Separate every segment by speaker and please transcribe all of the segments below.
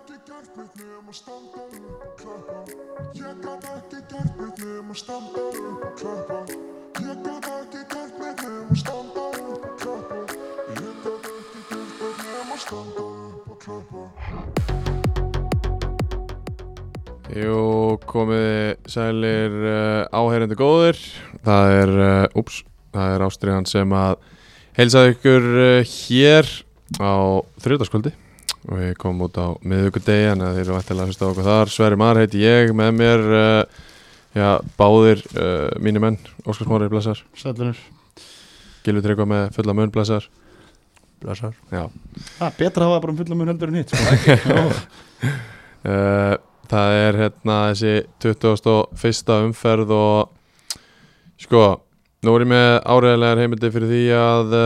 Speaker 1: neitt nema standa upp og klappa Ég gat ekki gert neitt nema standa upp og klappa Ég gat ekki gert neitt nema standa upp og klappa Ég gat ekki gert neitt nema standa upp og klappa
Speaker 2: Jú, komið sælir uh, áherendu góðir Það er, uh, úps, það er ástriðan sem að heilsaði ykkur uh, hér á þriðdagskvöldi og við komum út á miðvíkudegi en þeir eru vettilega að hlusta á okkur þar Sverri Mar heiti ég, með mér uh, já, báðir uh, mínu menn Óskar Smári blessar,
Speaker 3: Sætlunur
Speaker 2: Gilvi Tryggva með fulla mun blessar
Speaker 4: Blessar
Speaker 2: Já,
Speaker 3: Það er betra að hafa bara um fulla mun heldur en hitt sko.
Speaker 2: Eh, Það er hérna þessi 21. umferð og sko, nú er ég með áreðilegar heimildi fyrir því að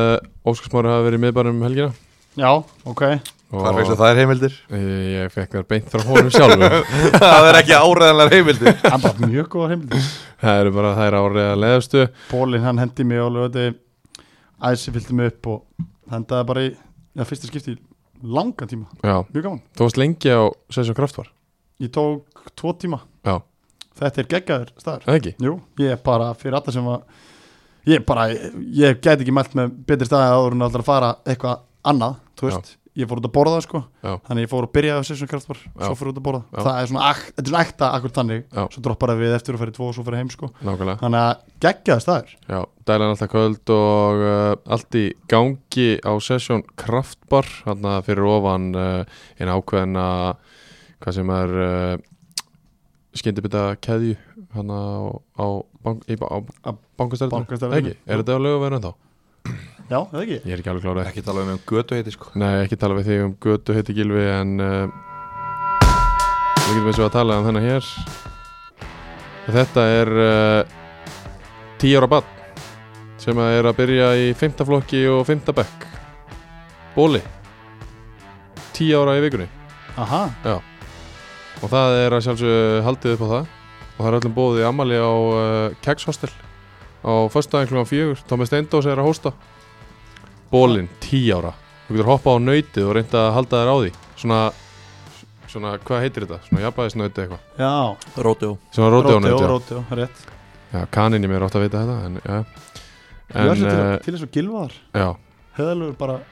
Speaker 2: Óskarsmári hafi verið í miðbærum um helgina
Speaker 3: Já, ok
Speaker 4: Hvar veistu þær heimildir?
Speaker 2: Eh, Ég fekk þar beint frá honum sjálfur
Speaker 4: það er ekki áræðanlega heimildir
Speaker 3: Það er bara mjög góða heimildi
Speaker 2: Það eru bara þær áreðilegastu
Speaker 3: Pólinn hann hendi mig á lögati Æsi fylgdi mig upp og hendaði bara í Já, fyrsta skipti í langan tíma
Speaker 2: Já,
Speaker 3: Mjög gaman
Speaker 2: þú varst lengi á Sessjón Kraftvar
Speaker 3: Ég tók tvo tíma
Speaker 2: Já,
Speaker 3: Þetta er geggjaður staðar
Speaker 2: eða ekki?
Speaker 3: Jú, ég er bara fyrir alla sem var Ég er bara, ég gæti ekki mælt með betri staði áður en alltaf að fara eitthvað annað, þú veist, ég fór út að borða sko,
Speaker 2: Já.
Speaker 3: þannig ég fór að byrja á sessum kraftvar, svo
Speaker 2: Já.
Speaker 3: fór út að borða,
Speaker 2: Já.
Speaker 3: það er svona, ak, þetta er svona ekta akkur þannig,
Speaker 2: Já.
Speaker 3: svo droppar við eftir og fyrir tvo og svo fyrir heim sko,
Speaker 2: Nákvæmlega
Speaker 3: þannig að geggjaði staðar
Speaker 2: Já, dælan alltaf kvöld og uh, allt í gangi á sessjón kraftbar hérna fyrir ofan uh, en ákveðna hvað sem er uh, skyndibita keðju hérna á, á, bank, í, á
Speaker 3: Á
Speaker 2: bankastæðinu
Speaker 3: Bankastrætinu.
Speaker 2: ekki, er þetta á lögavæðinu þá?
Speaker 3: Já, eða ekki?
Speaker 2: Ég er ekki alveg klárað
Speaker 4: Ekki tala um um götu heiti sko
Speaker 2: Nei, ekki tala við þig um götu heiti gilvi en uh, við getum eins og að tala um þennan hér og þetta er uh, 10 ára bann sem að er að byrja í 5. flokki og 5. bekk Bóli 10 ára í vikunni
Speaker 3: Aha,
Speaker 2: og það er að sjálfsög haldið upp á það og það er öllum bóðið ammali á uh, Kegs Hostel á föstudaginn klukkan fjögur Tómi Steindós er að hósta Bólin, 10 ára þú getur hoppað á nöytið og reynda að halda þér á því svona, svona hvað heitir þetta? svona jafnbæðisnöytið eitthvað
Speaker 3: já,
Speaker 4: Rótjó
Speaker 2: svona
Speaker 3: Ródeó,
Speaker 2: rótjónöytið
Speaker 3: Ródeó, rétt
Speaker 2: já, kaninn í mér átt að veita þetta en, ja.
Speaker 3: Ég var
Speaker 2: en
Speaker 3: svo
Speaker 2: uh,
Speaker 3: til- til þess að gilvar
Speaker 2: já,
Speaker 3: Heðalur bara,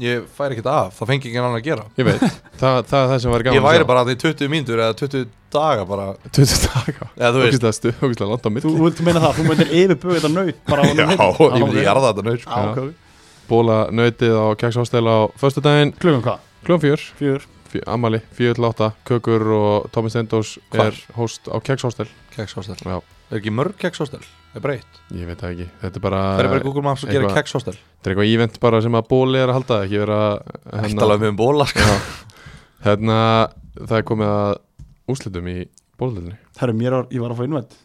Speaker 4: Ég fær ekkert af, það fengi ekki annan að gera
Speaker 2: ég veit það, það er það sem var gaman
Speaker 4: Ég væri bara að því 20 mínútur eða 20 daga bara
Speaker 2: 20 daga,
Speaker 4: Eða þú veist
Speaker 2: ógislega stu, ógislega langt á
Speaker 3: þú
Speaker 2: milli
Speaker 3: viltu meina það, þú myndir yfirbögu þetta nöyt bara á
Speaker 4: Já,
Speaker 3: honum
Speaker 4: ég
Speaker 3: heyrn.
Speaker 4: myndi
Speaker 3: Já,
Speaker 4: jarða þetta nöð
Speaker 3: ok.
Speaker 4: sko
Speaker 3: Já, ok.
Speaker 2: Bóla nöytið á Kegs Hostel á föstudaginn
Speaker 3: Klukkan hvað?
Speaker 2: klukkan fjögur
Speaker 3: Fjör
Speaker 2: Fjö- Amali, 4-8, Kökur og Tómi Steindós
Speaker 4: Hvar?
Speaker 2: er host á Keks Hostel
Speaker 4: Kekshostel
Speaker 2: Já.
Speaker 4: Er ekki mörg kekshostel? Er breytt
Speaker 2: Ég veit það ekki, þetta er bara
Speaker 4: Það er bara Google Maps og gera
Speaker 2: eitthvað- hérna-
Speaker 4: kekshostel
Speaker 2: Þetta er eitthvað ívent bara sem að bóli er að halda ekki vera
Speaker 4: Ekki tala um um bóla sko
Speaker 2: hérna, það er komið að úslitum í bóliðinni
Speaker 3: Herru, mér var, ég var að fá innvætt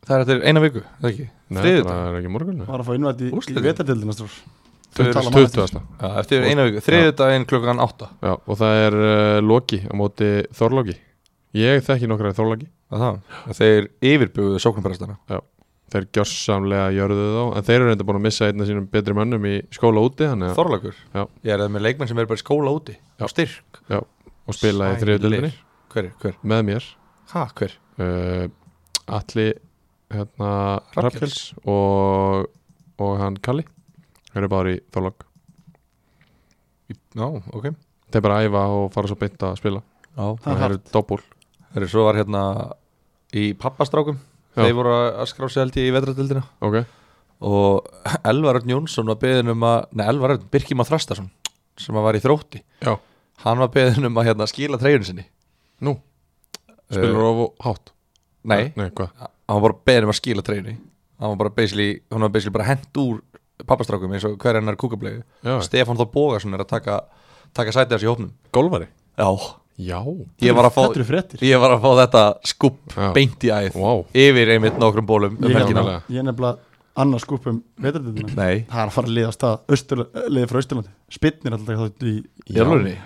Speaker 4: Það er eftir eina viku, er það ekki?
Speaker 2: Nei,
Speaker 4: Þriðjudag?
Speaker 2: það er ekki morgun
Speaker 3: Var að fá innvætt í, í
Speaker 4: Úrslitin?
Speaker 3: vetardildina strór Þau tala um
Speaker 2: 20.
Speaker 4: Já, eftir eina viku, þriðið daginn klukkan 8
Speaker 2: Já, og það er uh, Loki á móti Þorlóki Ég þekki nokkra Þorlóki
Speaker 4: Það það Þeir yfirbuguðu sóknarprestana
Speaker 2: Þeir gjörsamlega jörðu þá En þeir eru reynda búin að missa einna sínum betri mönnum í skóla úti þannig að-
Speaker 4: Þorlagur
Speaker 2: Já.
Speaker 4: Ég er það með leikmenn sem er bara í skóla úti
Speaker 2: Já.
Speaker 4: Já. Styrk
Speaker 2: Og spila í
Speaker 4: Sælir.
Speaker 2: þriðutöldinni
Speaker 4: Hver, er- hver?
Speaker 2: með mér
Speaker 4: Ha, hver?
Speaker 2: uh, Alli hérna, Rafkjells
Speaker 4: Hrafnkels.
Speaker 2: og, og hann Kalli eru bara í þálag
Speaker 4: Í- Já, ok
Speaker 2: þeir bara að æfa og fara svo beint að spila
Speaker 4: Já
Speaker 3: Það er
Speaker 2: það eru doppul
Speaker 4: Þeir svo var hérna í pappastrákum
Speaker 2: Já.
Speaker 4: Þeir voru að skrá sig held ég í vetratildina
Speaker 2: ok,
Speaker 4: Og Elvar Örn Jónsson var beðin um að Nei, Elvar Örn, Birkima Þrastason Sem að var í þrótti
Speaker 2: Já.
Speaker 4: Hann var beðin um að hérna skila treyjun sinni
Speaker 2: Nú. spilur of og hátt
Speaker 4: Nei,
Speaker 2: nei hvað,
Speaker 4: hann var bara beðin um að skila treyjunni Hann var bara basically, hann var basically bara hent úr pappastrákum eins og hver hennar kúkablegu
Speaker 2: já,
Speaker 4: Stefán Þór Bógarsson er að taka, taka sæti hans í hópnum
Speaker 2: golfari
Speaker 4: Já,
Speaker 2: já,
Speaker 4: ég var að fá,
Speaker 3: Þetta eru fréttir
Speaker 4: ég var að fá þetta skupp
Speaker 2: Já.
Speaker 4: beint í æð
Speaker 2: wow
Speaker 4: Yfir einmitt nokkrum bólum um
Speaker 3: Ég-
Speaker 4: helgina
Speaker 2: nálega.
Speaker 3: Ég er nefnilega annars skúp um vetardildina
Speaker 4: Nei,
Speaker 3: Það er að fara að liða af stað austur, liða frá Austurlandi Spinnir alltaf þátt í
Speaker 4: í alvegni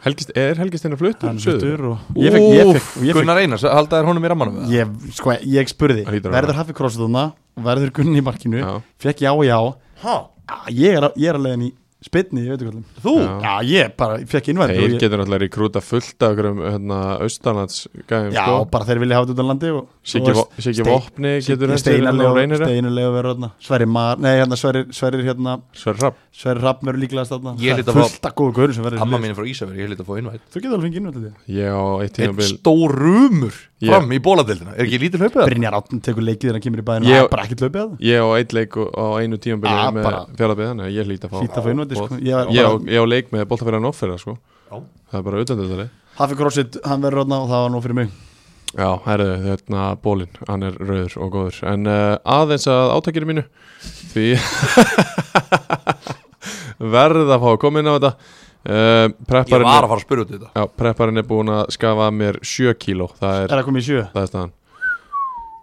Speaker 2: Helgist, er Helgistinn að fluttur?
Speaker 3: Hann er suttur og Ég fekk, ég fekk, og ég fekk
Speaker 4: Gunnar Einars, haldaði honum í rammanum eða?
Speaker 3: Ég, sko, ég spurði,
Speaker 2: Það hlýtur að
Speaker 3: verður hafið krossið þarna verður Gunni í markinu,
Speaker 2: Já.
Speaker 3: fekk já og já
Speaker 4: Ha?
Speaker 3: Ah, ég er, á- ég er að leiðin í spytni, ég veit ekki hvað
Speaker 4: Þú?
Speaker 2: Já.
Speaker 3: Já, ég bara, ég fekk innvændi
Speaker 2: Þeir
Speaker 3: og ég,
Speaker 2: getur náttúrulega rekrúta fullt af okkur um hérna, austanlands gæðum
Speaker 3: Já,
Speaker 2: sko.
Speaker 3: bara þeir vilja hafa þetta utan landi og
Speaker 2: Siggi, vo Siggi Vopni getur hérna reynir
Speaker 3: Steinulegu verður þarna Sverri Mar, nei hérna Sverri, Sverri hérna
Speaker 2: Sverri Rapp
Speaker 3: Sverri Rapp verður líklega þarna
Speaker 4: Ég
Speaker 3: Það
Speaker 4: hlýt að
Speaker 3: er fullt af góðu gaurur sem verður í
Speaker 4: Amma
Speaker 3: liði.
Speaker 4: mín er frá Ísafjörði, ég hlýtt að fá innvætt
Speaker 3: Þú getur alveg fengið innvændi þetta
Speaker 2: Ég á eitt
Speaker 4: Einn
Speaker 2: tímabil
Speaker 4: stór rumur
Speaker 2: Ég-
Speaker 4: fram í bóladeildina Er ekki lítið hlaupið það?
Speaker 3: Brynjar Átn tekur leikið þegar hann kemur í bæðin
Speaker 2: Ég-
Speaker 3: Það er bara ekkert löpið að það
Speaker 2: Ég á eitt leik og- á einu tímabili
Speaker 3: Ah,
Speaker 2: með
Speaker 3: bara.
Speaker 2: fjallabið þannig að ég hlýt að fá
Speaker 3: Hlýta fyrir innvændi sko Ég
Speaker 2: Ég á,
Speaker 3: var
Speaker 2: ég á leik með boltafélag Nófferða sko
Speaker 4: Já.
Speaker 2: Það er bara utendöldari
Speaker 3: bara Hafi Crossfit, hann verður þarna og það var nú fyrir mig
Speaker 2: Já, herðu, hérna bólinn, hann er rauður og góður En uh, aðeins að átakinu mínu Því Verð að fá að koma inn á þetta uh,
Speaker 4: Ég var
Speaker 2: Prepparinn
Speaker 4: að fara að spyrja út í þetta
Speaker 2: Já, prepparinn er búin að skafa af mér 7 kíló Það
Speaker 3: Er
Speaker 2: er,
Speaker 3: það komið í sjö?
Speaker 2: það er staðan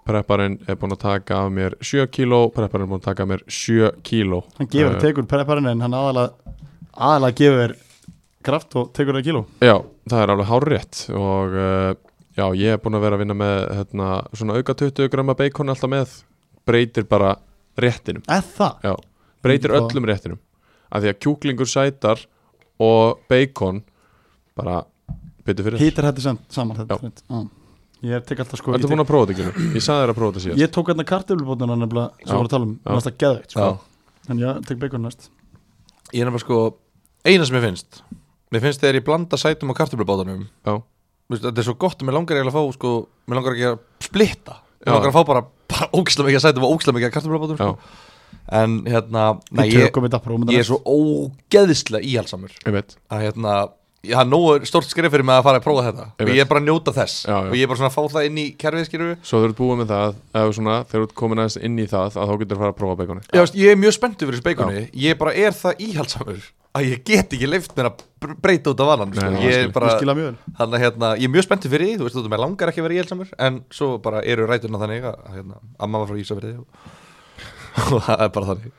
Speaker 2: Prepparinn er búin að taka af mér 7 kíló Prepparinn er búin að taka af mér 7 kíló
Speaker 3: Hann
Speaker 2: Eh,
Speaker 3: gefur og tekur prepparinn en hann aðalega aðalega gefur kraft og tekur það kíló
Speaker 2: Já, það er alveg hárrétt og uh, já, ég er búin að vera að vinna með hérna, svona auka 20 gramma bacon alltaf með, breytir bara réttinum,
Speaker 3: Eða það?
Speaker 2: já, breytir
Speaker 3: Hvað?
Speaker 2: öllum réttinum, af því að kjúklingur sætar og bacon bara byttu fyrir
Speaker 3: Hýtar þetta sem, saman þetta
Speaker 2: Já.
Speaker 3: þrennt. Já. Ég tek alltaf sko ég
Speaker 2: Þetta
Speaker 3: tek-
Speaker 2: er búin að prófa þetta ekki, ég saði þér að prófa þetta síðast
Speaker 3: Ég tók hérna kartöflubótana nefnilega sem
Speaker 2: Já.
Speaker 3: við vorum að tala um,
Speaker 2: Já.
Speaker 3: næsta geðveikt sko.
Speaker 4: Já.
Speaker 3: En ég tek bacon næst
Speaker 4: Ég er nefnilega sko, eina sem ég finnst Mér finnst þegar ég blanda sætum og kartöflubátanum
Speaker 2: Já,
Speaker 4: Þetta er svo gott, mér langar eiginlega að fá sko, Mér langar ekki að splitta
Speaker 2: Já.
Speaker 4: Mér langar að fá bara, bara ógislega mikið að sætum og ógislega mikið að kartöflubátanum
Speaker 2: já,
Speaker 4: sko. En hérna, nei,
Speaker 3: Við
Speaker 4: ég,
Speaker 3: tökum þetta bara um
Speaker 4: ég er svo ógeðislega íhalsamur
Speaker 2: ég veit
Speaker 4: að hérna ég hafði nógu stórt skrif fyrir mig að fara að prófa þetta
Speaker 2: Ég
Speaker 4: og
Speaker 2: veit.
Speaker 4: ég er bara að njóta þess
Speaker 2: Já, já.
Speaker 4: og ég er bara svona að fá það inn í kerfið skilju
Speaker 2: Svo þegar þú ert búin með það, eða svona, þegar þú ert komin aðeins inn í það að þá getur þú að fara að prófa baconi
Speaker 4: ég, veist, ég er mjög spenntur fyrir þessu beikoni ég bara er það íhaldsamur að ég get ekki leift mér að br- breyta út af vanan
Speaker 2: Nei,
Speaker 4: sko.
Speaker 2: nei,
Speaker 4: ég
Speaker 2: ég
Speaker 4: er
Speaker 2: skil.
Speaker 4: bara
Speaker 3: Ég skil það mjög vel.
Speaker 4: þannig að hérna, ég er mjög spenntur fyrir því þú veist þú mér langar ekki að vera íhaldsamur en svo bara eru rætuna þannig að að, hérna, amma var frá Ísafriði og, og það er bara þannig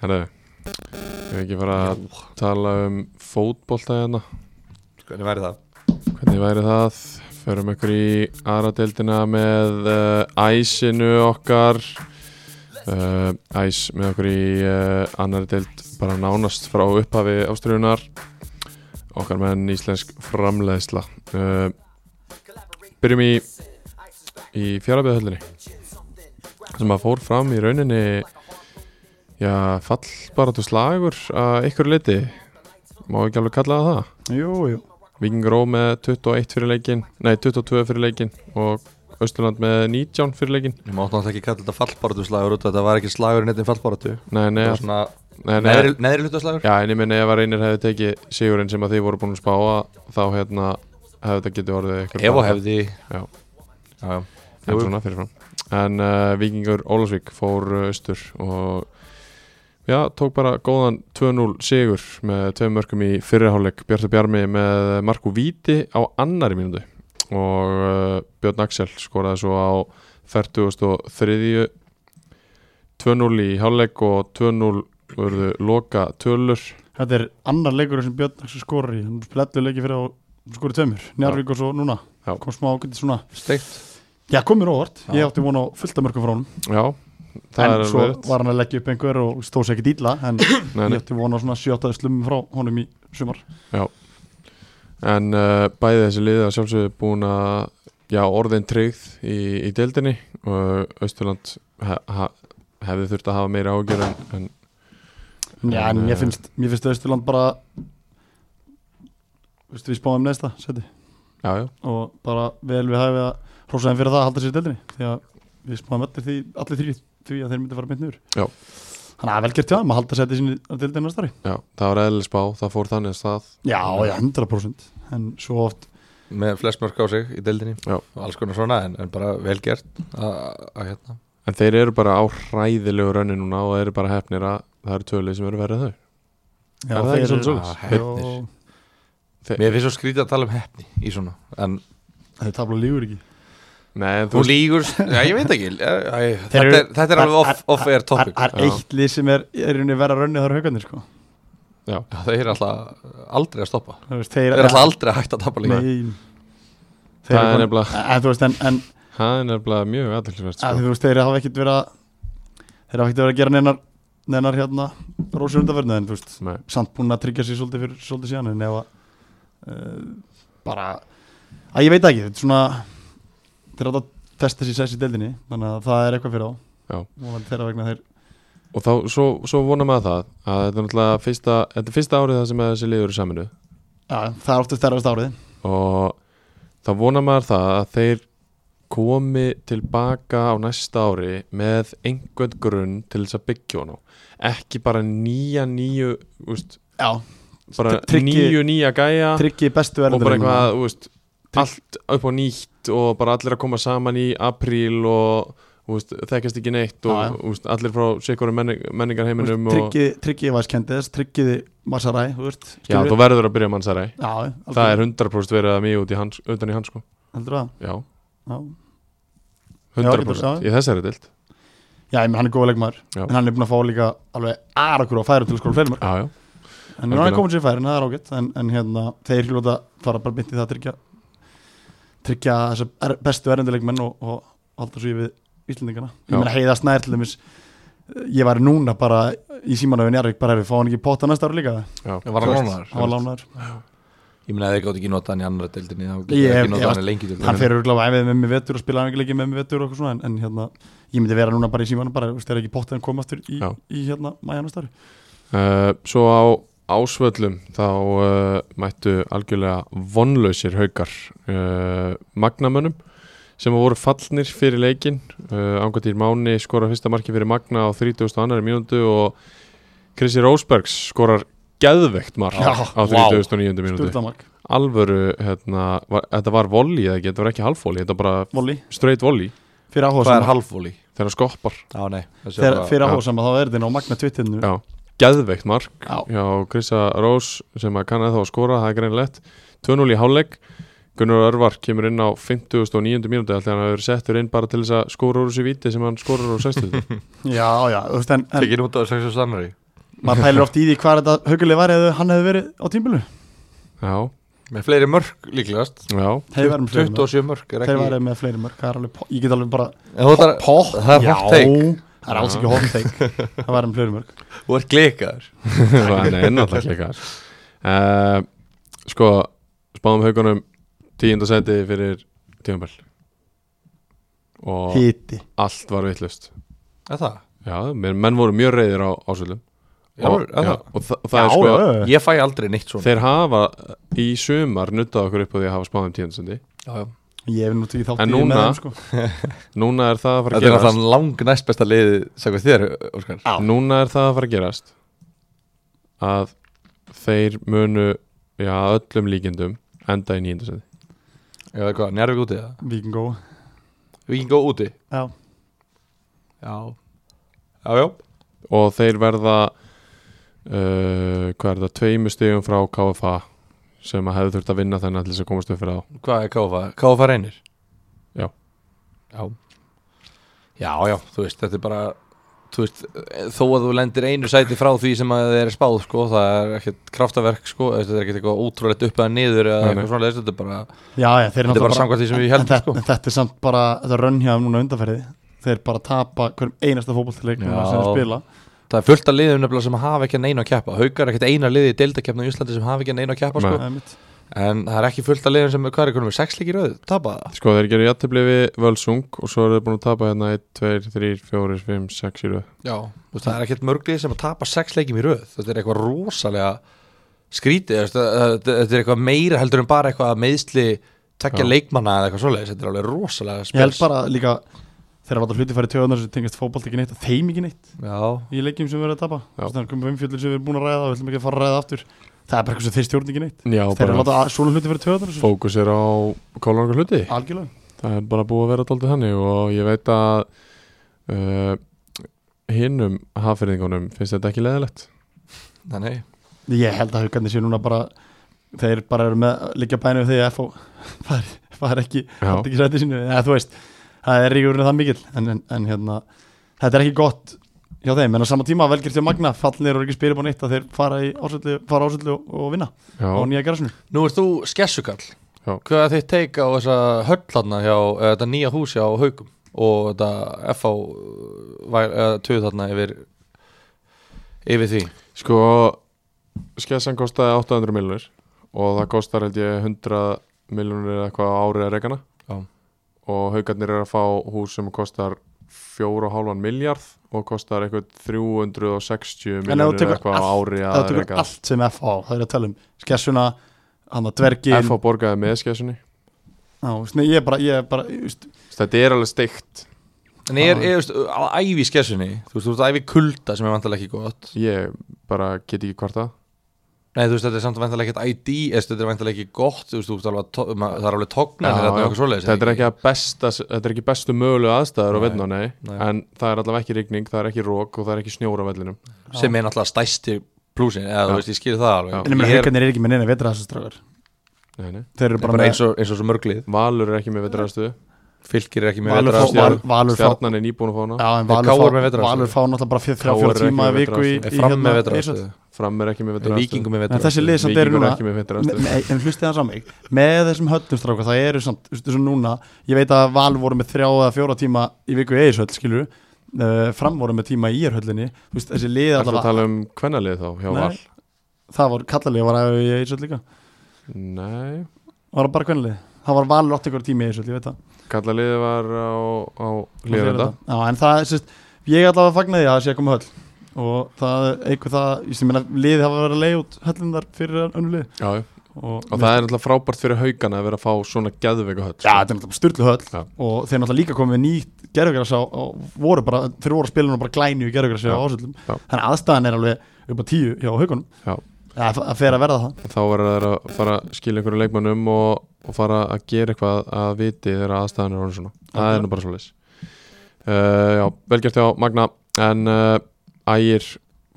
Speaker 2: Herðu, ég vil ekki fara að tala um fótbolta hérna
Speaker 4: hvernig væri það?
Speaker 2: Hvernig væri það? Förum ykkur í aðra deildina með uh, æsinu okkar uh, Æs með okkur í uh, annari deild bara nánast frá upphafi ástriðunar okkar menn íslensk framleiðsla uh, Byrjum í í fjarlabíðahöllinni sem að fór fram í rauninni já, fallbaratu slagur að ykkur liti má ekki alveg kalla það það
Speaker 3: Jú, jú
Speaker 2: Vikingur Ó með 21 fyrir leikin Nei, 22 fyrir leikin Og Östurland með 19 fyrir leikin
Speaker 4: Ég má náttúrulega ekki kalla þetta fallbaratu slagur út af þetta var ekki slagur neitt en fallbaratu
Speaker 2: Nei, nei,
Speaker 4: Það var
Speaker 2: all-
Speaker 4: svona
Speaker 2: nei, nei
Speaker 4: neðri, neðri hlutaslagur
Speaker 2: Já, en ég minni ef að reynir hefði tekið sigurinn sem að þið voru búin að spáa Þá hérna hefði þetta getið orðið ykkur
Speaker 4: ef og hefði
Speaker 2: Já,
Speaker 4: já, já.
Speaker 2: en svona fyrirfram En uh, Vikingur Ólasvík fór uh, austur og Já, tók bara góðan 2-0 sigur með tveim mörgum í fyrirháleik Bjartur Bjarmi með Marku Víti á annari mínútu og uh, Björn Axel skoraði svo á 43. 2-0 í háleik og 2-0 voruðu loka tölur
Speaker 3: Þetta er annar leikur sem Björn Axel skorar í Hann splettu leiki fyrir að skori tömur Njarvík og svo núna
Speaker 2: Já.
Speaker 3: Kom smá ágætti svona
Speaker 4: steikt
Speaker 3: Já, kom mér óvart
Speaker 4: Já.
Speaker 3: Ég átti von á fullt af mörgum frá honum
Speaker 2: Já, það
Speaker 3: En
Speaker 2: er
Speaker 3: svo
Speaker 2: alveg rétt.
Speaker 3: var hann að leggja upp einhver og stóð sér ekkert illa En ég
Speaker 2: Nei, nei.
Speaker 3: átti von á svona sjötaði slumum frá honum í sumar
Speaker 2: En uh, bæði þessi liðið að sjálfsögðu búin að já, orðin tryggð í, í deildinni og Östurland he, ha, hefði þurft að hafa meira ágjör en, en
Speaker 3: Já, en
Speaker 2: En,
Speaker 3: mér
Speaker 2: eh,
Speaker 3: finnst, mér finnst Östurland bara Vistu, við spáum næsta seti
Speaker 2: já, já,
Speaker 3: og bara vel við hæfið að hrósaðum fyrir það að halda sér í deldinni því að við spáðum allir því, allir þrý því að þeir myndi fara beint niður
Speaker 2: Já.
Speaker 3: þannig að vel gert hjá þeim að halda sér í sinni að deldinni næsta ári
Speaker 2: já, það var eðlis spá, það fór þannig að stað
Speaker 3: já, já, 100% en svo oft
Speaker 4: með flest mörg á sig í deildinni
Speaker 2: Já.
Speaker 4: og alls konar svona en, en bara vel gert að að hérna
Speaker 2: En þeir eru bara á hræðilegu rönni núna og eru bara hefnir að það eru tölið sem eru verið þau Er
Speaker 3: já,
Speaker 2: það ekki svolítið svoleiðis?
Speaker 3: svolis?
Speaker 4: Mér finnst svo skrítið að tala um hefni í svona en
Speaker 3: þeir tabla lígur ekki
Speaker 2: Nei, en þú
Speaker 4: þú lígur, já ég veit ekki æ, æ,
Speaker 3: Þeir
Speaker 4: þetta,
Speaker 3: eru-
Speaker 4: er, þetta er alveg off- off-air topic
Speaker 3: það
Speaker 2: Já.
Speaker 3: er eitt lið sem er, er í rauninni verra rönni þar haugarnir sko
Speaker 2: já,
Speaker 4: Já, þeir eru alltaf aldrei að stoppa
Speaker 3: Það veist,
Speaker 4: þeir eru alltaf aldrei að hætta að tapa líka
Speaker 3: Nei. Þeir
Speaker 2: Það
Speaker 3: eru
Speaker 2: er
Speaker 3: bara- en þú veist, en, en
Speaker 2: það er nefnilega mjög aðeinsverst
Speaker 3: að
Speaker 2: sko.
Speaker 3: þú veist, þeir hafa ekkert verið að þeir hafa ekkert verið að gera neinar neinar hérna rósir undanverðinu en þú veist
Speaker 2: Nei.
Speaker 3: samt búin að tryggja sér svolítið fyrir svolítið síðan en ef að uh, bara að ég veit það ekki, þetta er svona þeir átt að testa sér sess í deildinni þannig að það er eitthvað fyrir á
Speaker 2: Já.
Speaker 3: og þeirra vegna þeir
Speaker 2: og þá, svo, svo vonar maður það að þetta er náttúrulega fyrsta, þetta er fyrsta árið það sem að þessi liður eru saminu
Speaker 3: já, það er oftast þeirra stárið
Speaker 2: og þá vonar maður það að þeir komi tilbaka á næsta ári með einhvern grunn til þess að byggja hann á ekki bara nýja nýju úst,
Speaker 3: já,
Speaker 2: bara
Speaker 3: Tryggi-
Speaker 2: nýju nýja gæja
Speaker 3: tryggi bestu
Speaker 2: og bara eitthvað úst,
Speaker 3: Trygg-
Speaker 2: allt upp á nýtt og bara allir að koma saman í apríl og úst, þekkjast ekki neitt og
Speaker 3: Já, já.
Speaker 2: Úst, allir frá sikkurum menning, menningarheiminum og,
Speaker 3: tryggiði tryggi vaskendis, tryggiði masaræ, þú veist
Speaker 2: já,
Speaker 3: skilurðu?
Speaker 2: þú verður að byrja mannsæri
Speaker 3: já, algjörlega.
Speaker 2: það er 100% verið að mjög út í hans, utan í hans sko
Speaker 3: heldur það,
Speaker 2: já,
Speaker 3: já
Speaker 2: 100%
Speaker 3: Já, já.
Speaker 2: í þessari dild
Speaker 3: já, ég menn hann er góð leikmaður,
Speaker 2: Já.
Speaker 3: en hann er búin að fá líka alveg arakur á færum til að skóla fleiri mörg
Speaker 2: já, já.
Speaker 3: En núna er
Speaker 2: Algjörlega.
Speaker 3: komin sér í færin, það er ágætt en, en hérna, þeir hljóta fara bara myndi það að tryggja tryggja þessa er, bestu erendileikmenn og, og halda svo í við Íslendingana Ég
Speaker 2: Já.
Speaker 3: meina heiða snær til þeimis ég var núna bara í símanöfin Jarvik bara er við fá hann ekki í potta næsta ára líka
Speaker 2: Já.
Speaker 4: Ég var að lána þar
Speaker 3: hann var lánaður,
Speaker 4: Ég meina að þið gátt ekki nota hann í annara deildinni Þá gátt
Speaker 3: Ég-
Speaker 4: ekki
Speaker 3: ég-
Speaker 4: nota hann í lengi
Speaker 3: hann
Speaker 4: deildinni
Speaker 3: fer örgulega að æfið með mig vetur og spila hann ekki leikið með mig vetur og eitthvað svona en, en hérna, ég myndi vera núna bara í símanöfin bara, þú veist, er ekki potta en komastur í,
Speaker 2: Já.
Speaker 3: í hérna maður næsta ári
Speaker 2: Uh, svo á ásvöllum þá uh, mættu algjörlega vonlausir haukar uh, magnamönnum sem voru fallnir fyrir leikin uh, Angatýr Máni skorar fyrsta marki fyrir Magna á 32. mínútu og Krissi Rósbergs skorar geðveikt mark
Speaker 3: Já,
Speaker 2: á
Speaker 4: vá.
Speaker 2: 39. mínútu
Speaker 3: Sturlamark,
Speaker 2: alvöru, hérna, var, þetta var volley eða ekki, þetta var ekki halfvolley, þetta var bara
Speaker 3: voli,
Speaker 2: straight volley
Speaker 3: fyrir áhuga
Speaker 4: Hvað er halvfóli?
Speaker 2: þegar hann skoppar,
Speaker 4: Já, nei þessi
Speaker 3: Þegar-
Speaker 4: var-
Speaker 3: fyrir
Speaker 2: Já.
Speaker 3: áhuga þá er þetta á magna tvittinu
Speaker 2: já, geðveikt mark
Speaker 3: Já.
Speaker 2: hjá Krissa Rós sem að kann að þá að skora, það er greinlegt 2-0 í hálfleik, Gunnar Örvar kemur inn á 59. mínúti alltaf hann hefur settur inn bara til þess að skora úr þessu víti sem hann skorur úr 60
Speaker 3: já, já, þú veist, en, en
Speaker 4: Tekið út á þessu stannari
Speaker 3: maður pælir oft í því hvað þetta hauguleg var eða hann hefði verið á tímbilu
Speaker 2: Já,
Speaker 4: Með fleiri mörk líklegast
Speaker 2: já,
Speaker 3: þeir verið með fleiri mörg
Speaker 4: 27 mörk er
Speaker 3: þeir
Speaker 4: ekki
Speaker 3: verið með fleiri mörg það er alveg po- ég get alveg bara
Speaker 4: En þú ætlar-
Speaker 3: pott
Speaker 4: Það er hot take
Speaker 3: það er alls ekki hot take það verið með fleiri mörg
Speaker 4: Þú ert glikaður
Speaker 2: hann er náttúrulega klikar uh, Sko, spáðum haugunum 10. seti fyrir tíumbel og
Speaker 3: hiti
Speaker 2: allt var vittlust
Speaker 4: Er það?
Speaker 2: Já, men- menn voru mjög reyðir á ásvöldum
Speaker 4: Já,
Speaker 2: og,
Speaker 4: er
Speaker 2: já,
Speaker 4: það?
Speaker 2: og þa það er sko
Speaker 3: já, já.
Speaker 4: Ég fæ aldrei neitt svona
Speaker 2: Þeir hafa í sumar nuttað okkur upp á því að hafa um spáðum tíðansendi
Speaker 4: Já, já.
Speaker 3: ég hef nú tekið þátt
Speaker 2: En
Speaker 3: í því
Speaker 2: núna-
Speaker 3: með þeim sko
Speaker 2: Núna er það að fara að
Speaker 4: Þetta er
Speaker 2: gerast
Speaker 4: náttúrulega lang næst besta liði Sækvað þér, Óskar
Speaker 3: Já.
Speaker 2: Núna er það að fara að gerast að þeir munu já, að öllum líkindum enda í nýjendasendi
Speaker 4: Já, hvað, njárvík úti það?
Speaker 3: vikingó
Speaker 4: Víkingó úti
Speaker 3: já
Speaker 4: Já Já, já
Speaker 2: og þeir verða uh, hvað er það, tveimu stigum frá KFA sem að hefðu þurft að vinna þennan til þess að komast upp fyrir þá
Speaker 4: Hvað er KFA? KFA reynir?
Speaker 2: Já.
Speaker 4: Já Já, já, þú veist, þetta er bara þú veist, þó að þú lendir einu sæti frá því sem að þið er spáð, sko það er ekkert kraftaverk, sko, þetta er ekkert eitthvað ótrúlegt upp eða niður
Speaker 2: Nei,
Speaker 4: eða
Speaker 2: nei.
Speaker 4: eitthvað svona þetta er bara,
Speaker 3: já, já þeir
Speaker 4: þetta er bara samkvæmt því sem við
Speaker 3: en,
Speaker 4: heldum,
Speaker 3: þetta,
Speaker 4: sko
Speaker 3: en þetta er samt bara þetta rönn hjá þeim núna undanferði þeir bara tapa hverjum einasta fótballtileik núna sem þeir
Speaker 4: Já.
Speaker 3: spila
Speaker 4: Það er fullt af liðum nefnilega sem hafa ekki neina að keppa Haukar er ekkert eina liði í deildakefna í Íslandi sem hafa ekki neina að keppa,
Speaker 2: Nei.
Speaker 4: sko
Speaker 3: það er mitt
Speaker 4: En það er ekki fullt af liðum sem, hvað er eitthvað, sex leikir rauð, tapa það
Speaker 2: Sko þeir gerir jættibli við Völsung og svo eru þeir búin að tapa hérna 1, 2, 3, 4, 5, 6, 7
Speaker 4: Já, þú veist, það er ekkert mörglið sem að tapa sex leikjum í röð Þetta er eitthvað rosalega skrítið þú veist, að- að- Þetta er eitthvað meira heldur en bara eitthvað að meiðsli tekja
Speaker 2: Já.
Speaker 4: leikmanna eða eitthvað svoleiðis Þetta er alveg rosalega spes
Speaker 3: ég held bara líka þeir láta hluti fara í töðunar sem tengast fótballt ekki neitt og þeim ekki neitt
Speaker 4: Já,
Speaker 3: í leikjum sem við erum að tapa
Speaker 2: Já.
Speaker 3: þannig að komum við umfjöldin sem við erum búin að ræða og við ætlum ekki að fara að ræða aftur það er bara eitthvað sem þeir stjórn ekki neitt
Speaker 2: Já,
Speaker 3: þeir eru að
Speaker 2: bara
Speaker 3: láta að- svona hluti fyrir töðan
Speaker 2: fókus er á kólangar hluti
Speaker 3: algjörlega
Speaker 2: Það er bara búið að vera dálítið þannig og ég veit að uh, hinnum haffyrðingunum finnst þetta ekki leðilegt
Speaker 4: þannig
Speaker 3: ég held að haugarnir séu núna bara þeir bara eru með líka bænum þegar F og fari, fari ekki
Speaker 2: Já.
Speaker 3: haldi ekki sæti sínu eða þú veist það er ekki úr það mikill en, en, en hérna þetta er ekki gott hjá þeim en á sama tíma velgjert hjá Magna fallnir og ekki spyrir búin eitt að þeir fara í ásöldu fara ásöldu og, og vinna
Speaker 2: Já,
Speaker 3: á nýja garasinu
Speaker 4: Nú ert þú skessukall
Speaker 2: Já.
Speaker 4: Hvað er þitt teika á þessa höllarna hjá eh, þetta nýja húsi á Haugum og þetta FH eh, væ- eh, tuð þarna yfir yfir því
Speaker 2: Sko, skessan kostaði 800 miljonir og það kostar held ég 100 miljonir eða eitthvað á árið að reikana
Speaker 4: Já.
Speaker 2: og haugarnir er að fá hús sem kostar 4,5 miljard og kostar eitthvað 360
Speaker 3: En ef þú
Speaker 2: miljonir
Speaker 3: tekur
Speaker 2: eitthvað á
Speaker 3: allt-
Speaker 2: ári
Speaker 3: það
Speaker 2: að
Speaker 3: tökur
Speaker 2: reika
Speaker 3: allt sem FH það er að tala um skessuna hann að dvergin
Speaker 2: FH borgaði með skessunni
Speaker 3: á, svona, ég er bara, ég er bara ég veist,
Speaker 2: Þetta er alveg steikt
Speaker 4: En ég er,
Speaker 3: Já.
Speaker 4: ég veist, á ævi í skessunni Þú veist, þú veist, ævi í kulda sem er vantarlega ekki gott
Speaker 2: Ég bara get ekki hvarta
Speaker 4: Nei, þú veist, þetta er samt vantarlega ekkert ID eða Þetta er vantarlega ekki gott, þú veist, þú veist, alveg að to- ma- það er alveg togna
Speaker 2: Þetta er ekki, að besta, þetta er ekki bestu mögulegu aðstæður á
Speaker 4: Nei,
Speaker 2: vellinu, nei,
Speaker 4: nei.
Speaker 2: en það er allavega ekki rigning, það er ekki rók og það er ekki snjór á vellinum
Speaker 4: sem er náttúrulega stæsti plúsin eða
Speaker 2: Já.
Speaker 4: þú veist, ég skil það
Speaker 2: Já.
Speaker 4: alveg
Speaker 3: en ég meina
Speaker 4: Ég er
Speaker 3: haugarnir er ekki með neina vetra þessu strafur
Speaker 2: Nei, nei
Speaker 3: þeir eru
Speaker 4: bara,
Speaker 3: bara, með
Speaker 4: eins og, eins og svo mörglið
Speaker 2: Valur er ekki með vetraraðstöðu
Speaker 4: fylgir er ekki með
Speaker 3: Valur
Speaker 4: vetra
Speaker 3: fá- Val-
Speaker 2: Stjarn-
Speaker 3: Valur fá-
Speaker 2: Stjarnan er nýbúin að fá hana
Speaker 3: já, en
Speaker 4: Nei, KR
Speaker 3: Valur,
Speaker 4: með
Speaker 3: fá,
Speaker 4: vetraraðstöðu.
Speaker 3: valur fá náttúrulega bara
Speaker 2: KR er
Speaker 3: 3-4
Speaker 2: ekki
Speaker 3: tíma
Speaker 2: með
Speaker 3: í viku í,
Speaker 4: er
Speaker 3: í
Speaker 4: fram með
Speaker 3: hérna,
Speaker 4: vetra
Speaker 3: Eyjasund.
Speaker 2: Fram er ekki með
Speaker 4: en
Speaker 2: vetraraðstöðu
Speaker 4: vikingum með
Speaker 3: en
Speaker 4: vetra
Speaker 3: þessi lið samt eru
Speaker 2: Víkingur
Speaker 3: núna
Speaker 2: er ekki með vetraraðstöðu
Speaker 3: Nei, en hlustið hans á mig með þessum höllum stráka það eru samt, þú veist þessum núna ég veit að Val voru með þrjá eða fjóra tíma í viku í Eishöll, skilur uh, fram voru með tíma í Eishöllinni þú veist, þessi lið
Speaker 2: Það er að
Speaker 3: allavega
Speaker 2: tala um kvennalið þá hjá
Speaker 3: Nei.
Speaker 2: Val
Speaker 3: það voru kallalið var að í Eishöll líka
Speaker 2: Nei,
Speaker 3: var það bara kvennalið, það var Valur 8 ykkur tíma í Eishöll, ég veit það
Speaker 2: kallaliðið var á, á
Speaker 3: Ég veit
Speaker 2: hlýðarenda
Speaker 3: það. Já, en það, sérst, ég allavega fagnaði að það sé að koma höll og það eitthvað það, ég sem meina liðið hafa verið að leiða út höllunar fyrir önnu lið
Speaker 2: Já, já.
Speaker 3: og,
Speaker 2: og það er alltaf frábært fyrir haugana að vera að fá svona geðveika höll sko.
Speaker 3: Já, þetta er náttúrulega styrlu höll
Speaker 2: Já.
Speaker 3: og þeir náttúrulega líka komið með nýtt gerfugrasa og voru bara, þeir voru að spila nú bara glæni í gerfugrasa
Speaker 2: Já.
Speaker 3: á ásöldum
Speaker 2: Já.
Speaker 3: þannig að aðstæðan er alveg upp á tíu hjá haugunum
Speaker 2: Já.
Speaker 3: að, að fer að verða það
Speaker 2: Þá verður það að fara að skilja einhverju leikmannum og, og fara að gera eitthvað að viti þegar aðstæðan er honum svona Það er nú bara svolítið uh, Já, velgjart hjá Magna en uh, Ægir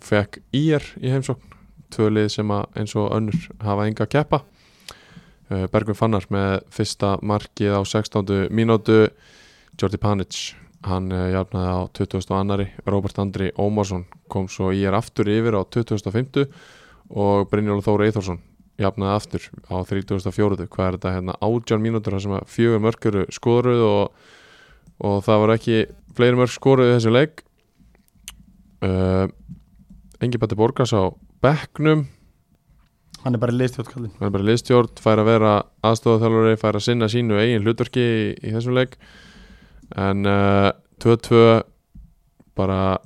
Speaker 2: fekk Ír í heimsókn tvölið sem að eins og önnur hafa enga að keppa uh, Bergvin Fannar með fyrsta markið á 16. mínútu Jordi Panic hann uh, jafnaði á 22. Robert Andri Ómarsson kom svo Ír aftur yfir á 25 og Brynjóla Þóra Eithorsson jafnaði aftur á 34. hvað er þetta hérna átján mínútur þar sem að fjögur mörkuru skoruð og, og það var ekki fleiri mörk skoruð í þessu leik uh, Engi Bætti Borgas á Becknum,
Speaker 3: hann er bara liðstjóttkallin
Speaker 2: hann er bara liðstjórn fær að vera aðstofaþjálfari, fær að sinna sínu eigin hlutverki í, í þessum leik en uh, 2-2 bara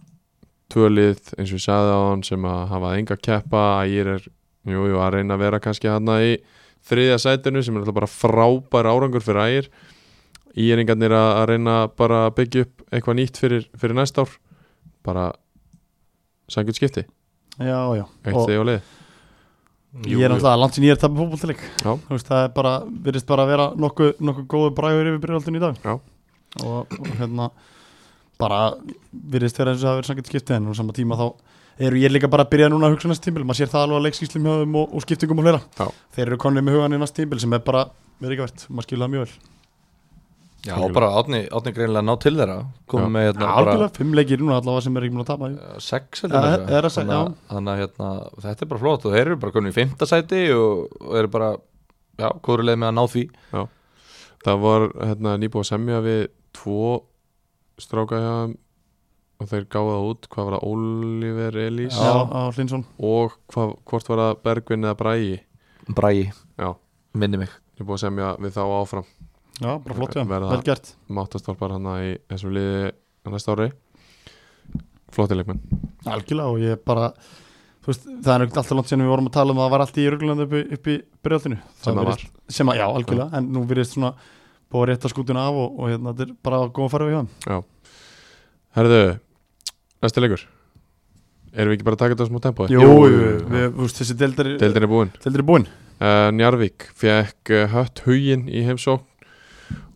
Speaker 2: tvö lið eins og ég sagði á hann sem að hafa enga keppa að ég er jú, jú, að reyna að vera kannski hann í þriðja sætinu sem er alltaf bara frábær árangur fyrir ægir íringarnir að, að reyna bara að byggja upp eitthvað nýtt fyrir, fyrir næst ár bara sangjum skipti,
Speaker 3: já, já,
Speaker 2: eitt
Speaker 3: og
Speaker 2: þig á lið
Speaker 3: ég er náttúrulega langt sín ég er tappið fótboltileik
Speaker 2: Já.
Speaker 3: Þú veist, það er bara, virðist bara að vera nokkuð nokku góðu bræður yfir byrjaldin í dag
Speaker 2: Já.
Speaker 3: og, og hérna bara virðist vera eins og það hafi verið sannkvæmt skiptið en á sama tíma þá eru ég líka bara að byrja núna að hugsa næst tímbil maður sér það alveg að leikskýslum hjá þeim og, og skiptingum og fleira
Speaker 2: Já.
Speaker 3: þeir eru konið með hugan í næst tímbil sem er bara verið ekki verðt, maður skilur það mjög vel
Speaker 4: já, og bara átni, átni greinlega ná til þeirra
Speaker 2: Já.
Speaker 4: komið með hérna bara
Speaker 3: algjörlega, fimm leikir núna allavega sem er ekki múin að tapa jú.
Speaker 4: eh, sex
Speaker 3: Já,
Speaker 4: heldur
Speaker 3: er að segja, já.
Speaker 4: þannig að hérna, þetta er bara flott og þeir eru bara konum í fymta sæti og, og eru bara, já, kórulega með að ná því
Speaker 2: það var hérna, nýbúið að semja við tvo stráka hjá þeim og þeir gáðu það út hvað var það Oliver Elís
Speaker 3: Já, á Hlinsson
Speaker 2: og hvað, hvort var það Bergvin eða Brægi
Speaker 4: bræi,
Speaker 2: já,
Speaker 4: minni mig
Speaker 2: nýbúið að semja við þá áfram
Speaker 3: Já, bara flott hjá,
Speaker 2: Verða-
Speaker 3: þeim. vel gert
Speaker 2: máttastálpar hann í þessu liði á næsta ári flottileikmenn
Speaker 3: Algjörlega og ég bara þú veist, það er ekkert alltaf langt síðan við vorum að tala um að það var allt í Jörglandu upp, í- upp í byrjaldinu
Speaker 2: sem það var
Speaker 3: virðist- sem að, já, algjörlega, en nú virðist svona búið að rétta skútuna af og, og hérna, þetta er bara að góða farið við hjá þeim.
Speaker 2: Herðu, næsti leikur erum við ekki bara að taka þetta á smá tempói?
Speaker 3: Jú, jú, við, þú veist, þessi deildar
Speaker 2: Deildin er búin
Speaker 3: deildar er búin
Speaker 2: uh, Njarvík fekk uh, hött hugin í heimsókn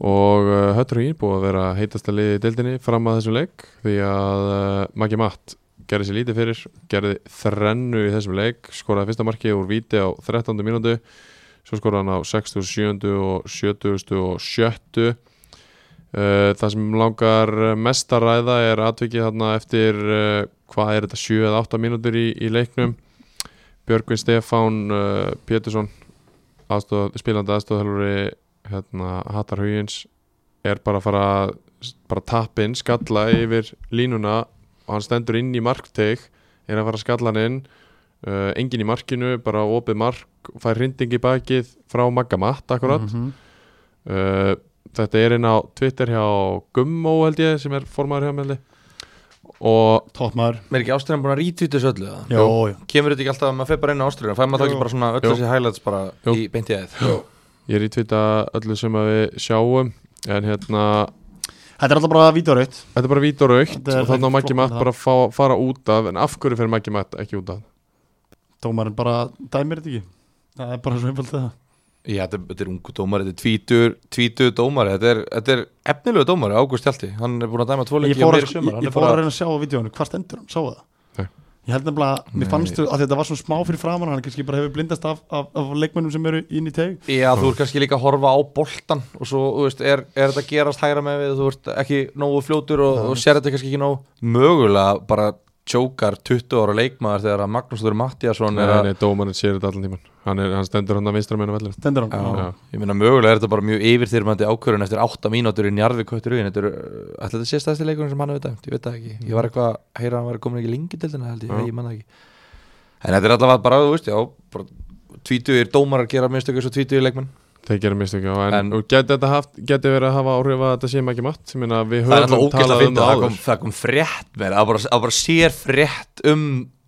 Speaker 2: og uh, hött hugin búið að vera heitasta liði í deildinni fram að þessum leik því að uh, Maggi Matt gerði sér lítið fyrir, gerði þrennu í þessum leik, skoraði fyrsta markið úr víti á 13. mínútu svo skoraði hann á 67. og 70. og 70. Uh, það sem langar mest að ræða er atvikið þarna eftir uh, hvað er þetta 7 eða 8 mínútur í, í leiknum Björgvin Stefán uh, Pétursson aðstoð, spilandi aðstofþjálfari hérna, Hattar Huyins er bara að fara að- bara tappinn skalla yfir línuna og hann stendur inn í markteg er að fara að skalla hann inn uh, engin í markinu, bara opið mark fær hrinding í bakið frá Magga Matt akkurat
Speaker 3: -hmm.
Speaker 2: uh, þetta er inn á Twitter hjá Gummo held ég sem er formaður hjá meldi og
Speaker 3: Toppmaður
Speaker 4: Mér er ekki ástriðan búin að rítvítu þessu öllu það?
Speaker 3: Jó, jó
Speaker 4: Kemur þetta ekki alltaf að maður fer bara inn á ástriðan Fær maður þá
Speaker 3: Jú.
Speaker 4: ekki bara svona öll
Speaker 2: Jú.
Speaker 4: þessi highlights bara
Speaker 2: Jú.
Speaker 4: í beint í aðeð
Speaker 2: ég er í tvita öllu sem að við sjáum en hérna,
Speaker 3: Þetta er alltaf bara vítoraukt
Speaker 2: þetta er bara vít og raukt
Speaker 3: Þetta er
Speaker 2: og þannig
Speaker 3: ekki
Speaker 2: að Maggi
Speaker 3: flóknara
Speaker 2: Matt
Speaker 3: það.
Speaker 2: bara fá, fara út af en af hverju fer Maggi Matt ekki út af
Speaker 3: Dómarinn bara dæmir þetta ekki Það er bara svo einfalt það
Speaker 4: Já, þetta er, þetta er ungu dómari, þetta er tvítur, tvítur dómari Þetta er, þetta er efnilegu dómari, Ágúst Hjalti Hann er búin að dæma tvo
Speaker 3: Ég
Speaker 4: leiki
Speaker 3: fór,
Speaker 4: og
Speaker 3: að,
Speaker 4: meira í
Speaker 3: sko,
Speaker 4: sumar
Speaker 3: ég,
Speaker 4: Hann
Speaker 3: ég
Speaker 4: er
Speaker 3: fór að
Speaker 4: bara,
Speaker 3: reyna að sjá á vídjónu Hvar stendur hann? Sáu það?
Speaker 2: Nei.
Speaker 3: Ég held nefnilega, mér
Speaker 4: Nei.
Speaker 3: fannst þú að þetta var svona smá fyrir framan hann kannski bara hefur blindast af, af, af leikmönnum sem eru inn í teg
Speaker 4: já,
Speaker 2: Hm.
Speaker 4: þú ert kannski líka að horfa á boltan Og svo, þú veist, er, er þetta að gerast hægra með við Þú ert ekki nógu fljótur og,
Speaker 2: Hm.
Speaker 4: og sér þetta kannski ekki nógu Mögulega bara tjókar 20 ára leikmaður Þegar að Magnús Þóri Mattíasson er
Speaker 2: Nei,
Speaker 4: að
Speaker 2: nei, dómarinn sér þetta allan tíman Hann, er, hann stendur hann að vinstra meina vellin
Speaker 3: Stendur hann?
Speaker 4: Já. Ég meina mögulega er þetta bara mjög yfirþyrmandi ákvörun eftir 8 mínútur í Njarðvík köttur auðin Þetta er, ætla þetta sé stæðsti leikurinn sem hann hefur dæmt, ég veit það ekki Ég var eitthvað, að heyra að hann var komin ekki lengi til þarna held ég,
Speaker 2: Já.
Speaker 4: ég manna ekki En þetta er allavega bara, þú veist, já, bara tvítugir dómarar gera minnstöku svo tvítugir leikmenn
Speaker 2: Þeir gera mistök, já En,
Speaker 4: En-
Speaker 2: en geti þetta haft, geti verið að hafa áhrif að þetta sé Maggi Matt Ég meina, við
Speaker 4: Það er alltaf
Speaker 2: höfum
Speaker 4: ógæst að
Speaker 2: talað um
Speaker 4: finna, það
Speaker 2: það
Speaker 4: kom,
Speaker 2: áður
Speaker 4: það kom frétt með það bara, að bara sér frétt um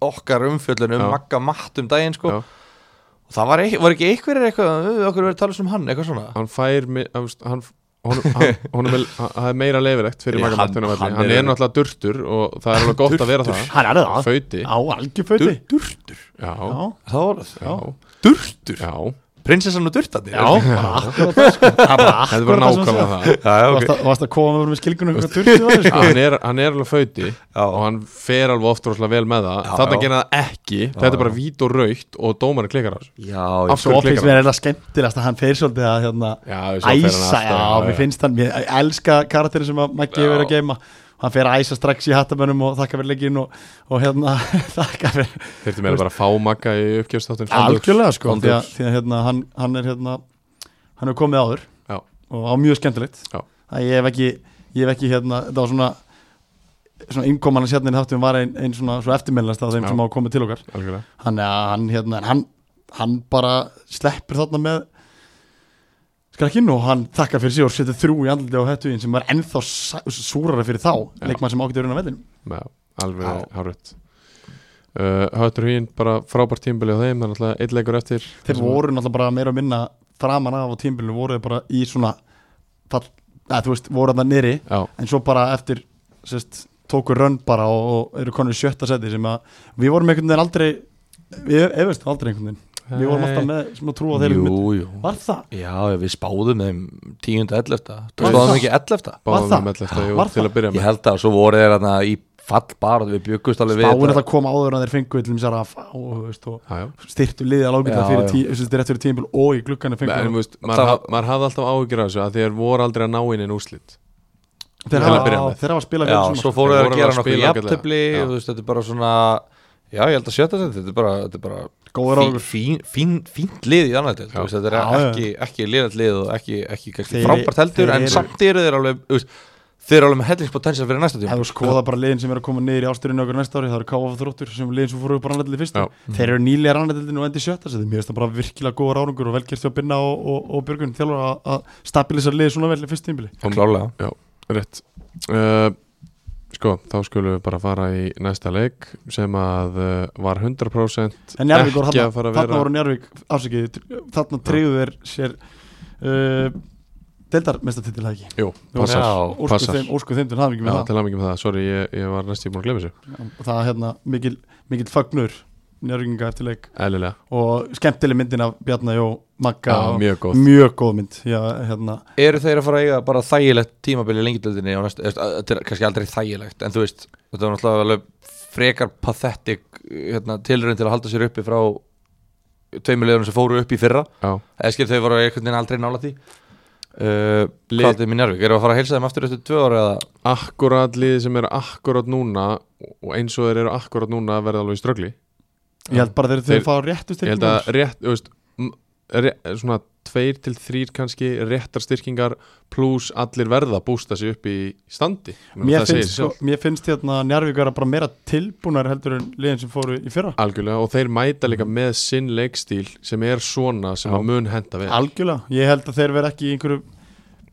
Speaker 4: okkar umfjöllun, um
Speaker 2: Já.
Speaker 4: magga matt um daginn sko.
Speaker 2: Já.
Speaker 4: og það var ekki, var ekki einhverjir eitthvað, "Ö, okkur verið að tala um hann, eitthvað svona
Speaker 2: Hann fær, mi- hann, veist, hann honum, hann, honum er, hann, það er meira leifilegt fyrir
Speaker 4: Já,
Speaker 2: Maggi Matt
Speaker 4: hann-
Speaker 2: inn á velli
Speaker 4: hann
Speaker 2: Hann
Speaker 4: er-
Speaker 2: er náttúrulega durtur og það er alveg gott að vera það
Speaker 3: Hann er það
Speaker 2: Fauti,
Speaker 3: Á algjörföti
Speaker 4: Durtur,
Speaker 2: já,
Speaker 3: Já,
Speaker 4: það var það
Speaker 2: já,
Speaker 4: Durtur?
Speaker 2: já
Speaker 4: Prinsessan og durtarnir?
Speaker 3: já, bara akkurat það sko Það er bara
Speaker 2: Þetta var
Speaker 3: akkurat það
Speaker 2: nákvæmlega
Speaker 3: sem það
Speaker 2: það
Speaker 4: Já,
Speaker 3: Þú
Speaker 4: ok.
Speaker 3: varst að- þú varst að koma með skilgunum eitthvað turtið það sko
Speaker 2: hann er, hann er alveg fauti
Speaker 4: Já.
Speaker 2: og hann fer alveg oft rosalega vel með það
Speaker 4: Já,
Speaker 2: Þarna
Speaker 4: já.
Speaker 2: gerir hann það ekki, þetta er bara vít og raukt og dómarinn klikkar á þessu
Speaker 4: Já,
Speaker 2: Af
Speaker 4: ég,
Speaker 2: hverju
Speaker 3: Svo finnst
Speaker 2: klikkar
Speaker 3: mér eitthvað skemmtilegast að hann fer svolítið að hérna
Speaker 2: Já, svo fer hann
Speaker 3: æsa,
Speaker 2: alltaf-
Speaker 3: já, mér finnst hann ég elska karakterin sem að Maggi hefur verið að
Speaker 2: Já.
Speaker 3: geima hann fer að æsa strax í hattamönnum og þakka fyrir leikinn og, og hérna þakka fyrir
Speaker 2: Þyrfti meira bara að fá magga í uppgjöfstáttin
Speaker 3: algjörlega sko, því að,
Speaker 2: Andurs.
Speaker 3: því að hérna, hann, hann er hérna hann hefur komið áður
Speaker 2: Já.
Speaker 3: og á mjög skemmtilegt
Speaker 2: Já.
Speaker 3: að ég hef ekki, ég hef ekki hérna, það var svona svona innkoman hans hérna í þáttum var einn ein svona, svona eftirmennast af þeim
Speaker 2: Já.
Speaker 3: sem hafa komið til okkar
Speaker 2: Algjörlega
Speaker 3: hann, hann, hérna, en hann, hann bara sleppur þarna með skrakkinn og hann takkar fyrir sig og setur þrjú í andliti á hættuðin sem var ennþá sa- súrara fyrir þá
Speaker 2: Já.
Speaker 3: leikmann sem ákvæmt er unna vellinum
Speaker 2: Já, alveg
Speaker 4: Já.
Speaker 2: hárögt uh, Höttur Hvín, bara frábært tímbili á þeim Það er náttúrulega einn leikur eftir
Speaker 3: þeir voru náttúrulega bara meira að minna framan af á tímbilinu voru þeir bara í svona fall, að, þú veist, voru þarna niðri
Speaker 2: Já,
Speaker 3: en svo bara eftir sérst, tóku rönn bara og, og eru konur í sjötta seti sem að við vorum einhvern veginn aldrei við efumst aldrei einhvern veginn við vorum alltaf með svona trú á þeir
Speaker 4: jú, jú
Speaker 3: var það?
Speaker 4: Já, við spáðum þeim 10. 11.
Speaker 3: Var
Speaker 4: Spáðum
Speaker 3: það?
Speaker 4: ekki 11.
Speaker 3: Var
Speaker 2: báðum
Speaker 3: það?
Speaker 2: við með þetta
Speaker 3: Var
Speaker 2: til
Speaker 3: það?
Speaker 2: að byrja
Speaker 4: Ég
Speaker 2: með
Speaker 4: held að svo voru þeir þarna í fallbar við byggust alveg við
Speaker 3: Spáin
Speaker 4: þetta.
Speaker 3: að það kom áður en þeir fengu til þess að rafa og, þú veist, og
Speaker 2: Já, já
Speaker 3: styrtu liðið að lágita
Speaker 4: Já,
Speaker 3: fyrir
Speaker 4: já.
Speaker 3: tí, þessi, rétt fyrir tímpil og í glukkanu fengu
Speaker 2: En
Speaker 3: en,
Speaker 2: þú veist, maður
Speaker 4: Það var-
Speaker 2: haf- maður hafði alltaf áhyggjur af þessu að þeir voru aldrei að ná inn inn úrslit
Speaker 3: þeir
Speaker 2: til að
Speaker 3: hafa
Speaker 2: byrja með.
Speaker 3: þeir hafa spilað
Speaker 4: Já,
Speaker 3: vel
Speaker 4: svo
Speaker 3: svona
Speaker 4: fóru
Speaker 2: Þeir voru
Speaker 4: þeir að
Speaker 2: alveg
Speaker 4: gera
Speaker 2: að
Speaker 4: nokkuð
Speaker 2: spila ágætlega.
Speaker 4: jafntefli
Speaker 2: Já.
Speaker 4: og þú veist, þetta er bara svona Já, ég held að sjötta þetta, þetta er bara, þetta er bara
Speaker 3: góður
Speaker 4: fín,
Speaker 3: águr
Speaker 4: fín, fín, fínt lið í annað deild,
Speaker 2: Já.
Speaker 4: þú veist, þetta er
Speaker 3: Já, já.
Speaker 4: ekki, ekki liðat lið og ekki, ekki, ekki
Speaker 3: Þeir-
Speaker 4: frábært heldur
Speaker 3: þeir
Speaker 4: en
Speaker 3: eru-
Speaker 4: samt eru þeir alveg, þú veist, þeir eru alveg með hellingspotential fyrir næsta tíma
Speaker 3: ef þú skoða bara liðin sem er að koma niður í ásturinu okkur næsta ári það eru KF þróttur sem liðin sem fóru upp bara annað til fyrst
Speaker 2: Já.
Speaker 3: þeir eru nýlega rannadildin og endi sjötta seti mér finnst það bara virkilega góður árangur og velgerst hjá Binna og, og, og Björgun þjálfur að, að stabilisa liðið svona vel í fyrst tímpili
Speaker 4: Klárlega
Speaker 2: Rétt uh, Sko, þá skulum við bara fara í næsta leik sem að uh, var 100%
Speaker 3: en Njárvík voru
Speaker 2: ekki
Speaker 3: þarna
Speaker 2: að fara að
Speaker 3: þarna
Speaker 2: vera
Speaker 3: voru Njárvík afsakið tr- þarna treyðu þeir sér uh, deildarmestatitil það ekki
Speaker 2: Jú, passar,
Speaker 4: Já,
Speaker 3: óskuð
Speaker 2: passar.
Speaker 3: þeim, óskuð þeim til hafingi
Speaker 2: Já,
Speaker 3: með það
Speaker 2: til hamingjum með það, sorry, ég, ég var næstíð búin að glemja þessu
Speaker 3: og það er hérna mikil, mikil fagnur njörginga eftir leik
Speaker 2: Eðlilega,
Speaker 3: og skemmtileg myndin af Bjarni og Magga
Speaker 2: Já,
Speaker 3: og
Speaker 2: mjög góð.
Speaker 3: mjög góð mynd já, hérna,
Speaker 4: eru þeir að fara að eiga bara þægilegt tímabili lengildöldinni og næst, eftir, þetta er kannski aldrei þægilegt en þú veist, þetta var náttúrulega alveg frekar pathetic hérna, tilraun til að halda sér uppi frá tveimur liðurum sem fóru upp í fyrra
Speaker 2: já
Speaker 4: eða skil þau voru einhvern veginn aldrei nála því uh, hvað er þetta minn erfik? Eru að fara að heilsa þeim aftur eftir tvö ára eða?
Speaker 2: akkurat liðið sem eru akkurat núna og eins og þeir eru akkurat núna verða alveg í ströggli
Speaker 3: ég held bara þeir
Speaker 2: Þeir-
Speaker 3: þau fá réttu
Speaker 2: ég held
Speaker 3: styrkjum
Speaker 2: að rétt, þú veist m- re- svona tveir til þrýr kannski réttar styrkingar pluss allir verða að bústa sig upp í standi Ég meina,
Speaker 3: mér
Speaker 2: það segir
Speaker 3: finnst,
Speaker 2: sig
Speaker 3: sko,
Speaker 2: sjálft.
Speaker 3: mér finnst hérna Njarvík vera bara meira tilbúnar heldur en liðin sem fóru í fyrra
Speaker 2: algjörlega og þeir mæta líka með sinn leikstíl sem er svona sem
Speaker 3: Mhm. Já.
Speaker 2: að mun henda við
Speaker 3: algjörlega, ég held að þeir vera ekki í einhverju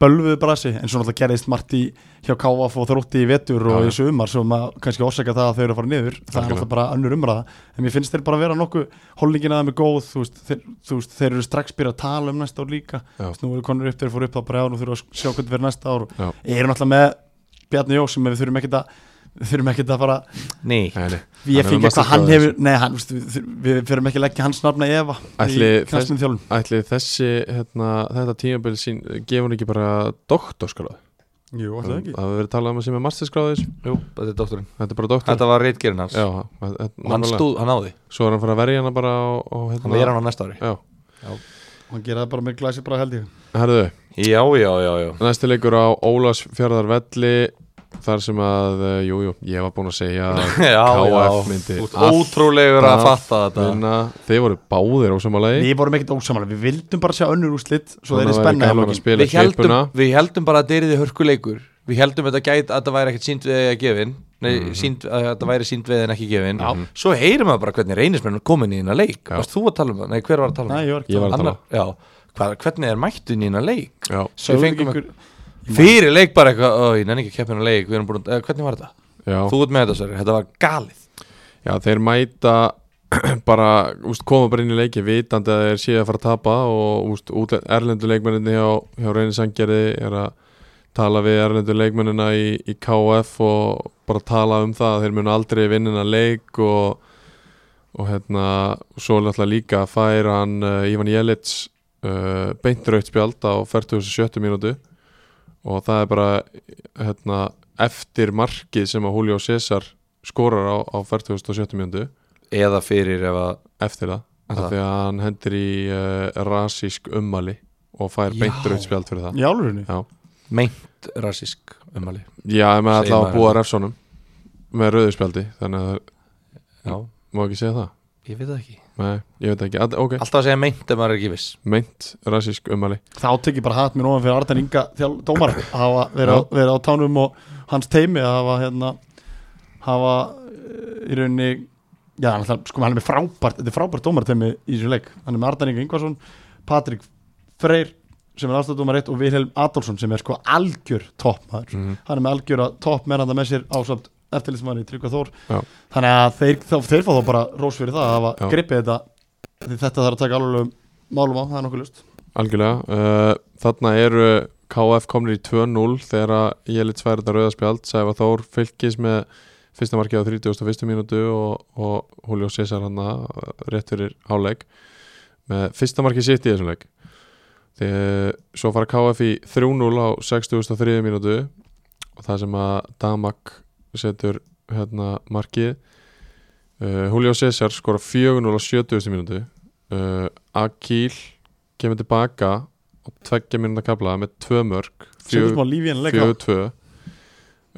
Speaker 3: bölvuðu brasi, en svo náttúrulega gerðist margt í hjá KF og þrótti í vetur og
Speaker 2: Já,
Speaker 3: í sumar sem að kannski orsaka það að þau eru að fara niður það er
Speaker 2: Algjörlega.
Speaker 3: náttúrulega bara önnur umræða en mér finnst þeir bara vera nokkuð, hollingin að þeim er góð þú veist, þeir, þú veist, þeir eru strax byrjað að tala um næsta ár líka,
Speaker 2: Já.
Speaker 3: Þú veist, nú eru konur upp þeir fóru upp það bara í ár og þurfa að sjá hvernig verður næsta ár
Speaker 2: Já.
Speaker 3: ég er náttúrulega með Bjarni Jó sem við þurfum ekkit að við þurfum ekkit að fara
Speaker 4: Nei,
Speaker 2: Nei, nei.
Speaker 3: ég
Speaker 2: hefur
Speaker 3: finn
Speaker 2: mest
Speaker 3: ekki
Speaker 2: að
Speaker 3: hvað hann
Speaker 2: skoða
Speaker 3: hefur nei, hann, þú veist, við, við fyrir ekki að leggja hans nafna efa
Speaker 2: Ætli
Speaker 3: í knastminn þjálfum
Speaker 2: Ætli þessi, hérna, þetta tímabil sín gefur hún ekki bara doktorskráð
Speaker 3: Jú,
Speaker 2: Það hefur verið talað um að sem er masterskráðis
Speaker 4: jú, þetta er doktorinn
Speaker 2: Þetta er bara doktor
Speaker 4: Þetta var reitgerinn hans
Speaker 2: Já, þetta-
Speaker 4: og hann
Speaker 2: nákvæmlega.
Speaker 4: stóð, hann náði
Speaker 2: Svo er hann fyrir að verja hana bara og, og hérna
Speaker 4: Hann er hann á næsta ári
Speaker 2: Já,
Speaker 3: Hann gera það bara með glæsi bara held ég
Speaker 2: herðu
Speaker 4: Já, já, já, já
Speaker 2: Næsti leikur á Ólasfjörðar velli Þar sem að, eh, jú, jú, ég var búinn að segja að
Speaker 4: Já,
Speaker 2: KF
Speaker 4: já,
Speaker 2: myndi
Speaker 4: þú ert
Speaker 2: allt
Speaker 4: ótrúlegur að
Speaker 2: að
Speaker 4: fatta þetta
Speaker 2: vinna Þeir voru báðir ósamalegi
Speaker 3: Við vorum ekkert ósamanlega, við vildum bara sjá önnur úrslit Svo þeir
Speaker 2: Þannig að væri
Speaker 3: eru spenna
Speaker 2: gaman að
Speaker 3: lokin.
Speaker 2: spila
Speaker 4: Við heldum,
Speaker 2: svipuna
Speaker 4: við heldum bara að deyriði hörkuleikur Við heldum þetta gæt að það væri ekkert sínd veðið að gefin Nei, mm að þetta væri sínd veðið en ekki gefin já. Svo heyrum við bara hvernig reynismenn er komin í hérna leik
Speaker 2: Já.
Speaker 4: Varst þú að tala um það? Nei, hver var að tala um
Speaker 3: Nei,
Speaker 4: það?
Speaker 2: Ég var
Speaker 3: ég var ekki
Speaker 2: að tala
Speaker 4: Annar, já, hvað, hvernig er mættun í hérna leik?
Speaker 2: Já,
Speaker 4: Við
Speaker 3: Sögðu ekki
Speaker 4: fengum
Speaker 3: ykkur
Speaker 4: Fyrir leik bara eitthvað, ó, ég nenni ekki að keppa hérna leik Við erum búin, eh, hvernig var þetta?
Speaker 2: já
Speaker 4: Þú ert með þetta, Sverri, þetta var galið
Speaker 2: Já, þeir mæta bara, úst, koma bara inn í leiki vitandi að þeir séu að fara að tapa og úst, útle- erlendu leikmenninni hjá, hjá Reyni Sangjarði er að tala við erlendu leikmennina í, í KF og bara tala um það að þeir munu aldrei vinnina leik og, og hérna svo er náttúrulega líka að færa hann uh, Ivan Jelits uh, beintraut spjald á 47. mínútu og það er bara hérna, eftir markið sem að Julio César skorar á, á 47. mjöndu
Speaker 4: Eða fyrir ef að
Speaker 2: eftir það
Speaker 4: Aha.
Speaker 2: af því að hann hendir í uh, rasísk ummali og fær
Speaker 4: Já.
Speaker 2: beintur eitt spjald fyrir það
Speaker 3: Í álurinu
Speaker 2: Já,
Speaker 4: meint rasísk umali
Speaker 2: já með
Speaker 4: Segir
Speaker 2: allavega
Speaker 4: maður
Speaker 2: búa
Speaker 4: það.
Speaker 2: refsónum með rauðu spjaldi þannig að það
Speaker 4: Já,
Speaker 2: má ekki segja það
Speaker 4: ég veit það ekki
Speaker 2: Nei, ég veit ekki, Ad, ok,
Speaker 4: Alltaf að segja meint ef maður er ekki viss
Speaker 2: meint rasísk ummali
Speaker 3: Þá tekið bara hatt mér ofan fyrir Ardan Inga þjálf dómar að hafa verið á, verið á tánum og hans teimi að hafa hérna hafa eh, í rauninni já, hann, ætlar- sko, hann er með frábært þetta er frábært dómar teimi í þessu leik hann er með Ardan Inga Ingvarsson, Patrik Freyr sem er aðstofdómar 1 og Vilhelm Adolfsson sem er sko algjör toppmaður
Speaker 2: mm
Speaker 3: hann er með algjöra topp mennanda með sér ásamt eftirlitsmanni Tryggva Þór
Speaker 2: Já.
Speaker 3: þannig að þeir, þá, þeir fá þá bara rós fyrir það að
Speaker 2: Já.
Speaker 3: hafa gripið þetta því þetta þarf að taka alveg málum á, það er nokkuð lust
Speaker 2: Algjörlega, uh, þarna eru KF komnir í 2-0 þegar að ég lit sværi þetta rauðaspjald Sæfa Þór fylgis með fyrsta markið á 31. mínútu og, og Julio César hann rétt fyrir háleik með fyrsta markið sitt í þessum leik þegar svo fara KF í 3-0 á 63. mínútu og það sem að Damak setur hérna markið uh, Julio César skora 4-0 á 70. mínútu uh, Akil kemur tilbaka og tveggja mínúna kabla með tvö mörg
Speaker 3: sem smá lífi en leika
Speaker 2: 4-2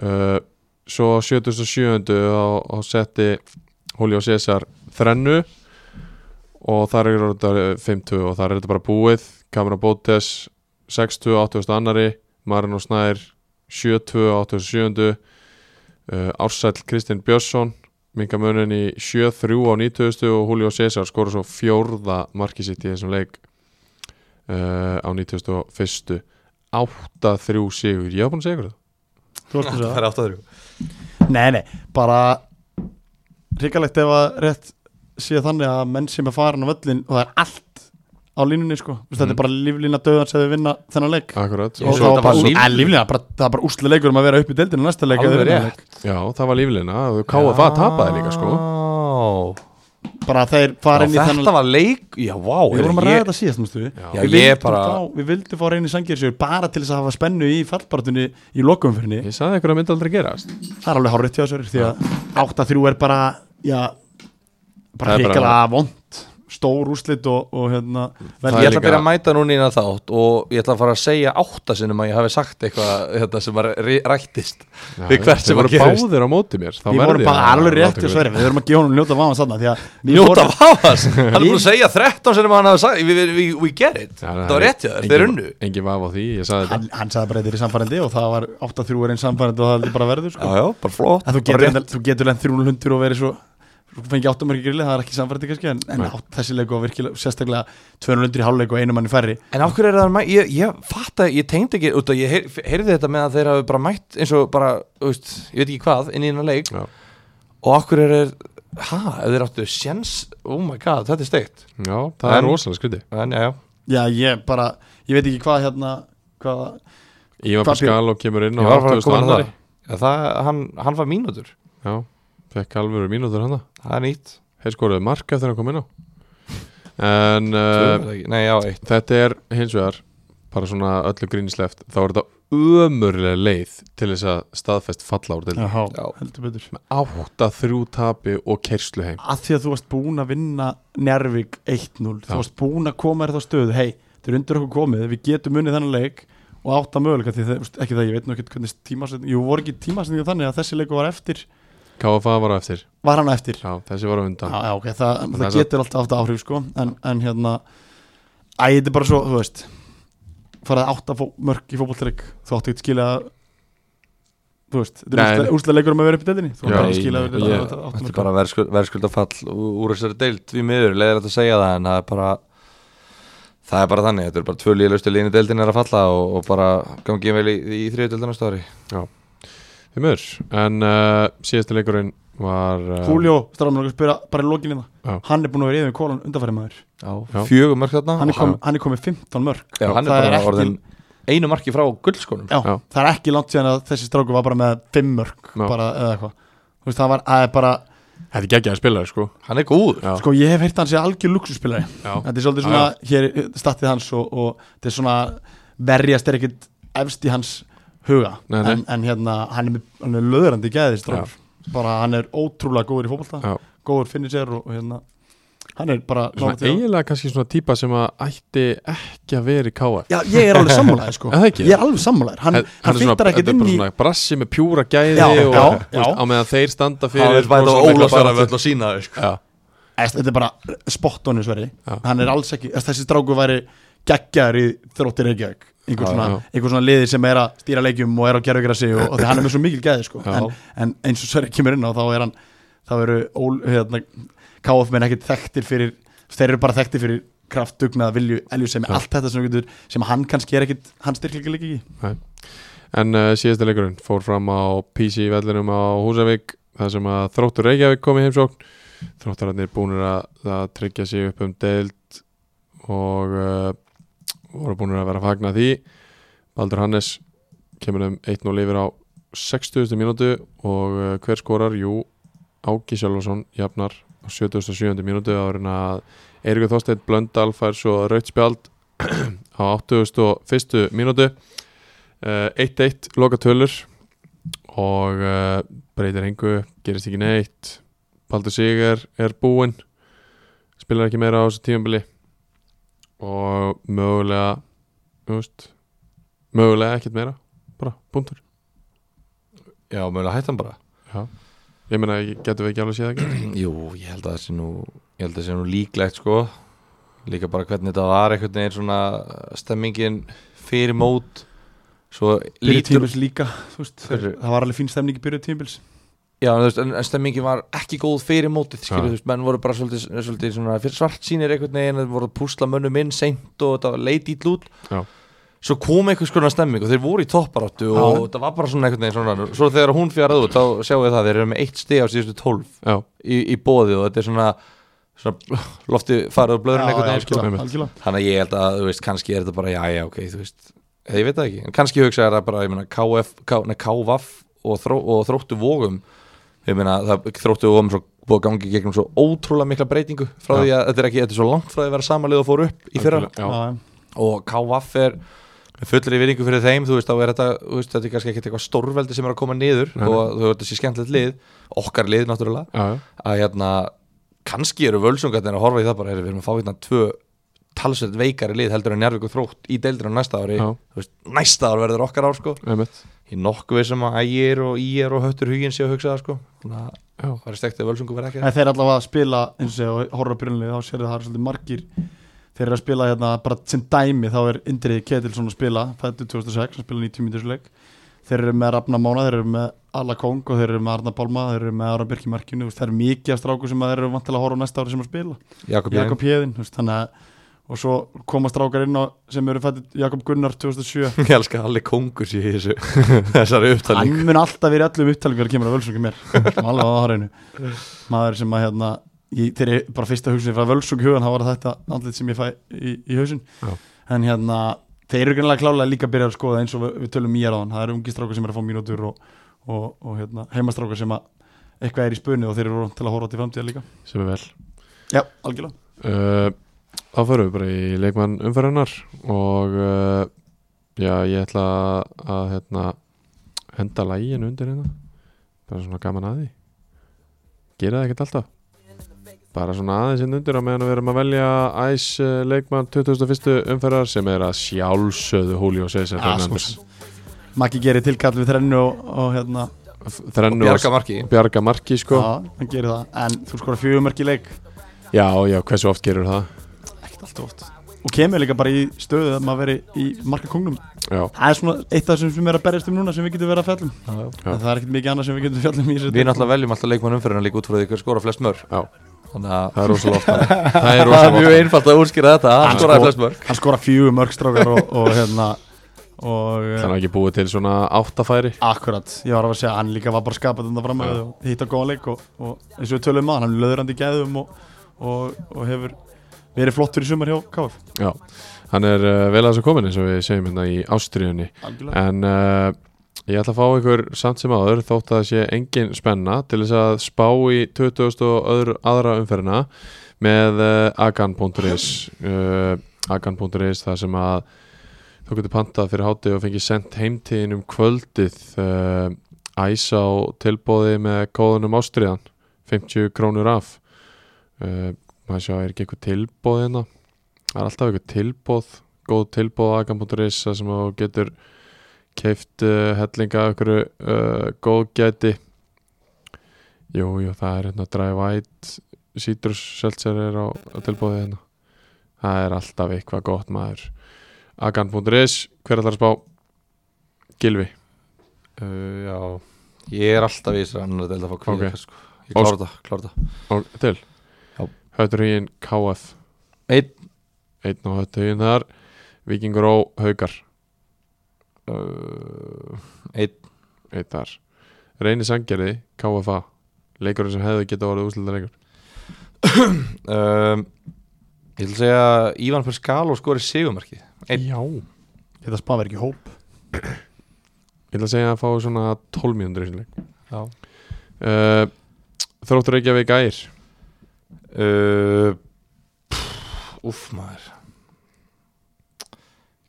Speaker 2: uh, svo á 77. og, og setti Julio César þrennu og þar er þetta 5-2 og þar er þetta bara búið Kamera Bótes 6-2 á 80. annari Marino Snær 7-2 á 87. Uh, Ársæll Kristinn Björnsson minga munin í 7-3 á 90. og Julio César skora svo fjórða markið sitt í þessum leik uh, á 91. 8-3 sigur, ég var búin að segja ykkur það
Speaker 3: nei,
Speaker 4: er átt að þrjú
Speaker 3: nei, bara ríkalegt ef að rétt sé þannig að menn sem er farin á völlin og það er allt á línunni sko mm. þetta er bara líflína döðans eða vinna þennan leik
Speaker 2: Akkurat,
Speaker 4: Mhm. Ég
Speaker 2: og
Speaker 3: og það
Speaker 4: svo
Speaker 2: svo,
Speaker 4: þetta
Speaker 3: var bara,
Speaker 4: var
Speaker 3: úr-
Speaker 4: líflína.
Speaker 3: að líflína, bara, það er bara úsli leikur um að vera upp í deildinu næsta leik eða
Speaker 4: Alveg
Speaker 3: vinna
Speaker 4: rétt.
Speaker 3: leik.
Speaker 2: já, það var líflina KFA tapaði líka sko
Speaker 3: bara þeir
Speaker 4: Já,
Speaker 3: fara inn í þennan
Speaker 4: Þetta var leik Já, vá
Speaker 3: Við vorum að ræða
Speaker 4: ég-
Speaker 3: þetta síðast, mústu við
Speaker 4: Já,
Speaker 3: Við
Speaker 4: ég
Speaker 3: vildum,
Speaker 4: bara-
Speaker 3: fá, við vildum fá reynir sangjæðisjögur bara til þess að hafa spennu í fallbartunni í lokumfyrinni
Speaker 2: Ég sagði ykkur að myndi aldrei gerast
Speaker 3: Það er alveg hárétt hjá þessari því að 8-3 er bara, já, bara
Speaker 2: Það er bara-
Speaker 3: hrikalega vond stór úrslit og, og hérna vel,
Speaker 2: Það er
Speaker 4: ég ætla
Speaker 2: líka-
Speaker 4: að byrja að mæta núna innan þátt og ég ætla að fara að segja áttasinnum að ég hafi sagt eitthvað hérna, sem var ri- rættist
Speaker 2: Já,
Speaker 4: Við hvert
Speaker 2: þeir
Speaker 4: sem
Speaker 2: voru
Speaker 4: að gerist.
Speaker 2: báðir á móti mér þá
Speaker 3: Við
Speaker 2: verð
Speaker 3: vorum
Speaker 2: ég
Speaker 3: bara
Speaker 2: að
Speaker 3: alveg
Speaker 2: láta
Speaker 3: rétti
Speaker 2: ykkur
Speaker 3: og sverjum, við erum að gefa honum njóta vafa sann
Speaker 4: Njóta vafas, hann er búin að segja 13 sinnum að hann hafi sagt, we, we, we, we get it
Speaker 2: Já,
Speaker 4: Það var rétt hjá þér,
Speaker 2: engin-
Speaker 4: þeir unnu
Speaker 2: Engin vaf á því, ég sagði þetta
Speaker 3: hann, hann sagði bara þetta er samfærandi og það var 8-3 er einn samfærandi og það er bara verður sko.
Speaker 4: Já, já, bara flott
Speaker 3: En þú
Speaker 4: bara
Speaker 3: getur,
Speaker 4: rétt.
Speaker 3: enda, þú getur lenn 300 og verið svo þú fengi 8 mörgir grilli, það er ekki samfærandi kannski en, en
Speaker 2: Nei.
Speaker 3: átt, þessi leik var virkilega, sérstaklega 200 í hálfleik og einu manni færri
Speaker 4: En af hverju er það mætt, ég, ég fatt að ég tengdi ekki út að ég heyr, heyrði þetta með að þeir hafi bara mætt eins og bara, þú veist, ég veit ekki hvað inn í hennar leik
Speaker 2: Já.
Speaker 4: og af hverju er ha, ef þeir áttu sjens oh my god, þetta er steikt
Speaker 2: Já, það er
Speaker 4: En-
Speaker 2: rosalega skriti
Speaker 4: en já, já,
Speaker 3: Já, ég bara, ég veit ekki hvað hérna hvað,
Speaker 2: Ívan
Speaker 3: Hvað
Speaker 2: Pascal og kemur inn á
Speaker 4: ég var bara
Speaker 2: 80.
Speaker 4: að koma að það
Speaker 2: annari
Speaker 4: ja, það, hann, hann var mínútur
Speaker 2: Já, fekk alvöru mínútur hann
Speaker 4: það er nýtt
Speaker 2: Þeir skoruðu mark eftir að koma inn á En uh,
Speaker 4: uh, nei, já, eitt
Speaker 2: þetta er hins vegar bara svona öllu grínisleft þá er þetta ömurlega leið til þess að staðfest falla úr deildinni.
Speaker 3: Jaha,
Speaker 4: Já.
Speaker 3: heldur betur
Speaker 2: átta þrjú tapi og kerslu heim
Speaker 3: að því að þú varst búin að vinna Njárvík 1-0,
Speaker 2: Já.
Speaker 3: þú varst búin að koma þér þá stöðu, hei, þetta er undir okkur komið við getum unnið þennan leik og átta möguleika því það, ekki það, ég veit nú ekkert hvernig tímasetning, jú, voru ekki tímasetninga þannig að þessi leiku var eftir,
Speaker 2: KFA var á eftir,
Speaker 3: var hann á eftir
Speaker 2: já, þessi var á undan
Speaker 3: Já, já, ok, það, það
Speaker 2: er svo-
Speaker 3: getur alltaf aftur áhrif sko en, en hérna Æ, þetta er bara svo, þú veist farað átta fó, mörg í fótbolltleik þú átti ekki skilja að- þú veist, þetta
Speaker 2: Nei.
Speaker 3: er úrslega leikur um að vera upp í delinni þú
Speaker 2: Já,
Speaker 3: átti ekki
Speaker 2: ég-
Speaker 3: skilja að
Speaker 2: ég-
Speaker 3: vera átta- átta
Speaker 4: þetta er
Speaker 3: mörk.
Speaker 4: bara verðskuld, verðskuldafall ú- úr þessari deild við miður, leiðir þetta að segja það en það er bara það er bara þannig, þetta er bara tvö líðlustu líðinu deildin er að falla og, og bara gangi vel í, í þriðu deildina stóri
Speaker 2: heimur, en uh, síðasti leikurinn var uh,
Speaker 3: Julio, strafnum að spyrja bara í lokinni
Speaker 2: Já.
Speaker 3: það hann er búin að vera yfir kólan undanfæri maður
Speaker 2: Já.
Speaker 4: fjögur mörg þarna
Speaker 3: hann er,
Speaker 4: og
Speaker 3: kom, hann er komið 15 mörg
Speaker 4: Já, hann er
Speaker 3: Það
Speaker 4: bara
Speaker 3: er ekki-
Speaker 4: orðin einu marki frá gullskonum
Speaker 3: já,
Speaker 2: Já.
Speaker 3: það er ekki langt síðan að þessi stráku var bara með 5 mörg
Speaker 2: Já.
Speaker 3: bara, eða eitthvað þú veist, það var, það er bara
Speaker 2: þetta er geggjaði spilaði sko
Speaker 4: Hann er góður
Speaker 2: já,
Speaker 3: sko, ég hef heyrt hann sé algjör luxuspilari
Speaker 2: já,
Speaker 3: þetta er svolítið svona, hér er statið hans og, og þetta er svona verjast er ekkit efst í hans huga
Speaker 2: Nei, nei.
Speaker 3: En, en hérna, hann er, með- hann er löðrandi gæðist
Speaker 2: Já.
Speaker 3: bara hann er ótrúlega góður í fótbolta
Speaker 2: já.
Speaker 3: góður finnir sér og, og hérna hann er bara
Speaker 2: Svona,
Speaker 3: nálægt því að-
Speaker 2: eiginlega kannski svona típa sem að ætti ekki að vera í KF
Speaker 3: Já, ég er alveg sammálaðir sko
Speaker 2: Er það ekki?
Speaker 3: Ég er alveg sammálaðir Hann,
Speaker 2: Hann,
Speaker 3: hann
Speaker 2: er svona,
Speaker 3: fyrtar ekkit
Speaker 2: þetta er
Speaker 3: inn
Speaker 2: bara
Speaker 3: í
Speaker 2: svona brassi með pjúra gæði
Speaker 3: Já,
Speaker 2: og,
Speaker 3: já,
Speaker 2: þú veist,
Speaker 3: já.
Speaker 2: á meðan þeir standa
Speaker 4: Hann
Speaker 2: fyrir
Speaker 4: er bæðið á
Speaker 2: rosalega mikla baráttu.
Speaker 4: Ólasaraföll og sína þau sko.
Speaker 2: Já,
Speaker 3: Æst, Þetta er bara spott honum sveri
Speaker 2: Já.
Speaker 3: Hann er alls ekki, æst, þessi stráku væri geggjar í þróttir Reykjavík einhver
Speaker 2: Já,
Speaker 3: svona,
Speaker 2: já.
Speaker 3: einhver svona liði sem er að stýra leikjum og er að gera ykkur að sig og, og því hann er með svo mikil gæði sko.
Speaker 2: Já.
Speaker 3: en, en eins og Sverri kemur inn á þá er hann þá eru ól, hérna, KF menn ekkit þekktir fyrir þeir eru bara þekktir fyrir kraft, dugnað, vilju, elju sem
Speaker 2: Já.
Speaker 3: allt þetta sem, þú getur, sem hann kannski er ekkit hann styrkleika líka ekki
Speaker 2: En uh, síðasta leikurinn fór fram á PC vellinum á Húsavík þar sem að þróttur Reykjavík kom í heimsókn þróttararnir búnir að, að tryggja sig upp um deild og uh, voru búnir að vera að fagna því Baldur Hannes kemur um 1-0 yfir á 60. mínútu og uh, hver skorar? Jú, Áki Sjálfarsson jafnar á 77. mínútu árin að Eirikur Þorsteinn Blöndal fær svo raut spjald á 81. mínútu Eh, 1-1 loka tölur og uh, breytir hengu gerist ekki neitt Baldur Sigur er búinn spilar ekki meira á þessu tímabili og mögulega þú veist mögulega ekkert meira, bara búntur
Speaker 4: Já, mögulega hætti hann bara
Speaker 2: ég meina, getum við ekki alveg séð ekki
Speaker 4: Jú, ég held að það sé nú Ég held að það sé nú líklegt sko Líka bara hvernig þetta var einhvern veginn svona Stemmingin fyrir mót Svo
Speaker 3: Byrju
Speaker 4: lítur
Speaker 3: tímils líka, þú veist
Speaker 4: Fyrir-
Speaker 3: það var alveg fín stemning í byrju tímils
Speaker 4: Já, en þú veist, en, en stemmingin var ekki góð fyrir mótið skilur,
Speaker 2: Já.
Speaker 4: þú veist, menn voru bara svolítið, svolítið svona, fyrir svart sínir einhvern veginn þeir voru að púsla mönnum inn seint og þetta var leit í lút
Speaker 2: Já.
Speaker 4: svo kom einhvers konar stemming og þeir voru í topparáttu og
Speaker 3: Já.
Speaker 4: þetta var bara svona einhvern veginn svona, svo þegar hún fjarað út þá sjáum við það, þeir eru með eitt stig á síðustu tólf
Speaker 2: já,
Speaker 4: í, í bóði og þetta er svona, svona lofti farið og blöðurinn einhvern veginn skilur.
Speaker 2: einmitt.
Speaker 3: algjörlega
Speaker 4: þannig að ég held að, þú veist, kannski er þetta bara já, já, ok, þú veist, eða ég veit það ekki en kannski hugsa er það bara, ég meina, KF K, nei, KVF og, þró, og þróttu vógum ég meina, það, þróttu vógum svo búið að gangi gegnum svo ótrúlega mikla breytingu
Speaker 2: Já.
Speaker 4: frá því að þetta er ekki, þetta er svo langt frá því að vera samanlið og fór upp í fyrra
Speaker 2: já,
Speaker 3: Já, já.
Speaker 4: og KVF er með fullri viðingu fyrir þeim, þú veist, þá er þetta þú veist, þetta er kannski ekkert eitthvað stórveldi sem er að koma niður
Speaker 2: Nei, nei.
Speaker 4: og þú veist, þessi skemmtilegt lið, okkar lið náttúrulega
Speaker 2: já, já,
Speaker 4: að hérna kannski eru völsungarnir að horfa í það bara heyrðu, við erum að fá hérna tvö talsveit veikari lið heldur en Njárvík og Þrótt í deildinu næsta ári
Speaker 2: Já.
Speaker 4: Þú veist, næsta ár verður okkar ár sko
Speaker 2: einmitt
Speaker 4: ég nokkuð sem að ægir og ígir og höttur huginn sé að hugsa það sko þannig að
Speaker 2: Já.
Speaker 4: það verður stekt að völsungu verður ekki
Speaker 3: En þeir allavega að spila eins og segja, og horfa byrjunlega þá sér það er svolítið margir þeir eru að spila hérna bara sem dæmi þá er Indriði Ketilsson að spila fættu 2006, hann spila 90 mínútur leik þeir eru með Rafna Mána, þeir eru með Alla Kong og þeir eru með Arna Pálma, þeir eru með Ára Birki Markinu, þeir eru mikið af stráku sem að þeir eru vantilega að horfa á næsta ári sem að spila
Speaker 4: Jakob Jakob
Speaker 3: Jakob Hjeðin, þú veist, þannig að og svo koma strákar inn á sem eru fættu Jakob Gunnar 2007
Speaker 4: ég elska að allir kongur sé í þessu þessari upptalning
Speaker 3: hann mun alltaf verið allum upptalning þegar kemur að völsungi mér Sem alveg á það hreinu. maður sem að hérna ég, þegar ég bara fyrsta hugsun frá völsungi hugan þá var þetta andlit sem ég fæ í, í hausin
Speaker 2: Já.
Speaker 3: en hérna þeir eru greinlega klálega líka að byrja að skoða eins og við, við tölum í er á hann það eru ungi strákar sem eru að fá mínútur og, og, og hérna, heimastrákar sem að eitthvað er í spunni og þeir eru til að horfa til framtíða líka
Speaker 2: sem er vel
Speaker 3: já, algjörlega
Speaker 2: Uh, þá förum við bara í leikmann umferðarnar og uh, já, ég ætla að hérna, henda læginu undir hérna bara svona gaman að því gera það ekkert alltaf bara svona aðeins inn undir á meðan við erum að velja æs uh, leikmann 2001. umferðar sem er að sjálfsöðu Julio César Fernández
Speaker 3: Maggi gerir tilkall við þrennu og, og hérna
Speaker 2: þrennu og
Speaker 4: Bjarga Marki
Speaker 2: bjarga marki
Speaker 3: já,
Speaker 2: sko já.
Speaker 3: hann gerir það en þú skora fjögumörk í leik
Speaker 2: já, hversu oft gerur það
Speaker 3: ekkert allt oft og kemur líka bara í stöðu að maður veri í markakongnum
Speaker 2: já,
Speaker 3: það er svona eitt af þessum sem er að berjast um núna sem við getum verið að fjallum
Speaker 2: Já.
Speaker 3: en það er ekkert mikið annað sem við getum fjallum í þessu
Speaker 4: við náttúrulega veljum alltaf leikmann umferðina líka út frá því hver skora flest mörg
Speaker 2: Já.
Speaker 4: þannig að
Speaker 2: það er rosalega oft það er
Speaker 4: það er
Speaker 2: rosalega
Speaker 4: mjög
Speaker 2: oft
Speaker 4: einfalt að útskýra þetta hann
Speaker 3: Hann
Speaker 4: skoraði
Speaker 3: sko-
Speaker 4: flest mörg
Speaker 3: hann skora fjögur mörgstrákar og, og hérna og
Speaker 2: þannig
Speaker 3: uh,
Speaker 2: að ekki búið til svona áttafæri
Speaker 3: akkurat ég var að segja að hann líka var bara skapað þetta fram að og hitta góðan leik og, og eins og við tölum að hann er löðrandi í gæðum og, og, og hefur verið flottur í sumar hjá KF
Speaker 2: Já, hann er uh, vel að þessu komin eins og við segjum hérna í Ástriðunni
Speaker 3: algjörlega
Speaker 2: En uh, ég ætla að fá ykkur samt sem áður þótt að það sé engin spenna til þess að spá í 2000 og öðru, aðra umferðina með uh, agan.is uh, agan.is þar sem að þú getur pantað fyrir hátíð og fengið sendt heimtíðin um kvöldið uh, æsa á tilbóði með kóðunum Ástriðan 50 krónur af uh, maður sjá er ekki eitthvað tilbóð hérna það er alltaf eitthvað tilbóð góð tilbóð á agan.is þar sem þú getur keift uh, hellinga af einhverju uh, góðgæti jú, jú, það er hérna dry white citrus seltzer er á, á tilbúið hérna það er alltaf eitthvað gott maður agan.is, hver ætlar að spá Gilvi
Speaker 4: Uh, já, ég er alltaf í þessari annar deild að fá kvíða
Speaker 2: Ok.
Speaker 4: sko. Ég klára þetta, klára þetta
Speaker 2: og til
Speaker 4: Já.
Speaker 2: Hötturhugin KF
Speaker 4: Einn.
Speaker 2: einn og hötturhugin þar Vikingur Ó, Haukar
Speaker 4: uh, Einn,
Speaker 2: einn þar Reyni Sangerði, KFA leikurinn sem hefði geta orðið úsleita leikur
Speaker 4: um, ég ætla að segja að Ívan fyrir skala og skori sigumarki Einn.
Speaker 2: Já
Speaker 3: þetta spá verið Hérna ekki í hóp
Speaker 2: Ég ætla að segja að fá svona 12 mínútur í þessum leik
Speaker 4: Já.
Speaker 2: uh, Þróttur Reykjavík ægir Eh,
Speaker 4: uh, Úf maður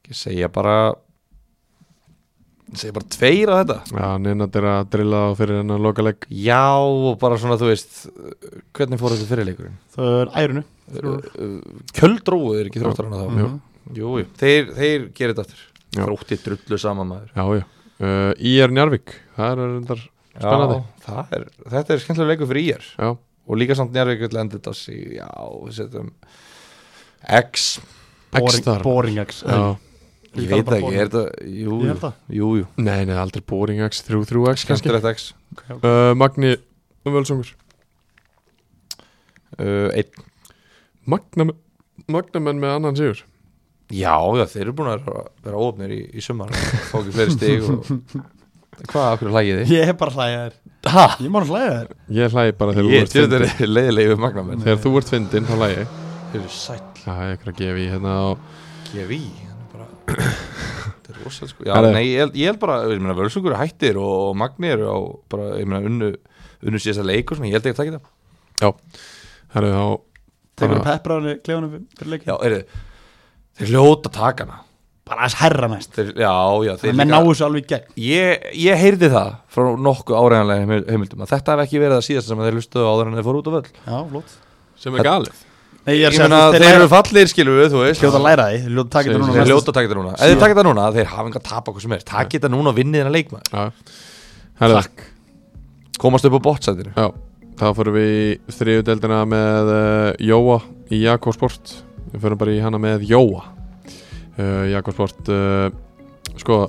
Speaker 4: Ég segja bara Ég segja bara tveir á þetta
Speaker 2: Já, nefnat er að drilla á fyrir hennar lokaleg
Speaker 4: Já, og bara svona þú veist uh, Hvernig fór þetta fyrirleikurinn?
Speaker 3: það er ærunu
Speaker 4: Uh, uh, Kjöldróu er ekki þróttar
Speaker 3: Eh,
Speaker 4: hana þá
Speaker 2: Jú.
Speaker 4: Jú, jú, þeir, þeir gerir þetta aftur
Speaker 2: Já.
Speaker 4: Þrótti drullu saman maður
Speaker 2: Já, já uh, IR Njarvík, það er reyndar Spennandi.
Speaker 4: Já, það er, Þetta er skemmtilega leikur fyrir IR
Speaker 2: Já,
Speaker 4: Og líka samt Njarvík vill enda þetta sig Já, við setjum X
Speaker 2: X þar
Speaker 3: boring X
Speaker 2: Já.
Speaker 4: Ég
Speaker 3: Líka
Speaker 4: veit
Speaker 3: bara
Speaker 4: það ekki,
Speaker 3: boring.
Speaker 4: er þetta Jú,
Speaker 3: Ég
Speaker 4: jú,
Speaker 3: held það.
Speaker 4: jú, jú.
Speaker 2: Nei, nei, aldrei Boring X, 33X kannski
Speaker 4: Skemmtilegt X
Speaker 2: uh, Magni Völsungur
Speaker 4: uh, Einn
Speaker 2: Magnamenn Magnamenn með annan sigur
Speaker 4: Já, já, þeir eru búin að vera- vera óöfnir í, í sumar Fá ekki fleiri stig og... Hvað, af hverju hlægið þið?
Speaker 3: Ég er bara að hlæja þér
Speaker 4: Ha?
Speaker 3: Ég má að hlæja þér
Speaker 2: Ég hlægi bara þegar þú
Speaker 4: Ég,
Speaker 2: ert
Speaker 4: þetta
Speaker 2: fyndin
Speaker 4: er leiðilegu magnamenn
Speaker 2: Þegar þú ert fyndin, þá hlægi ég.
Speaker 4: Þeir eru sætt
Speaker 2: Það er eitthvað að gefa í hérna á
Speaker 4: gefi í hann er bara þetta er rosa sko já,
Speaker 2: Herre.
Speaker 4: nei, ég, held- ég held bara, ég meina völsungur er hættir og, og magnir og bara, ég meina unnu unnu sér þess að leik og svona, ég held ekki að taka það
Speaker 2: Herru, þá
Speaker 3: Tekur
Speaker 2: Bara-
Speaker 3: peppráni klefanum fyrir leikin
Speaker 4: já, er þið, þeir hljóta að taka hana
Speaker 3: Bara aðeins herra næst
Speaker 4: þeir, já, já, þeir
Speaker 3: Menn náu þessu alveg í gegn
Speaker 4: ég, ég heyrði það frá nokkuð áreðanlega heimildum að þetta hef ekki verið að síðast sem þeir hlustuðu áður en þeir fóru út á völl
Speaker 3: Já, flott
Speaker 2: sem er galið
Speaker 3: Nei, ég er að
Speaker 4: Ég
Speaker 3: segja
Speaker 4: meina,
Speaker 3: að
Speaker 4: þeir eru
Speaker 3: þeir
Speaker 4: fallir, skilur við, þú veist
Speaker 3: hljóta að læra því Hljóta að taka þetta núna
Speaker 4: Þeir
Speaker 3: næst-
Speaker 4: ljóta að taka þetta núna Ef þeir taka þetta núna, þeir hafa enga að tapa hvað sem er Takk þetta núna og vinni þennan leikmaður
Speaker 2: Já. Herðu,
Speaker 4: Takk Komast upp á bottsætinu
Speaker 2: Já, þá fyrir við í þriðu deildina með uh, Jóa í Jakobsport Við fyrir bara í hana með Jóa uh, Jakobsport uh, Sko,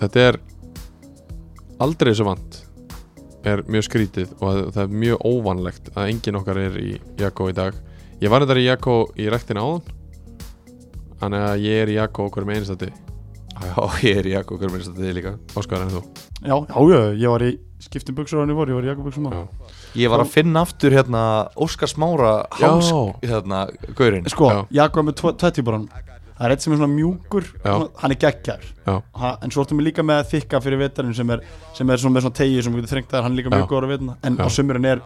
Speaker 2: þetta er aldrei sem vant er mjög skrítið og það- það er mjög óvanlegt að enginn okkar er í Jakko í dag Ég var þetta í Jakko í rektina áðan Þannig að ég er í Jakko okkur með einstati
Speaker 4: Já, ég er Jakob Körminnist að þið líka
Speaker 2: Óskar en þú
Speaker 3: Já, já, já, ég var í skiptum buksur á hann í voru Ég var í Jakob buksum á
Speaker 2: Já.
Speaker 4: Ég var að finna aftur hérna Óskar Smára
Speaker 2: Já.
Speaker 4: Hásk, hérna, gaurinn
Speaker 3: Sko,
Speaker 2: Já.
Speaker 3: Jakob er með tve- tvær týpur á hann Það er eitt sem er svona mjúkur
Speaker 2: Já.
Speaker 3: svona- Hann er geggjær
Speaker 2: Já.
Speaker 3: ha, En svo ertum við líka með þykka fyrir vetarinn sem er, sem er svona með svona tegju sem getur þrengt þær Hann er líka
Speaker 2: Já.
Speaker 3: mjúkur á vetarinn En
Speaker 2: Já.
Speaker 3: á sömurinn er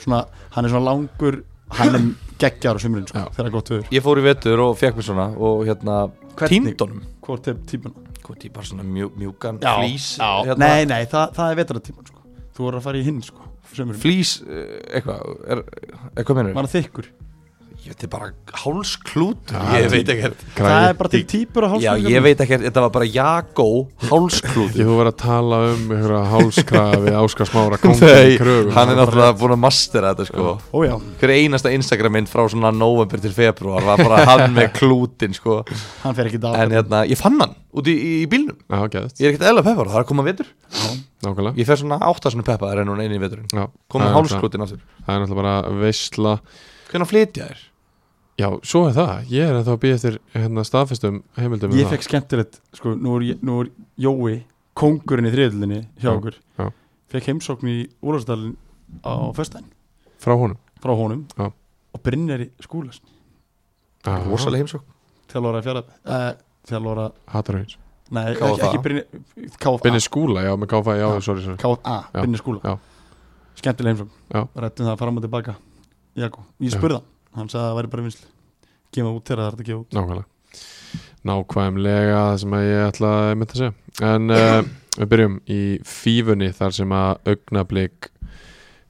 Speaker 3: svona Hann er svona langur Hann er geggjær á sömurinn sko,
Speaker 2: Já.
Speaker 3: Þegar gott viður
Speaker 4: Ég fór í vetur og fekk mér svona Og hérna,
Speaker 3: Hvernig?
Speaker 4: tímdónum
Speaker 3: Hvort er típuna?
Speaker 4: Hvort ég bara svona mjú, mjúkan
Speaker 3: Já,
Speaker 4: flís
Speaker 3: já.
Speaker 4: hérna,
Speaker 3: Nei, nei, það, það er vetaratíman sko. Þú voru að fara í hinn sko, sömurinn
Speaker 4: Flís, eh, eitthvað er- Eitthvað minnur
Speaker 3: Man er þykkur
Speaker 4: Ég veit, bara hálsklút
Speaker 2: Já.
Speaker 4: Ég veit ekkert
Speaker 3: Það
Speaker 2: Kræði
Speaker 3: er bara til típur á
Speaker 4: Já,
Speaker 3: hálsum
Speaker 4: ég veit ekkert, þetta var bara Jakó hálsklút
Speaker 2: Ekki þú verið að tala um einhverja hálskrafi við Óskar Smára kongin
Speaker 4: Nei,
Speaker 2: í kröfum
Speaker 4: hann er náttúrulega búin að mastera þetta sko
Speaker 3: Ó já,
Speaker 4: Hver einasta Instagram mynd frá svona november til februar var bara hann með klútin sko
Speaker 3: hann fer ekki dáð
Speaker 4: En hérna, ég fann hann út í, í, í bílnum
Speaker 2: Já, gæðist,
Speaker 4: Ég er ekkert eðla peppar, það er að koma vetur
Speaker 2: nákvæmlega
Speaker 4: Ég fer svona átta svona peppar en hún einu í veturinn
Speaker 2: Já, það
Speaker 4: Komum
Speaker 2: er
Speaker 4: hálsklútin aftur
Speaker 2: náttúrulega- Það er náttúrulega bara veistla
Speaker 4: Hvernig flytja þér?
Speaker 2: Já, svo er það, ég er ennþá að býja eftir hérna staðfestum heimildum um
Speaker 3: Ég
Speaker 2: það.
Speaker 3: fekk skemmtilegt, sko, nú er, ég- nú er Jói Kongurinn í þriðildinni hjá
Speaker 2: Já,
Speaker 3: okkur
Speaker 2: já.
Speaker 3: Fekk heimsókn í Úlfarsdalinn á föstudaginn
Speaker 2: Frá honum
Speaker 3: Frá honum
Speaker 2: Já.
Speaker 3: Og Brynjar í skúlas
Speaker 2: Já,
Speaker 4: Rósalega heimsók
Speaker 3: Þjálfóra fjara uh, Þjálfóra,
Speaker 2: Hattar hans
Speaker 3: nei,
Speaker 4: KFA.
Speaker 3: ekki, ekki Brynjar KFA
Speaker 2: Binni skúla, já, með káfa, já,
Speaker 3: Já.
Speaker 2: sorry, sorry
Speaker 3: KFA,
Speaker 2: Já,
Speaker 3: Brynjar skúla
Speaker 2: já.
Speaker 3: Skemmtileg heimsókn
Speaker 2: Já.
Speaker 3: Rættum það fram og tilbaka Jakob, ég
Speaker 2: Já.
Speaker 3: spurði hann Hann sagði að það væri bara vinslu Gefa út þegar það er þetta að gefa út
Speaker 2: Nákvæmlega Nákvæmlega það sem að ég ætla að mynda að segja En uh, við byrjum í fífunni þar sem að augnablík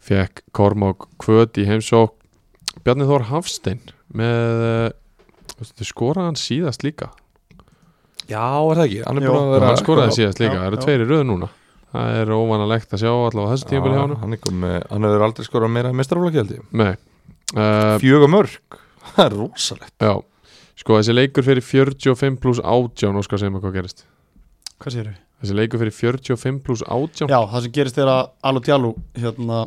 Speaker 2: fekk Kormók kvöt í heimsók Bjarni Þór Hafstein með uh, skoraði hann síðast líka
Speaker 4: Já, er það ekki? Hann er
Speaker 3: Jó.
Speaker 4: búin að vera
Speaker 2: hann skoraði síðast líka,
Speaker 3: já,
Speaker 2: það eru
Speaker 3: já.
Speaker 2: tveir í röð núna Það er óvanalegt að sjá allavega á þessu tímpil hjá
Speaker 4: Já,
Speaker 2: hann
Speaker 4: Hann er komið, hann hefur aldrei skorað meira mestarfólagjaldi
Speaker 2: Nei uh,
Speaker 4: Fjög og mörg Það er rosalegt
Speaker 2: Já, sko þessi leikur fyrir 45 pluss 18 og skal segja mig hvað gerist
Speaker 3: Hvað séru?
Speaker 2: Þessi leikur fyrir 45 pluss 18
Speaker 3: Já, það sem gerist er að Alu Djalu hérna,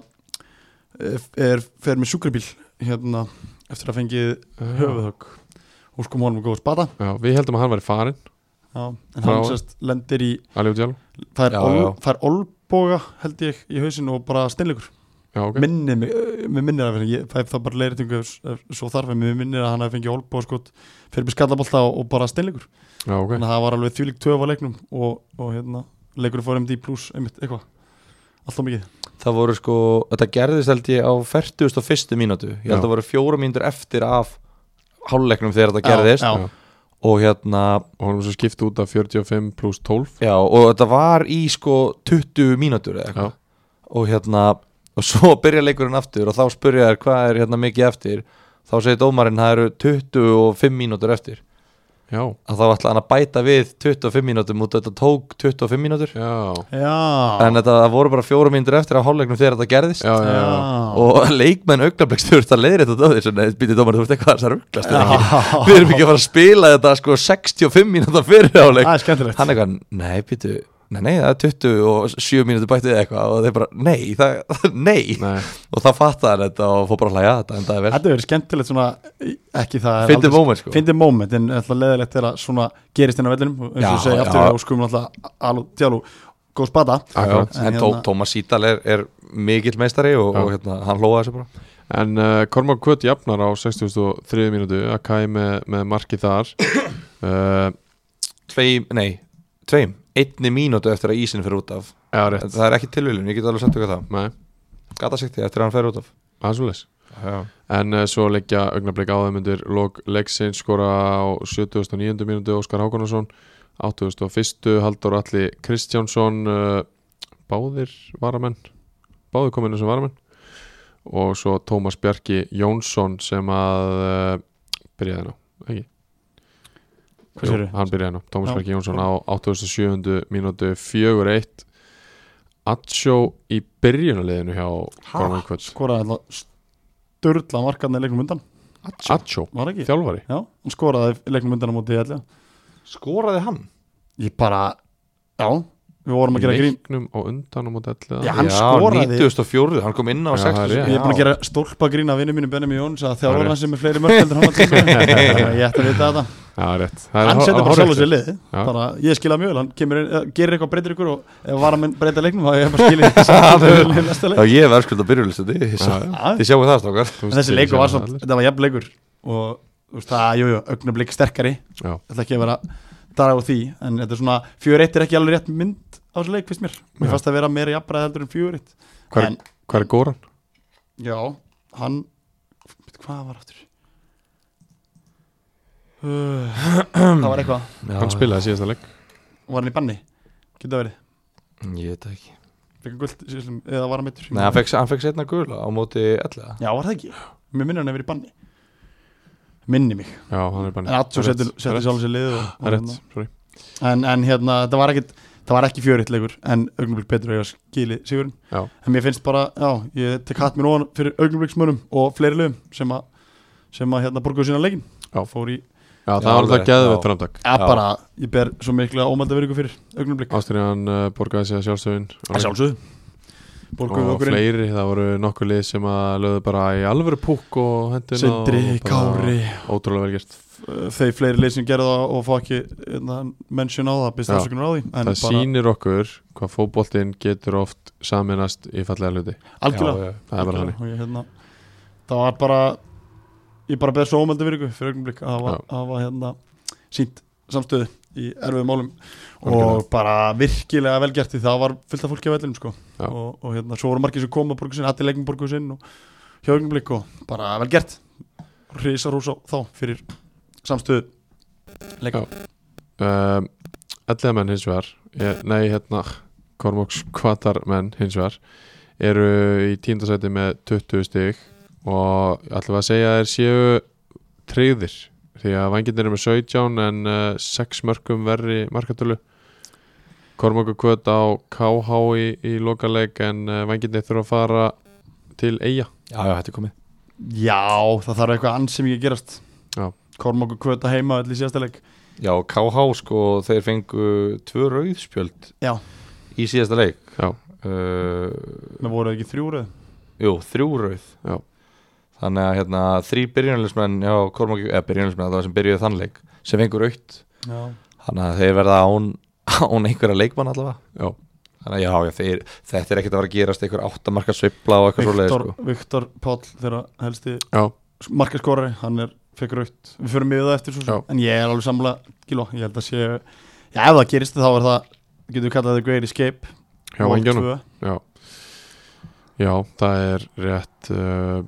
Speaker 3: er, er, fer með sjúkrabíl hérna, eftir að fengið höfuðhögg og sko honum góð spata
Speaker 2: Já, við heldum að hann væri farin
Speaker 3: já, en
Speaker 2: Frá-
Speaker 3: hann sérst lendir í
Speaker 2: Alíu Djálf
Speaker 3: það er,
Speaker 4: Já,
Speaker 3: ol,
Speaker 4: já.
Speaker 3: það er olboga held ég í hausinu og bara steinleikur
Speaker 2: Já, ok
Speaker 3: minni mig, eh, mig minnir að ég, það er það bara leiðréttingu ef- ef svo þarf en mig minnir að hann hafi fengið olboga skot fyrir með skallabolta og, og bara steinleikur
Speaker 2: Já, ok
Speaker 3: þannig að það var alveg þvílík töf á leiknum og, og hérna, leikur fór MD plus einmitt, eitthvað, alltaf mikið
Speaker 4: Það voru sko, þetta gerðist held ég á 41. mínútu Ég held
Speaker 2: Já.
Speaker 4: að það voru fjóra mínútur eftir af háluleiknum þegar þetta
Speaker 3: Já,
Speaker 4: gerðist
Speaker 3: já.
Speaker 4: Og hérna,
Speaker 2: Og hann var svo skipt út af 45 pluss 12
Speaker 4: já, og þetta var í sko 20 mínútur
Speaker 2: Já,
Speaker 4: eða eitthvað Og hérna, og svo byrja leikurinn aftur og þá spyrja þær hvað er hérna mikið eftir Þá segir dómarinn það eru 25 mínútur eftir
Speaker 2: já,
Speaker 4: Að þá ætla hann að bæta við 25 mínútum út að þetta tók 25 mínútur
Speaker 2: já
Speaker 3: Já,
Speaker 4: En þetta það voru bara fjóra mínútur eftir af háluleiknum þegar þetta gerðist
Speaker 2: Já, já, já,
Speaker 4: og leikmenn augnablikst þú ert að leiðri þetta döðir svona, býtið dómar, þú ert eitthvað þess að rugglast eða ekki?" við erum ekki að fara að spila þetta sko 65 mínúta fyrir áleik
Speaker 3: Það er skemmtilegt
Speaker 4: hann eitthvað, nei, býtu nei, nei, það er 27 mínútu bættið eitthvað og þeir bara, nei, það, nei
Speaker 2: Nei,
Speaker 4: og það fattaði hann þetta og fór bara að hlæja þetta en það er vel,
Speaker 3: Þetta hefur verið skemmtilegt svona ekki það
Speaker 4: fyndi moment sko
Speaker 3: Fyndi moment en alltaf leðilegt þegar svona gerist inn á vellinum og eins og
Speaker 4: Já,
Speaker 3: þú segja
Speaker 4: já.
Speaker 3: aftur og skumum alltaf alú djálú góð spata
Speaker 2: akkurat
Speaker 4: Já, en Tó-
Speaker 3: Hérna-
Speaker 4: Tómas Sídal er, er mikill meistari og,
Speaker 2: Já.
Speaker 4: og hérna, hann hlóða þessu bara
Speaker 2: En uh, Kormák Kvöt jafnar á 63 mínútu Akai með, með marki þar uh,
Speaker 4: tveim, nei, tveim einni mínútu eftir að ísinn fyrir út af
Speaker 2: Já,
Speaker 4: En
Speaker 2: rétt
Speaker 4: það er ekki tilvílun, ég get alveg sagt ykkur það
Speaker 2: Nei,
Speaker 4: gata sikti eftir að hann fyrir út af
Speaker 2: það er svolítið
Speaker 4: Já.
Speaker 2: En uh, svo leggja augnablik á þeim undir lok leiksins skora á 79. mínútu Óskar Hákonarsson 81. Haldur Alli eh, Kristjánsson uh, báðir varamenn báðir kominu sem varamenn og svo Tómas Bjarki Jónsson sem að uh, byrjaði nú, ekki?
Speaker 3: Hvað sérðu?
Speaker 2: Hann byrjaði nú, Tómas
Speaker 3: Já.
Speaker 2: Bjarki Jónsson á 87. mínútu 4-1 Atsjó í byrjunarliðinu hjá Gorman Kvöld
Speaker 3: skoraði alltaf störla markarna í leiknum undan
Speaker 2: Atsjó,
Speaker 3: var það ekki?
Speaker 2: þjálfari
Speaker 3: Já, hann skoraði í leiknum undan á móti ætla
Speaker 4: Skoraði hann?
Speaker 3: ég bara, já, við vorum að gera grín
Speaker 2: Leiknum á undan og móti ætla
Speaker 3: Já, hann skoraði
Speaker 4: 94, hann kom inn á
Speaker 2: Já, það er
Speaker 4: 60
Speaker 2: rétt.
Speaker 3: Ég er búin að gera stólpa grín af vinnu mínu Benjamin Jóns að
Speaker 2: Það er
Speaker 3: þjálfur
Speaker 2: rétt.
Speaker 3: hann sem er fleiri mörg heldur en hann alltaf ég ætti að vita þetta
Speaker 2: Já, rétt Það er
Speaker 3: hann
Speaker 2: hár-
Speaker 3: setur bara
Speaker 2: hárrétt
Speaker 3: sjálf
Speaker 2: hjá
Speaker 3: sér lið
Speaker 2: Já.
Speaker 3: bara, ég skil að mjög vel, hann kemur, inn- eh, gerir eitthvað breytir ykkur og ef var að breyta leiknum þá er ég bara skil í í næsta leik
Speaker 4: Já, ég verðskuld að byrjulis Þið
Speaker 2: Já, já.
Speaker 4: þið sjáum það strákar
Speaker 2: Þú
Speaker 3: en
Speaker 2: veist,
Speaker 3: þessi
Speaker 2: þeir
Speaker 3: leikur var
Speaker 2: sjá
Speaker 3: svo,
Speaker 2: allir.
Speaker 3: þetta var jafn leikur og þú veist það, jújú, augnablik sterkari
Speaker 2: Já.
Speaker 3: ég ætla ekki að vera dara á því en þetta er svona, 4-1 er ekki alveg rétt mynd á þessu leik, finnst mér,
Speaker 2: Já.
Speaker 3: mér fannst að vera meira jafnræð heldur en 4-1
Speaker 2: Hvar-
Speaker 3: En-
Speaker 2: Hvað er góran?
Speaker 3: já, hann hvað var aftur Uh, það var eitthvað,
Speaker 2: Hann spilaði síðasta leik
Speaker 3: var hann í banni geta verið,
Speaker 4: Ég veit það ekki
Speaker 3: fekk hann gult síðastum, eða var hann meittur
Speaker 4: Nei, hann fekk, hann fekk setna gula á móti 11
Speaker 3: Já, var það ekki? Mér minnir hann að vera í banni Minni mig
Speaker 2: Já, hann er bara
Speaker 3: En Atsjó setur
Speaker 2: Það
Speaker 3: sjálf sér lið og, og
Speaker 2: er rétt, sorry
Speaker 3: hérna. en, en hérna, það var ekkit Það var ekki fjöritt leikur En augnublik betur að skili sigurinn
Speaker 2: Já.
Speaker 3: En mér finnst bara, já, ég tek hatt mér ofan Fyrir augnubliksmönum og fleiri lögum Sem að, sem að hérna borguðu sína leikin
Speaker 2: Já.
Speaker 3: Fór í,
Speaker 2: Já,
Speaker 4: Já,
Speaker 2: það var
Speaker 4: alveg,
Speaker 2: alltaf geðveitt
Speaker 4: já.
Speaker 2: framtak
Speaker 3: að
Speaker 4: Já.
Speaker 3: bara Ég ber svo mikla ómælda verið fyrir augnublik
Speaker 2: Ástriðan uh, borgaði sig að sjálfsögin
Speaker 3: Að sjálfsögðu Borguðu
Speaker 2: og
Speaker 3: okkur inn
Speaker 2: fleiri, það voru nokkur lið sem að lögðu bara í alvöru púk og hendina
Speaker 3: Sindri,
Speaker 2: og bara
Speaker 3: Kári
Speaker 2: Ótrúlega vel gert
Speaker 3: uh, Þeir fleiri lið sem gerðu það og fá ekki hérna, mention á það, byrst
Speaker 2: Já.
Speaker 3: afsökunar á því en
Speaker 2: Það sýnir okkur hvað fótboltinn getur oft saminast í fallega hluti
Speaker 3: Algjörlega
Speaker 4: Já, já.
Speaker 2: Það er bara þannig
Speaker 3: og ég hérna það var bara ég bara beðið svo ómældu virku fyrir augnumlik að hafa,
Speaker 2: Já.
Speaker 3: hafa hérna sínt samstöðu í erfiðum málum og
Speaker 2: Algjörlega.
Speaker 3: bara virkilega velgert því það var fullt af fólki á vellinum sko
Speaker 2: Já.
Speaker 3: og, og hérna svo voru margir sem koma borgusinn hattir leikum borgusinn og hjá augnumlik og bara velgert risar hús á þá fyrir samstöðu leika
Speaker 2: um, Ellega menn hins vegar eh, Nei, hérna Kormoks kvatar menn hins vegar eru í tíndasæti með 20 stig og ætlum við að segja að þeir séu treyðir því að vangindir eru með 17 en uh, 6 mörgum verri markatölu Kormokur kvöt á KH í, í lokaleik en uh, vangindir þurfa að fara til Eyja
Speaker 4: Já, já, þetta er komið
Speaker 3: já það þarf eitthvað ansi mikið að gerast
Speaker 2: Já.
Speaker 3: korm okkur kvöta heima öll í síðasta leik
Speaker 4: Já, KH sko, þeir fengu tvö rauðspjöld
Speaker 3: Já.
Speaker 4: í síðasta leik
Speaker 2: Já.
Speaker 4: uh,
Speaker 3: með voru ekki þrjúröð
Speaker 4: Jú, þrjú rauð
Speaker 2: Já.
Speaker 4: Þannig að hérna, þrý byrjunalismenn já, Kormáki, eða byrjunalismenn, það var sem byrjuði þann leik sem fengur rautt
Speaker 3: já
Speaker 4: Þannig að þeir verða án, án einhverja leikmann allavega
Speaker 2: Já.
Speaker 4: Þannig að já, já þeir, þetta er ekkert að vera að gerast einhver áttamarka sveifla og eitthvað svoleiðis
Speaker 3: Viktor,
Speaker 4: sko.
Speaker 3: Viktor Páll þeirra helsti
Speaker 2: Já.
Speaker 3: markaskorari, hann er fekk raukt, við förum yfir það eftir svo sem.
Speaker 2: Já.
Speaker 3: en ég er alveg samlega, giló, ég held að sé já, ef það gerist þá er það getum við kallað það Great Escape
Speaker 2: hjá
Speaker 3: Vol.
Speaker 2: vangjunum
Speaker 3: 2.
Speaker 2: Já Já, það er rétt uh,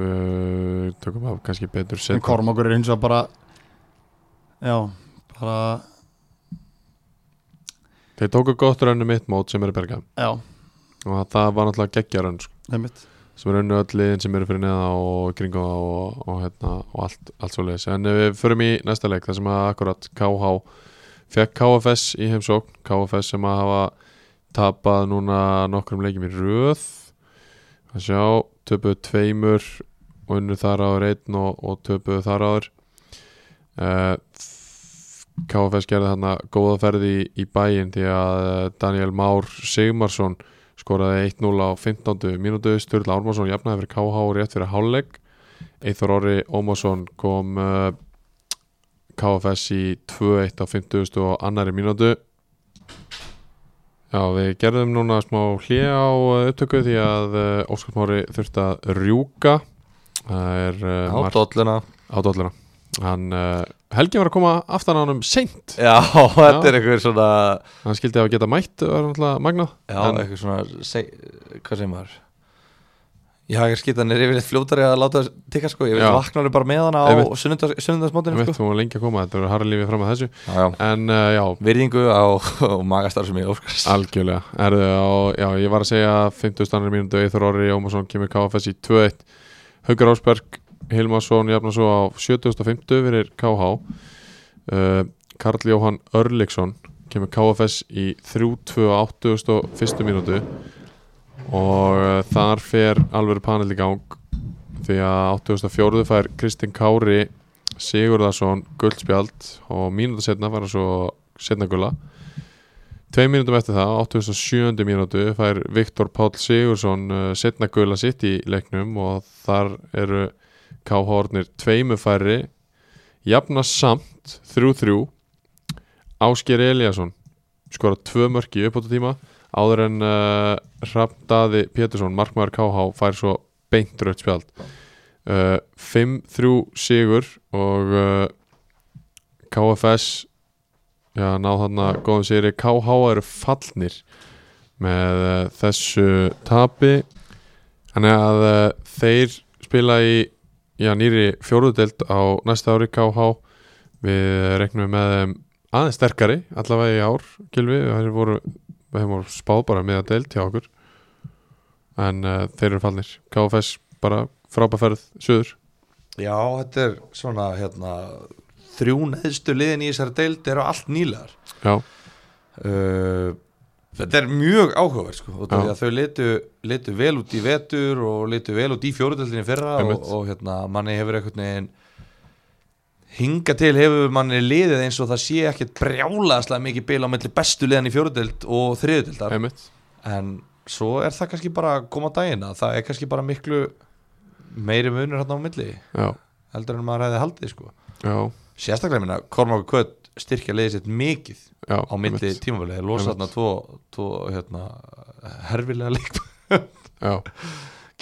Speaker 2: uh, Tökum af kannski betur
Speaker 3: en
Speaker 2: setna
Speaker 3: Kormákur er hins vegar bara já, bara
Speaker 2: Þeir tóku gott rönnu mitt mót sem eru berga
Speaker 3: já,
Speaker 2: og það var náttúrulega geggjarönn sko,
Speaker 3: það er mitt
Speaker 2: sem eru önnu öll liðin sem eru fyrir neða og kringum það og, og, hérna, og allt, allt svo leiðis en ef við förum í næsta leik þar sem að akkurat KH fekk KFS í heimsókn KFS sem að hafa tapað núna nokkrum leikjum í röð að sjá, töpuðu tveimur og unnu þar áður einn og, og töpuðu þar áður uh, KFS gerði þarna góða ferði í, í bæinn því að eh, Daniel Már Sigmarsson skoraði 1-0 á 15. mínútu Sturla Ármarsson jafnaði fyrir KH rétt fyrir hálfleik Eithor Orri Ómarsson kom uh, KFS í 2-1 á 50. og annari mínútu Já, við gerðum núna smá hlið á eh, upptöku því að uh, Óskarsmári þurfti að rjúka Það er uh,
Speaker 4: Á dolluna
Speaker 2: á dolluna hann, uh, Helgi var að koma aftan á hann um seint
Speaker 4: Já, þetta er einhver svona
Speaker 2: hann skildi að geta mætt var náttúrulega magnað
Speaker 4: Já,
Speaker 2: En-
Speaker 4: eitthvað svona, seg, hvað segir maður Já, ég skita, hann er yfirleitt fljótari að láta það tikka sko, ég veit
Speaker 2: Já.
Speaker 4: vakna alveg bara með hana á
Speaker 2: Einmitt.
Speaker 4: sunnudags-
Speaker 2: Ég
Speaker 4: sunnudagsmótinu
Speaker 2: veit,
Speaker 4: sko.
Speaker 2: þú var lengi að koma, þetta verður harri lífið fram að þessu
Speaker 4: Já, já.
Speaker 2: En uh, já,
Speaker 4: Virðingu á, á magastarfsemi Óskars
Speaker 2: algjörlega Erðu, á, Já, ég var að segja 50 stannir mínútu Eithor Orri Ómarsson kemur KFS í 2-1 Haugur Ásberg, Hilmarsson jafna svo á 7050 fyrir KH uh, Karl Jóhann Örliksson kemur KFS í 3-2 á 81. mínútu og uh, þar fer alveg panel í gang því að 84. fær Kristinn Kári Sigurðarsson guldspjald og mínúta setna fara svo setna gulla Tvei mínútum eftir það, á 87. mínútu fær Viktor Páll Sigursson uh, setna gula sitt í leiknum og þar eru KH-ornir tveimu færri jafna samt 3-3 Ásker Eliasson skora tvö mörki upp á þetta tíma áður en uh, Hrafndaði Pétursson, markmaður KH fær svo beint rautt spjald uh, 5-3 sigur og uh, KFS Já, ná þarna góðum sigri KH eru fallnir með uh, þessu tapi þannig að uh, þeir spila í já, nýri fjóruðdelt á næsta ári KH við reknum með þeim aðeins sterkari allavega í ár, Gylfi þeir voru, við hefum voru spáð bara með að deilt hjá okkur en uh, þeir eru fallnir KFS bara frábæferð suður
Speaker 4: Já, þetta er svona hérna, þrjú neðstu liðin í þessari deild eru allt nýlegar
Speaker 2: já,
Speaker 4: uh, Þetta er mjög áhugaverð sko, og
Speaker 2: Eh, Já.
Speaker 4: því að þau litu, litu vel út í vetur og litu vel út í fjóruðöldinni fyrra og,
Speaker 2: Einmitt.
Speaker 4: og hérna, manni hefur einhvern veginn hinga til hefur manni liðið eins og það sé ekkert brjálaðslega mikið bil á milli bestu liðan í fjóruðöld og þriðutöldar
Speaker 2: einmitt
Speaker 4: en svo er það kannski bara að koma á daginn að það er kannski bara miklu meiri munur hérna á milli
Speaker 2: já,
Speaker 4: heldur en maður hefði haldið sko
Speaker 2: já,
Speaker 4: sérstaklega minna Kormáku Kött styrkja leiðið sitt mikið
Speaker 2: já
Speaker 4: á milli
Speaker 2: einmitt.
Speaker 4: tímafélagi, losa
Speaker 2: Einmitt.
Speaker 4: þarna tvo, tvo hérna, herfilega leik
Speaker 2: já,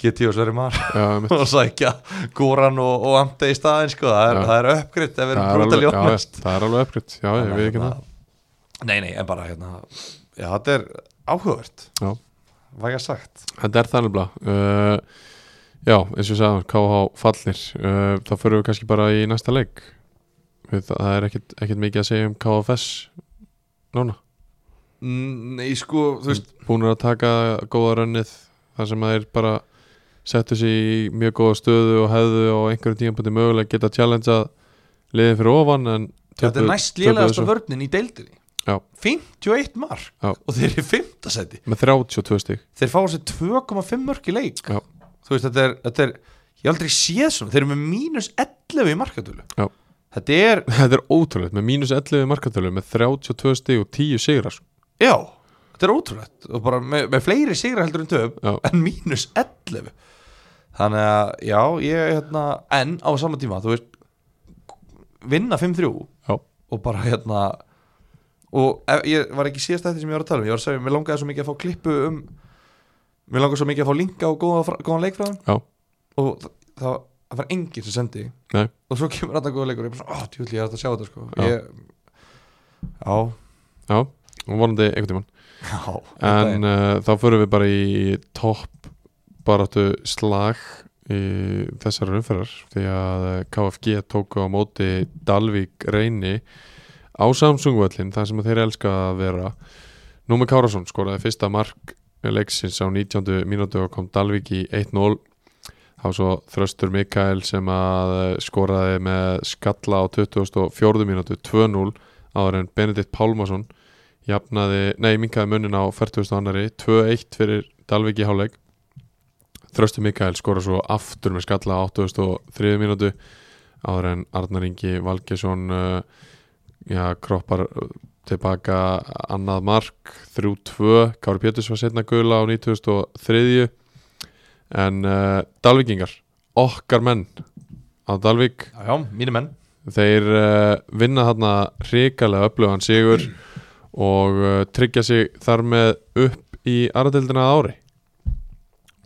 Speaker 4: GT og Sverri Mar
Speaker 2: já, einmitt
Speaker 4: og sækja Goran og, og Amte í staðin sko, það er,
Speaker 2: Já.
Speaker 4: það er uppgritt ef við
Speaker 2: Það er
Speaker 4: erum brútali
Speaker 2: alveg- já,
Speaker 4: honest
Speaker 2: já, Það er alveg uppgritt, já, ég
Speaker 4: Þannig að,
Speaker 2: veit ekki það
Speaker 4: nei, nei, en bara hérna já, þetta er áhugavert
Speaker 2: Já.
Speaker 4: væga sagt
Speaker 2: Þetta er þannig blá uh, Já, eins og ég sagði, KH fallir uh, Þá förum við kannski bara í næsta leik Við- Það það er ekkit, ekkit mikið að segja um KFS Núna
Speaker 4: Mm, nei, sko, þú veist
Speaker 2: Búnir að taka góða rönnið Þar sem þeir bara settu sig í mjög góða stöðu og hefðu á einhverjum tímpandi mögulega geta challengað liðin fyrir ofan en
Speaker 4: Þetta er
Speaker 2: töpuðu-
Speaker 4: næst
Speaker 2: töpuðu
Speaker 4: lélegasta
Speaker 2: þessu.
Speaker 4: vörnin í deildinni
Speaker 2: Já.
Speaker 4: 51 mark
Speaker 2: Já.
Speaker 4: og þeir eru í fimmtasæti
Speaker 2: með 32 stík
Speaker 4: þeir fá sér 2,5 mörk í leik
Speaker 2: Já.
Speaker 4: þú veist þetta er, þetta er ég hef aldrei séð svona, þeir eru með mínus 11 í markatölu
Speaker 2: Já.
Speaker 4: þetta er,
Speaker 2: Þetta er ótrúlegt, með mínus 11 markatölu með 32 stík og 10 sigrar sko.
Speaker 4: já þetta er ótrúlegt og bara með, með fleiri sigra heldur en töf
Speaker 2: Já.
Speaker 4: en mínus 11 þannig að já ég hérna, en á sama tíma þú veist vinna 5-3
Speaker 2: Já.
Speaker 4: og bara hérna og ef, ég var ekki síðast þetta sem ég var að tala um ég var að segja, mér langaði svo mikið að fá klippu um mér langaði svo mikið að fá linka og góða, fra- góðan leik frá hann
Speaker 2: Já.
Speaker 4: og það, það, það var enginn sem sendi
Speaker 2: Nei.
Speaker 4: og svo kemur þetta góða leikur og ég bara svona, ó, djúli, ég er hægt að sjá þetta sko
Speaker 2: Já.
Speaker 4: ég, já,
Speaker 2: Já, og vonandi einhvern tímann
Speaker 4: já
Speaker 2: En uh, þá förum við bara í topp baráttu slag í þessar umferðar því að eh, KFG tóku á móti Dalvík reyni á Samsung-völlin, þar sem þeir elska að vera Númi Kárasson skoraði fyrsta mark leiksins á 19. mínútu og kom Dalvík í 1-0 þá svo Þröstur Mikael sem að eh, skoraði með skalla á 24. mínútu 2-0 áður en Benedikt Pálmarsson jafnaði, nei, minkaði munin á 40. annari, 2-1 fyrir Dalvik í hálfleik Þrösti Mikael skora svo aftur með skalla á 83. mínútu áður en Arnar Ingi Valgesson uh, já, kroppar uh, tilbaka annað mark 3-2, Kári Péturs var setna gula á 93. en uh, Dalvikingar okkar menn á Dalvik
Speaker 4: já, já, mínu menn
Speaker 2: Þeir uh, vinna þarna hrikalega upplöfan sigur og uh, tryggja sig þar með upp í aðradeldina að ári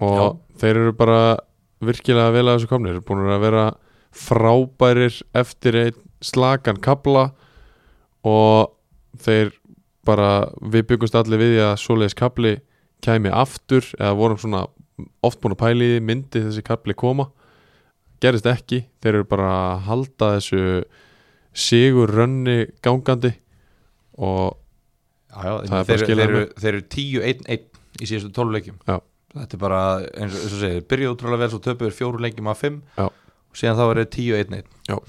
Speaker 2: og þeir eru bara virkilega vel að þessu komnir búin að vera frábærir eftir einn slakan kabla og þeir bara, við byggumst allir við því að svoleiðis kabli kæmi aftur eða vorum svona oft búin að pæli myndi þessi kapli koma gerist ekki, þeir eru bara að halda þessu sigur rönni gangandi og
Speaker 4: já, já,
Speaker 2: Það er bara
Speaker 4: þeir, þeir,
Speaker 2: skilað
Speaker 4: eru, þeir eru 10-1-1 í síðustu 12 leikjum
Speaker 2: Já.
Speaker 4: þetta er bara, eins og, eins og segir, byrjuð útrúlega vel svo töpuður fjóru leikjum af 5
Speaker 2: Já.
Speaker 4: og síðan þá eru 10-1-1
Speaker 2: Já.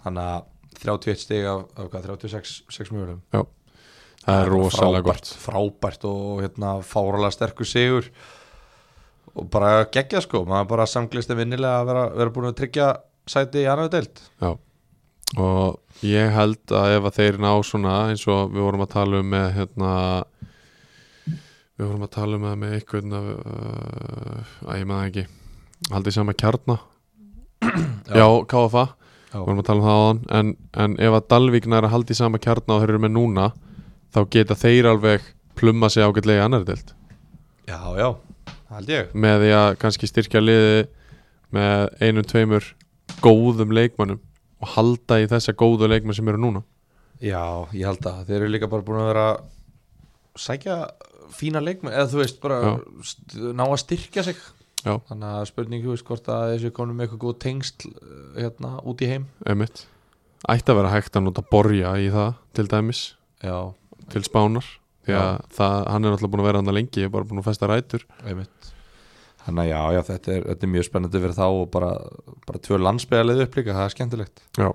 Speaker 4: þannig að 31 stig af, af hvað, 36 6 mjögulum
Speaker 2: það er
Speaker 4: bara
Speaker 2: rosalega
Speaker 4: frábært,
Speaker 2: gott
Speaker 4: frábært og hérna fáralega sterkur sigur og bara geggja sko maður bara samglist er vinnilega að vera, vera búin að tryggja sæti í annar deild
Speaker 2: og ég held að ef að þeir ná svona eins og við vorum að tala um með hérna við vorum að tala um það með einhvern af, uh, að ég maður ekki haldið sama kjarna já, já KFA
Speaker 4: Já.
Speaker 2: við vorum að tala um það áðan en, en ef að Dalvíkna er að haldi sama kjarna og þeir eru með núna þá geta þeir alveg plumma sig ágætlega í annar deild
Speaker 4: já, já, það held ég
Speaker 2: með því að kannski styrkja liði með einum, tveimur góðum leikmannum og halda í þessa góðu leikmann sem eru núna
Speaker 4: já, ég held að þeir eru líka bara búin að vera að sækja fína leikmenn eða þú veist bara
Speaker 2: Já.
Speaker 4: st- ná að styrkja sig
Speaker 2: Já.
Speaker 4: þannig að spurning þú veist hvort að þessu konum með eitthvað góð tengsl uh, hérna út í heim
Speaker 2: emitt ætti að vera hægt að nota borja í það til dæmis,
Speaker 4: já,
Speaker 2: til spánar því að það, hann er náttúrulega búin að vera hann lengi ég er bara búin að festa rætur
Speaker 4: einmitt Þannig að já, já, þetta er, þetta er mjög spennandi fyrir þá og bara, bara tvö landsbyðarlið upp líka, það er skemmtilegt
Speaker 2: Já.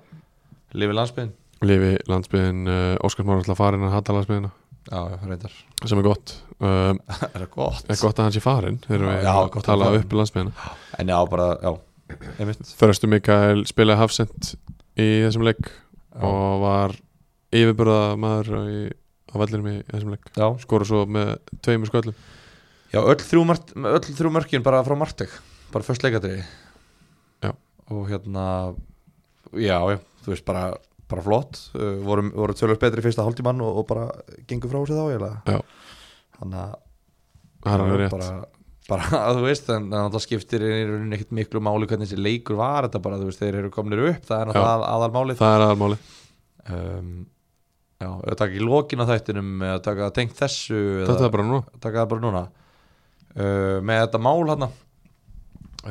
Speaker 4: Lifi landsbyðin
Speaker 2: lifi landsbyðin uh, Óskarsmára alltaf farin að hata landsbyðina
Speaker 4: Já, já, reyndar
Speaker 2: sem er gott um,
Speaker 4: Er það gott?
Speaker 2: er gott að hans í farin þegar við
Speaker 4: Já,
Speaker 2: að
Speaker 4: gott að um.
Speaker 2: tala
Speaker 4: farin.
Speaker 2: upp landsbyðina
Speaker 4: En já, bara, já, einmitt
Speaker 2: Þörstu Mikael spilaði hafsend í þessum leik
Speaker 4: Já,
Speaker 2: og var yfirburða maður í, á vellinum í þessum leik
Speaker 4: já.
Speaker 2: skora svo með tveimur sköllum
Speaker 4: já öll, þrjú mart, öll þrjú mörkin bara frá Martek Bara först leikadri
Speaker 2: Já.
Speaker 4: Og hérna, já, já, þú veist bara, bara flott uh, Voru, voru tölvöld betri í fyrsta hálftímann og, og bara gengur frá sér þá, ég
Speaker 2: Já.
Speaker 4: Þannig að
Speaker 2: það er alveg rétt
Speaker 4: bara, bara að þú veist en en það skiptir í rauninni ekkert miklu máli hvernig þessi leikur var þetta bara þú veist þeir eru komnir upp það er
Speaker 2: Já.
Speaker 4: náttúrulega aðal, aðalmálið
Speaker 2: það er aðalmáli
Speaker 4: um, já, ef að taka í lokin á þættinum eða taka tengt þessu
Speaker 2: þetta er bara nú
Speaker 4: taka það bara núna uh, með þetta mál hann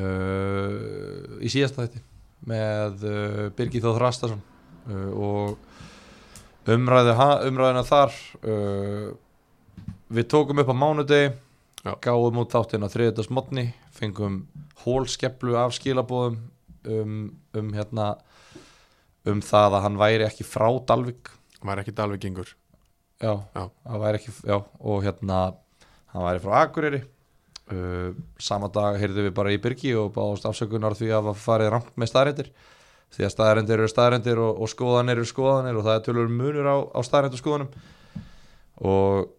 Speaker 4: uh, í síðasta þætti með uh, Birgir Þóð Rastason uh, og umræðu, ha- umræðuna þar uh, við tókum upp á mánudegi
Speaker 2: Já.
Speaker 4: gáðum út þáttinn á þriðdags modni fengum hólskeplu af skilabóðum um, um hérna um það að hann væri ekki frá Dalvik
Speaker 2: maður er ekki dalvikingur
Speaker 4: já,
Speaker 2: Já.
Speaker 4: hann væri ekki já, og hérna, hann væri frá Akureyri uh, sama dag heyrðum við bara í Byrgi og báðast afsökunar því að hafa farið rangt með staðarendir því að staðarendir eru staðarendir og, og skoðanir eru skoðanir og það er tölur munur á, á staðarendu skoðanum og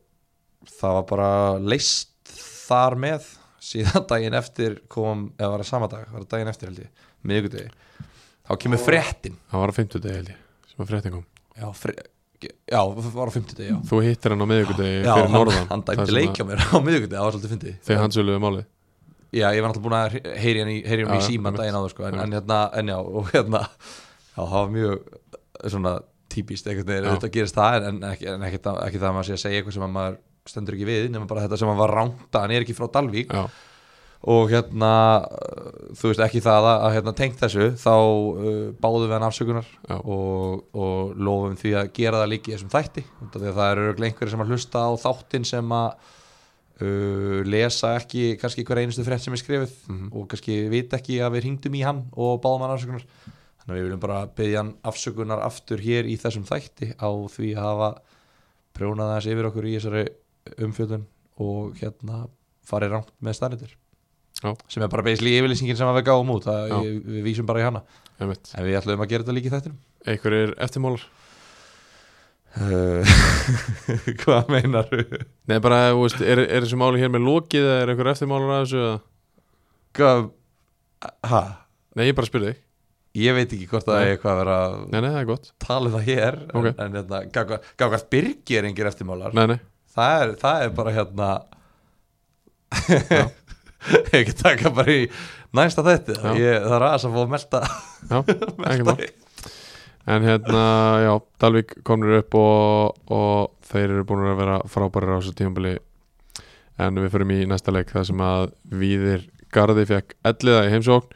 Speaker 4: það var bara leist þar með síðan daginn eftir kom, eða var það sama dag, var það daginn eftir held ég miðvikudegi, þá kemur fréttin
Speaker 2: það var á 50 degi held ég sem að fréttin kom
Speaker 4: já, fre já, var á 50 já
Speaker 2: þú hittir hann á miðugudegi
Speaker 4: Já,
Speaker 2: fyrir
Speaker 4: hann,
Speaker 2: norðan
Speaker 4: hann
Speaker 2: þar sem
Speaker 4: dæmdi
Speaker 2: að-
Speaker 4: leikja mér á miðugundi, það var svolítið fyndið
Speaker 2: þegar hann söluði málið
Speaker 4: Já, ég var náttúrulega búin að heyri hann í, heyri hann
Speaker 2: Já,
Speaker 4: í
Speaker 2: já,
Speaker 4: síman
Speaker 2: einmitt.
Speaker 4: daginn áður sko, en, en,
Speaker 2: Einmitt.
Speaker 4: hérna, en já, og hérna Já, það var mjög eh, svona típist einhvern veginn,
Speaker 2: Já.
Speaker 4: þetta gerist það en, en, ekki, en ekki, það- ekki það að maður sé að segja eitthvað sem að maður stendur ekki við, nema bara þetta sem hann var ránta hann er ekki frá Dalvík
Speaker 2: já,
Speaker 4: og hérna, uh, þú veist ekki það að, að hérna, tengt þessu, þá uh, báðum við hann afsökunar
Speaker 2: já,
Speaker 4: og, og lofum því að gera það líka í þessum þætti út af því að það eru örugglega einhverjir sem að hlusta á þáttin sem að uh, lesa ekki kannski hver einustu frétt sem er skrifið
Speaker 2: Mhm.
Speaker 4: og kannski vita ekki að við hringdum í hann og báðum hann afsökunar þannig að við viljum bara byggja hann afsökunar aftur hér í þessum þætti á því að hafa prjónað aðeins yfir okkur í þessari umfjöldun og hérna farið rangt með stærnitir
Speaker 2: Já.
Speaker 4: sem er bara beisli yfirlýsingin sem að við gáum út það,
Speaker 2: Já.
Speaker 4: ég, við vísum bara í hana
Speaker 2: einmitt
Speaker 4: en við ætlum að gera þetta líka í þættinum
Speaker 2: einhverjir eftirmólar
Speaker 4: Uh, Eh, Hvað meinar
Speaker 2: nei bara, þú veist, er, er þessu máli hér með lokið eða er einhverjir eftirmólar að þessu eða?
Speaker 4: Hvað ha?
Speaker 2: nei, ég bara spyrði þig
Speaker 4: Ég veit ekki hvort það
Speaker 2: Nei.
Speaker 4: er eitthvað að vera að
Speaker 2: nei, nei, það er gott
Speaker 4: tala um það hér
Speaker 2: Ok.
Speaker 4: en, en hérna, gagvart, gagvart Birgi er engir eftirmálar
Speaker 2: nei, nei,
Speaker 4: það er, það er bara hérna
Speaker 2: Já.
Speaker 4: Ekki taka bara í næsta þætti
Speaker 2: Já.
Speaker 4: ég, Það er aðeins að fá að melta,
Speaker 2: já, ekki
Speaker 4: melta
Speaker 2: mál En hérna, já, Dalvik komnir upp og, og þeir eru búin að vera frábærir á þessu tímabili en við förum í næsta leik þar sem að Víðir Garði fekk elliða í heimsókn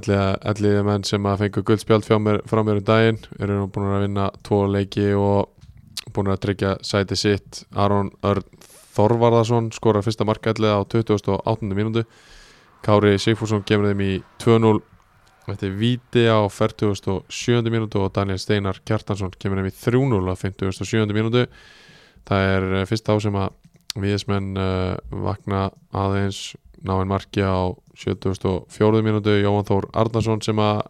Speaker 2: elliða, elliða menn sem að fengu guldspjald frá mér, frá mér um daginn eru nú búin að vinna tvo leiki og búin að tryggja sæti sitt Aron Örn Þorvarðarsson skorar fyrsta mark elliða á 2008. mínútu Kári Sigfússon kemur þeim í 2-0 Þetta er víti á 47. mínútu og Daniel Steinar Kjartansson kemur nefn í 3-0 á 57. mínútu. Það er eh, fyrsta á sem að viðismenn uh, vakna aðeins náinn marki á 74. mínútu. Jóhann Þór Arnarsson sem að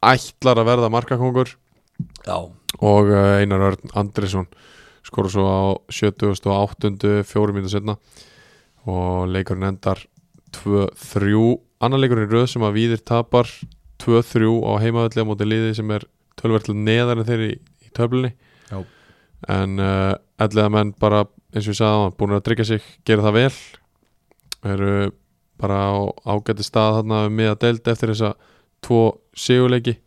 Speaker 2: ætlar að verða markakongur
Speaker 4: Já,
Speaker 2: og eh, Einar Örn Andrisson skora svo á 78. fjórum mínútu setna og leikurinn endar 2-3 annar leikurinn í röð sem að Víðir tapar 2-3 á heimavalli á móti liði sem er tölvert til neðar en þeir í, í töflunni
Speaker 4: Já.
Speaker 2: en uh, ellega menn bara eins og ég sagði áðan, búin að tryggja sig gera það vel eru bara á ágæti stað þarna með að deild eftir þessa tvo sigurleiki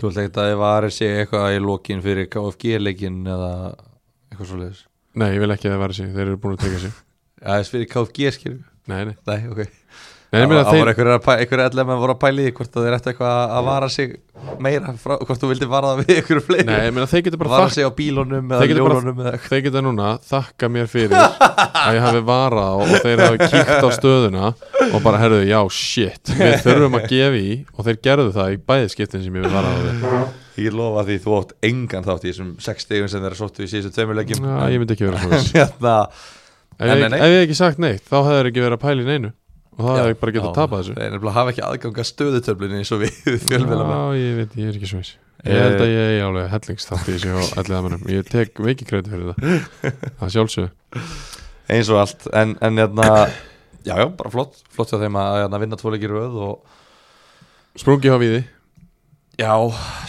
Speaker 4: þú ætla ekki að þið varir sig eitthvað í lokin fyrir KFG-leikin eða eitthvað svoleiðis
Speaker 2: nei, ég vil ekki að það vera sig, þeir eru búin að tryggja sig
Speaker 4: Já, þess fyrir KFG skilur
Speaker 2: nei, nei,
Speaker 4: Nei, ok
Speaker 2: nei ég
Speaker 4: Það
Speaker 2: meina
Speaker 4: var- það
Speaker 2: þeir,
Speaker 4: voru einhverjar að pæ- einhverjar allir með voru að pæli því hvort það er eftir eitthvað að vara sig meira frá, hvort þú vildi vara það við einhverju fleiri
Speaker 2: Nei, ég meina þeir getur bara
Speaker 4: vara
Speaker 2: þakka
Speaker 4: sig á bílunum
Speaker 2: Þeir
Speaker 4: eða
Speaker 2: geta bara-
Speaker 4: ljólunum eða eitthvað
Speaker 2: Þeir geta núna þakka mér fyrir að ég hafi varað og, og þeir hafi kíkt á stöðuna og bara herðu, já, shit við þurfum að gefa í og þeir gerðu það í bæði skiptin sem ég við varað á því
Speaker 4: Ég lofa því þú átt engan þátt í þessum sex stegum sem þeirra sóttu í síðustu tveimur leggjum
Speaker 2: Já, ég myndi ekki vera svona þess
Speaker 4: hérna,
Speaker 2: Ef ég
Speaker 4: Nei, nei, nei.
Speaker 2: ef ég ekki sagt neitt, þá hefur ekki verið að pæla í neinu og þá
Speaker 4: Já,
Speaker 2: hefur ekki bara getað
Speaker 4: já.
Speaker 2: tapað þessu
Speaker 4: Þeir nefnilega hafa ekki aðganga stöðutöflunni eins og við fjölmjöla með
Speaker 2: Já, ég veit, ég er ekki svo viss Ég held
Speaker 4: Eh.
Speaker 2: að ég er alveg hellingstátt í þessu og allir það Ég tek mikið kreiti fyrir það Það sjálfsög
Speaker 4: eins og allt en, en hérna, já já, bara flott flott hjá þeim að hérna, vinna tvo leikir röð og
Speaker 2: Sprungi á víði
Speaker 4: já,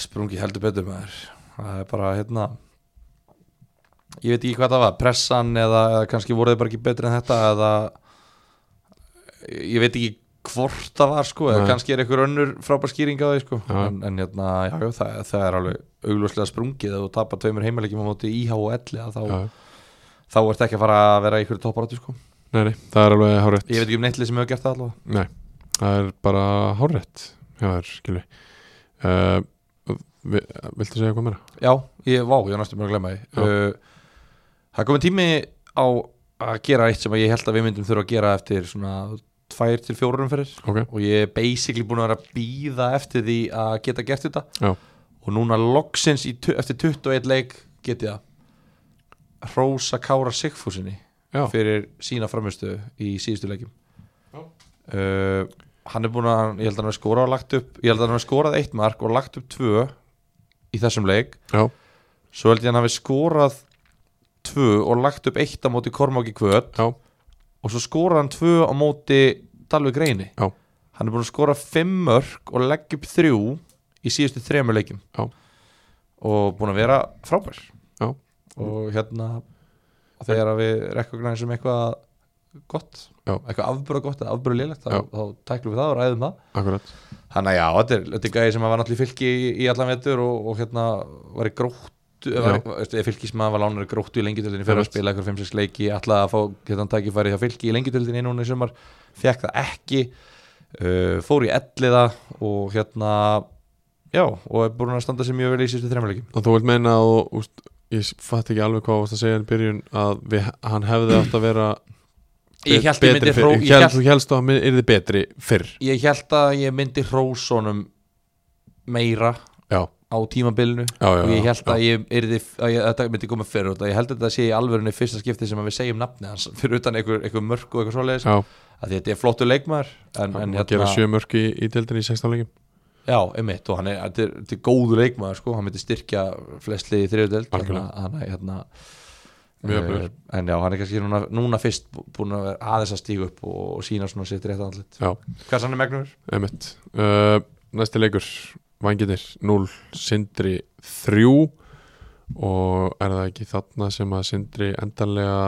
Speaker 4: sprungi heldur betur maður það er bara hérna ég veit ekki hvað það var, pressan eða, eða kannski voru þeir bara ekki betri en þetta eða ég veit ekki hvort það var sko eða
Speaker 2: Nei.
Speaker 4: kannski er einhver önnur frábær skýring á því sko
Speaker 2: Já.
Speaker 4: en, en hérna, já, já það, það er alveg augljóslega sprungið eða þú tapar tveimur heimilegjum á móti íhá og elli þá,
Speaker 2: Já,
Speaker 4: þá ertu ekki að fara að vera í einhverju topparáttu sko
Speaker 2: nei, nei, það er alveg hárétt
Speaker 4: ég veit ekki um neitt lið sem hefur gert það allavega
Speaker 2: Nei, það er bara hárætt Já, það er skilvi uh, vi- Viltu segja hvað meira?
Speaker 4: Já, ég, vá, ég var næstum búin að glemma því uh, Það er komið tími á að gera eitt sem að ég held að við myndum þurfa að gera eftir svona tvær til fjórum fyrir
Speaker 2: Ok,
Speaker 4: og ég er basically búin að vera að býða eftir því að geta gert þetta
Speaker 2: Já.
Speaker 4: og núna loksins í, tu- eftir 21 leik get ég að Rósa Kára Sigfúsinni
Speaker 2: já,
Speaker 4: fyrir sína framistu í síðustu leikjum
Speaker 2: Já.
Speaker 4: uh, hann er búin að ég held að hann hafi skorað og lagt upp ég held að hann hafi skorað eitt mark og lagt upp tvö í þessum leik
Speaker 2: já,
Speaker 4: svo held ég að hann hafi skorað tvö og lagt upp eitt á móti Kormáki Kvöt
Speaker 2: já,
Speaker 4: og svo skorað hann tvö á móti Dalvi Greini
Speaker 2: Já.
Speaker 4: hann er búin að skora fimm mörk og leggja upp þrjú í síðustu þremur leikjum
Speaker 2: Já.
Speaker 4: og búin að vera frábær
Speaker 2: Já.
Speaker 4: og hérna þegar að við rekognæsum eitthvað gott
Speaker 2: Já.
Speaker 4: eitthvað afbúra gott eða afbúra lélegt þá,
Speaker 2: Já.
Speaker 4: þá tæklum við það og ræðum það
Speaker 2: akkurat
Speaker 4: Þannig að já, þetta er, þetta er gæði sem að var náttúrulega í fylki í, í allan vetur og, og hérna var í gróttu var,
Speaker 2: Já.
Speaker 4: veistu, ef fylkismann var lánaður í gróttu í lengjutildinni fyrir að
Speaker 2: Einmitt.
Speaker 4: spila eitthvað 5-6 leiki alltaf að fá hérna tækifæri hjá fylki í lengjutildinni núna í sumar, fekk það ekki uh, fór í elliða og hérna já, og er búin að standa sér mjög vel í sístu þremmuleikim
Speaker 2: Og þú vilt meina að þú, úst, ég fatt ekki alveg hvað þú varst að segja í byrjun að við, hann hefði átt að vera
Speaker 4: Ég
Speaker 2: be-
Speaker 4: hélt
Speaker 2: betri
Speaker 4: ég myndi
Speaker 2: fyrr.
Speaker 4: hró-
Speaker 2: Ég
Speaker 4: ég
Speaker 2: hélt-
Speaker 4: hélt-
Speaker 2: Þú helst að hann yrði betri fyrr
Speaker 4: Ég held að ég myndi hrósónum meira
Speaker 2: Já,
Speaker 4: á tímabilinu
Speaker 2: já, já
Speaker 4: og ég held
Speaker 2: já,
Speaker 4: að ég yrði að ég, þetta myndi koma fyrir út að ég held að þetta sé í alvörunni fyrsta skipti sem að við segjum nafni hans fyrir utan einhver, einhver mörk og eitthvað svoleiðis
Speaker 2: Já,
Speaker 4: að þetta er flottu leikmaður en,
Speaker 2: hann
Speaker 4: en
Speaker 2: hérna, gera
Speaker 4: hérna,
Speaker 2: sjö mörk í, í deildinni í 16 leikum
Speaker 4: já, einmitt og hann er, þetta er, þetta er góðu leikmaður sko, hann myndi styrkja flestli í þriðudeld
Speaker 2: Algjörlega.
Speaker 4: hann er hérna
Speaker 2: Mjög
Speaker 4: eh,
Speaker 2: öflugur.
Speaker 4: en já, hann er kannski núna, núna fyrst búin að vera aðeins að stíga upp og, og sína svona sitt rétt andlit
Speaker 2: Já,
Speaker 4: hvað sann er megnur?
Speaker 2: Einmitt. Uh, næsti leikur, vanginir 0, Sindri 3 og er það ekki þarna sem að Sindri endanlega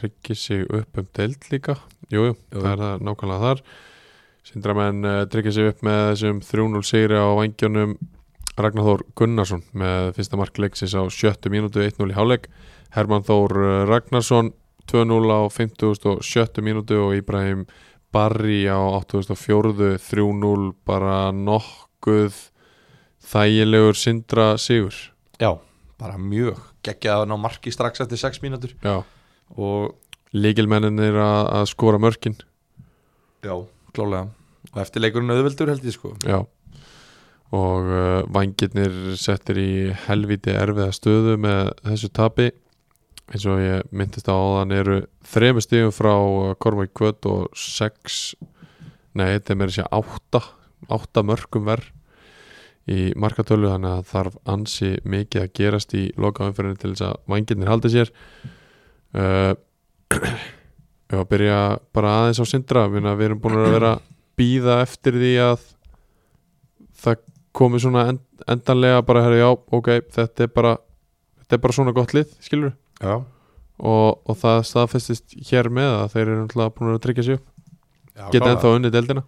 Speaker 2: tryggir sig upp um deild líka? Jújú, jú,
Speaker 4: Jú, jú.
Speaker 2: það er það nákvæmlega þar. Sindramenn uh, tryggir sig upp með þessum 3-0 sigri á vangjónum Ragnar Þór Gunnarsson með fyrsta mark leiksins á sjöttu mínútu 1-0 í hálfleik. uh, Herman Þór eh, Ragnarsson 2-0 á 50 og sjöttu mínútu og Íbrahim Barry á 84 3-0 bara nokkuð þægilegur sindra sigur
Speaker 4: Já, bara mjög geggjað að ná marki strax eftir 6 mínútur
Speaker 2: Já,
Speaker 4: og
Speaker 2: líkilmenninir að, að skora mörkin
Speaker 4: já, klálega og eftir leikurinn auðveldur held ég sko
Speaker 2: Já og uh, vangirnir settir í helviti erfiða stöðu með þessu tapi eins og ég myndist á áðan eru þremur stíðum frá Kormæk Kvöt og sex nei, þetta er meira að segja átta átta mörgum verð í markatölu þannig að þarf ansi mikið að gerast í lokaumferðinu til þess að vangirnir haldi sér uh, ef að byrja bara aðeins á sindra Ég meina, við erum búin að vera býða eftir því að það komi svona end, endanlega bara herri já, ok, þetta er bara þetta er bara svona gott lið, skilur
Speaker 4: Já,
Speaker 2: og, og það staðfestist hér með að þeir eru náttúrulega búin að tryggja sig upp geta ennþá unnið deildina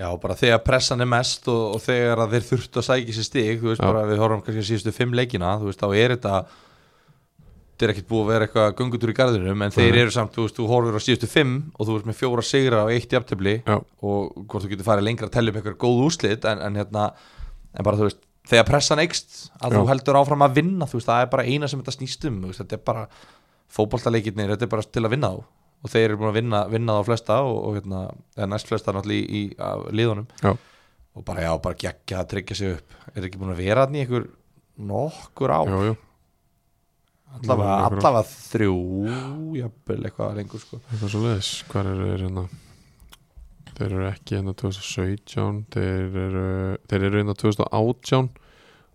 Speaker 4: Já, bara þegar pressan er mest og, og þegar að þeir þurftu að sækja sér stig þú veist
Speaker 2: Já.
Speaker 4: bara við horfum kannski að síðustu fimm leikina þú veist, þá er þetta þetta er ekkert búið að vera eitthvað gungutur í garðinum en þeir
Speaker 2: Nei.
Speaker 4: eru samt, þú veist, þú horfur á síðustu fimm og þú veist með fjóra sigra og eitt jafntöfli
Speaker 2: Já.
Speaker 4: og hvort þú getur farið lengra að tellja upp eitthvað góð úslit en, en hérna, en bara þú veist þegar pressan eikst, að
Speaker 2: Já.
Speaker 4: þú heldur áfram að vinna þú veist, það er bara eina sem þetta snýst um þú veist, þetta er bara fótballtaleikirnir, þetta er bara til að vinna þá og þeir eru búin að vinna, vinna þá flesta og, og hérna, eða næst flesta náttúrulega í, í af liðunum
Speaker 2: Já.
Speaker 4: og bara já, bara geggja að tryggja sig upp er ekki búin að vera þannig einhver nokkur á,
Speaker 2: jú, jú.
Speaker 4: allavega,
Speaker 2: nokkur ár.
Speaker 4: allavega þrjú jafnvel eitthvað lengur sko
Speaker 2: eitthvað svo leiðis, hvað eru þeir hérna þeir eru ekki hérna 2017 þeir eru, þeir eru hérna 2018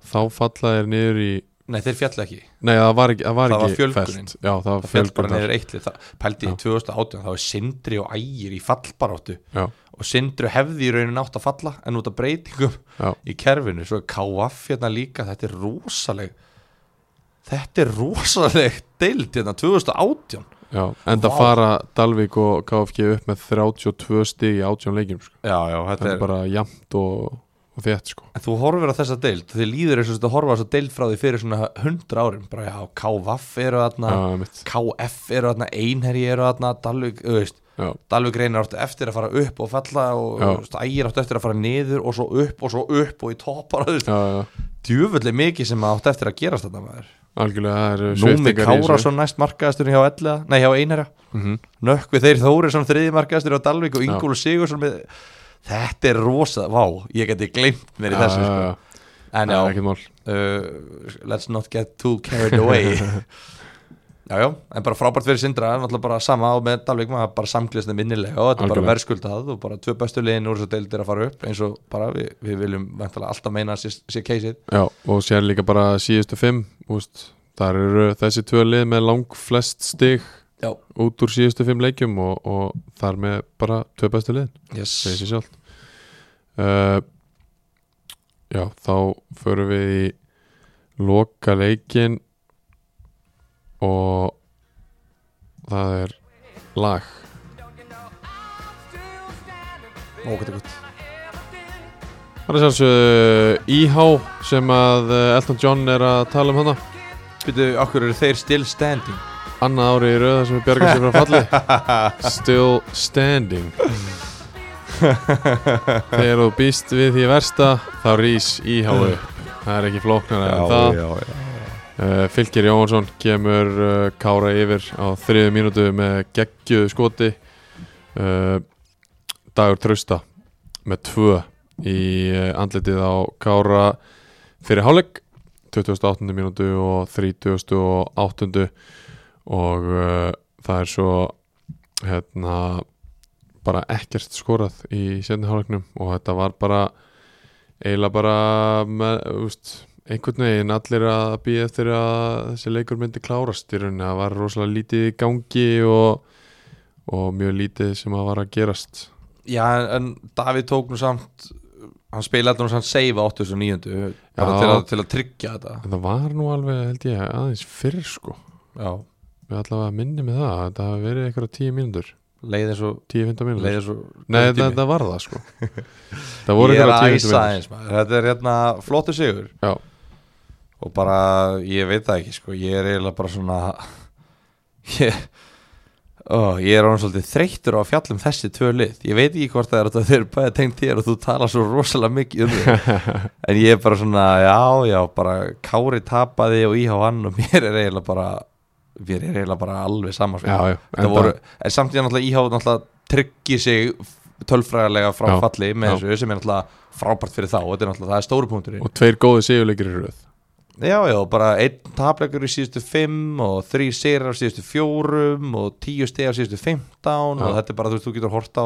Speaker 2: þá falla þeir niður í
Speaker 4: nei, þeir fjalla ekki,
Speaker 2: nei, það var ekki, það var
Speaker 4: Það var
Speaker 2: ekki
Speaker 4: fjölgunin.
Speaker 2: fest. já, það var
Speaker 4: það fjall bara
Speaker 2: fjölgun þar.
Speaker 4: neður eitli það pældi í 2018, þá er Sindri og Ægir í fallbaráttu
Speaker 2: já,
Speaker 4: og Sindri hefði í rauninu átt að falla en út af breytingum
Speaker 2: já,
Speaker 4: í kerfinu, svo er KF hérna líka þetta er rosaleg þetta er rosaleg deild hérna 2018
Speaker 2: já, enda
Speaker 4: Vá.
Speaker 2: fara Dalvik og KFG upp með 32 stig í 18 leikjum sko.
Speaker 4: já, já, þetta
Speaker 2: þetta er bara jæmt og, og þétt sko
Speaker 4: En þú horfir á þessa deild, þið líður eins og þetta horfa á þessa deild frá því fyrir svona 100 árum bara já, KVF eru þarna
Speaker 2: já, einmitt.
Speaker 4: KF eru þarna, Einherji eru þarna Dalvik, þú veist,
Speaker 2: já,
Speaker 4: Dalvik reynir áttu eftir að fara upp og falla og
Speaker 2: Já.
Speaker 4: þú veist, ægir áttu eftir að fara niður og svo upp og svo upp og í toppar, þú veist,
Speaker 2: já, já,
Speaker 4: djöfulli mikið sem áttu eftir að gerast þarna maður.
Speaker 2: algjörlega það eru
Speaker 4: Númi
Speaker 2: sviptingar í þessu.
Speaker 4: Kárasson næst markaðastur hjá, Elliða- nei, hjá Einherja
Speaker 2: Mhm.
Speaker 4: Nökkvi þeir Þórisson þriði markaðastur hjá Dalvik og
Speaker 2: Já.
Speaker 4: Ingúlu Sigursson með Þetta er rosa, vá, ég geti glemt mér í þessu
Speaker 2: já,
Speaker 4: sko.
Speaker 2: já,
Speaker 4: En
Speaker 2: já,
Speaker 4: já,
Speaker 2: ekkert mál
Speaker 4: uh, let's not get too carried away já, já, en bara frábært fyrir Sindra náttúrulega bara sama á með Dalvik maður bara samglisnum innilega og þetta er bara
Speaker 2: Algjörlega.
Speaker 4: verðskuldað og bara tvö bestu liðin úr þess að deildir að fara upp eins og bara við, við viljum vantala alltaf meina sér, sér keisið
Speaker 2: já, og sér líka bara síðustu fimm úst, þar eru þessi tvö lið með lang flest stig
Speaker 4: já,
Speaker 2: út úr síðustu fimm leikjum og, og þar með bara tvö bestu liðin
Speaker 4: yes
Speaker 2: segir sér sjálft uh, Já, þá förum við í loka leikin og það er lag
Speaker 4: ógæti gott
Speaker 2: Það er sjálfsög IH sem að eh, Elton John er að tala um hana
Speaker 4: Býtu, okkur eru þeir still standing
Speaker 2: Annað ári í rauða sem við bjargum sér frá falli Still standing Þegar þú býst við því versta þá rís IH upp Það er ekki flóknara en það
Speaker 4: já, já
Speaker 2: Uh, Fylgir Jóhansson kemur uh, Kára yfir á þriðu mínútu með geggjuðu skoti uh, Dagur Trausta með tvö í uh, andlitið á Kára fyrir hálfleik 2008. mínútu og 38. og uh, það er svo hérna bara ekkert skorað í sérni hálfleiknum og þetta var bara eiginlega bara með, úst, einhvern veginn allir að býja eftir að þessi leikur myndi klárast í rauninni, það var rosalega lítið í gangi og, og mjög lítið sem að var að gerast
Speaker 4: en, en Davíð tók nú samt hann spilaði nú samt save á 89 bara
Speaker 2: Já.
Speaker 4: til að, til að tryggja þetta
Speaker 2: en það var nú alveg held ég aðeins fyrr sko,
Speaker 4: já,
Speaker 2: við allavega minni með það þetta hafi verið einhverja 10 mínútur
Speaker 4: leið eins og
Speaker 2: 10-15 mínútur,
Speaker 4: leið eins og
Speaker 2: nei
Speaker 4: tími.
Speaker 2: þetta þetta var það sko það voru
Speaker 4: ég er
Speaker 2: einhverja 10-15
Speaker 4: að æsa
Speaker 2: mínútur
Speaker 4: aðeins maður. þetta er hérna flottur sigur
Speaker 2: Já.
Speaker 4: og bara ég veit það ekki sko ég er eiginlega bara svona ég, Ó, ég er orðin svolítið þreyttur á að fjalla um þessi tvö lið Ég veit ekki hvort það er að þau eru bæði tengt þér og þú tala svo rosalega mikið um þau En ég er bara svona, já, já, bara Kári tapaði og íhá hann og mér er eiginlega bara Mér er eiginlega bara alveg sama sko.
Speaker 2: já, já,
Speaker 4: Þetta voru, en samt ég náttúrulega íhá náttúrulega tryggir sig tölfræðarlega frá
Speaker 2: Já,
Speaker 4: falli með
Speaker 2: já.
Speaker 4: þessu sem er náttúrulega frábært fyrir þá og þetta er náttúrulega, það er stóru punkturinn
Speaker 2: og tveir góði sigurleikir í röð
Speaker 4: Já, já, bara einn tapleikur í síðustu 5 og þrý sigrar á síðustu 4 og 10 stegar á síðustu 15 og
Speaker 2: Já.
Speaker 4: þetta er bara, þú veist, þú getur hort á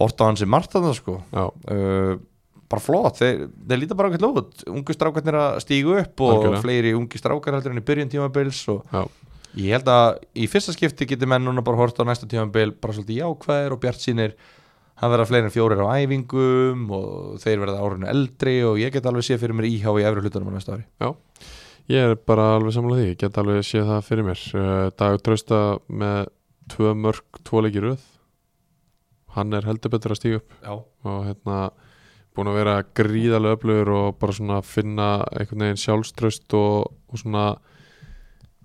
Speaker 4: hort á hans í Martan sko.
Speaker 2: Já,
Speaker 4: uh, bara flott, þeir, þeir líta bara ákveðlega út, ungu strákarnir að stígu upp og
Speaker 2: Algjörlega.
Speaker 4: fleiri ungi strákar heldur en í byrjun tímabils og
Speaker 2: já,
Speaker 4: ég held að í fyrsta skipti getur menn núna bara hort á næsta tímabil bara svolítið jákvæðir og bjart sínir hann verða fleiri en fjórir á æfingum og þeir verða árinu eldri og ég get alveg séð fyrir mér íhá í efri hlutunum á næsta ári
Speaker 2: ég er bara alveg samlega því, ég get alveg séð það fyrir mér uh, Dagur Trausta með tvö mörg, tvo leiki í röð hann er heldur betur að stíga upp
Speaker 4: Já,
Speaker 2: og hérna búin að vera gríðarlega öflugur og bara svona finna einhvern veginn sjálfströst og, og svona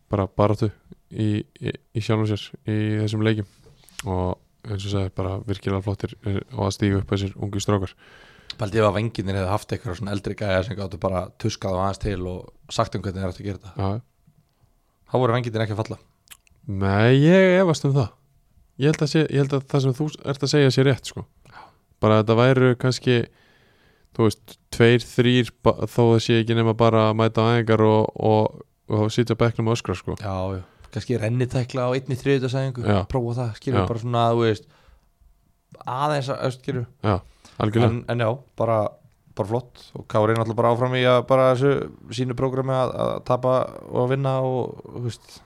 Speaker 2: bara baratu í, í, í sjálfum sér í þessum leikjum og eins og sagði bara virkilega flottir eh, og að stíga upp þessir ungu strákar
Speaker 4: Paldi ef að venginir hefði haft eitthvað svona eldri gæja sem gáttu bara tuskað á aðeins til og sagt um hvernig þeir ættu að gera þetta.
Speaker 2: Já,
Speaker 4: Þá voru venginir ekki að falla.
Speaker 2: Nei, ég efast um það ég held, að sé, ég held að það sem þú ert að segja sé rétt sko. bara að þetta væru kannski þú veist, tveir, þrýr ba- þó að sé ekki nema bara að mæta á æðingar og, og, og, sitja á bekknum og öskra sko.
Speaker 4: Já, já. Kanski rennitekla á einni þriðutarsæðingu,
Speaker 2: Já.
Speaker 4: prófa það, skilur
Speaker 2: Já.
Speaker 4: bara svona, þú veist, aðeins að öst, skilur.
Speaker 2: algjörlega,
Speaker 4: En, en já, bara, bara flott og Kári er náttúrulega bara áfram í að bara þessu sínu prógrami að, að tapa og að vinna og, þú veist,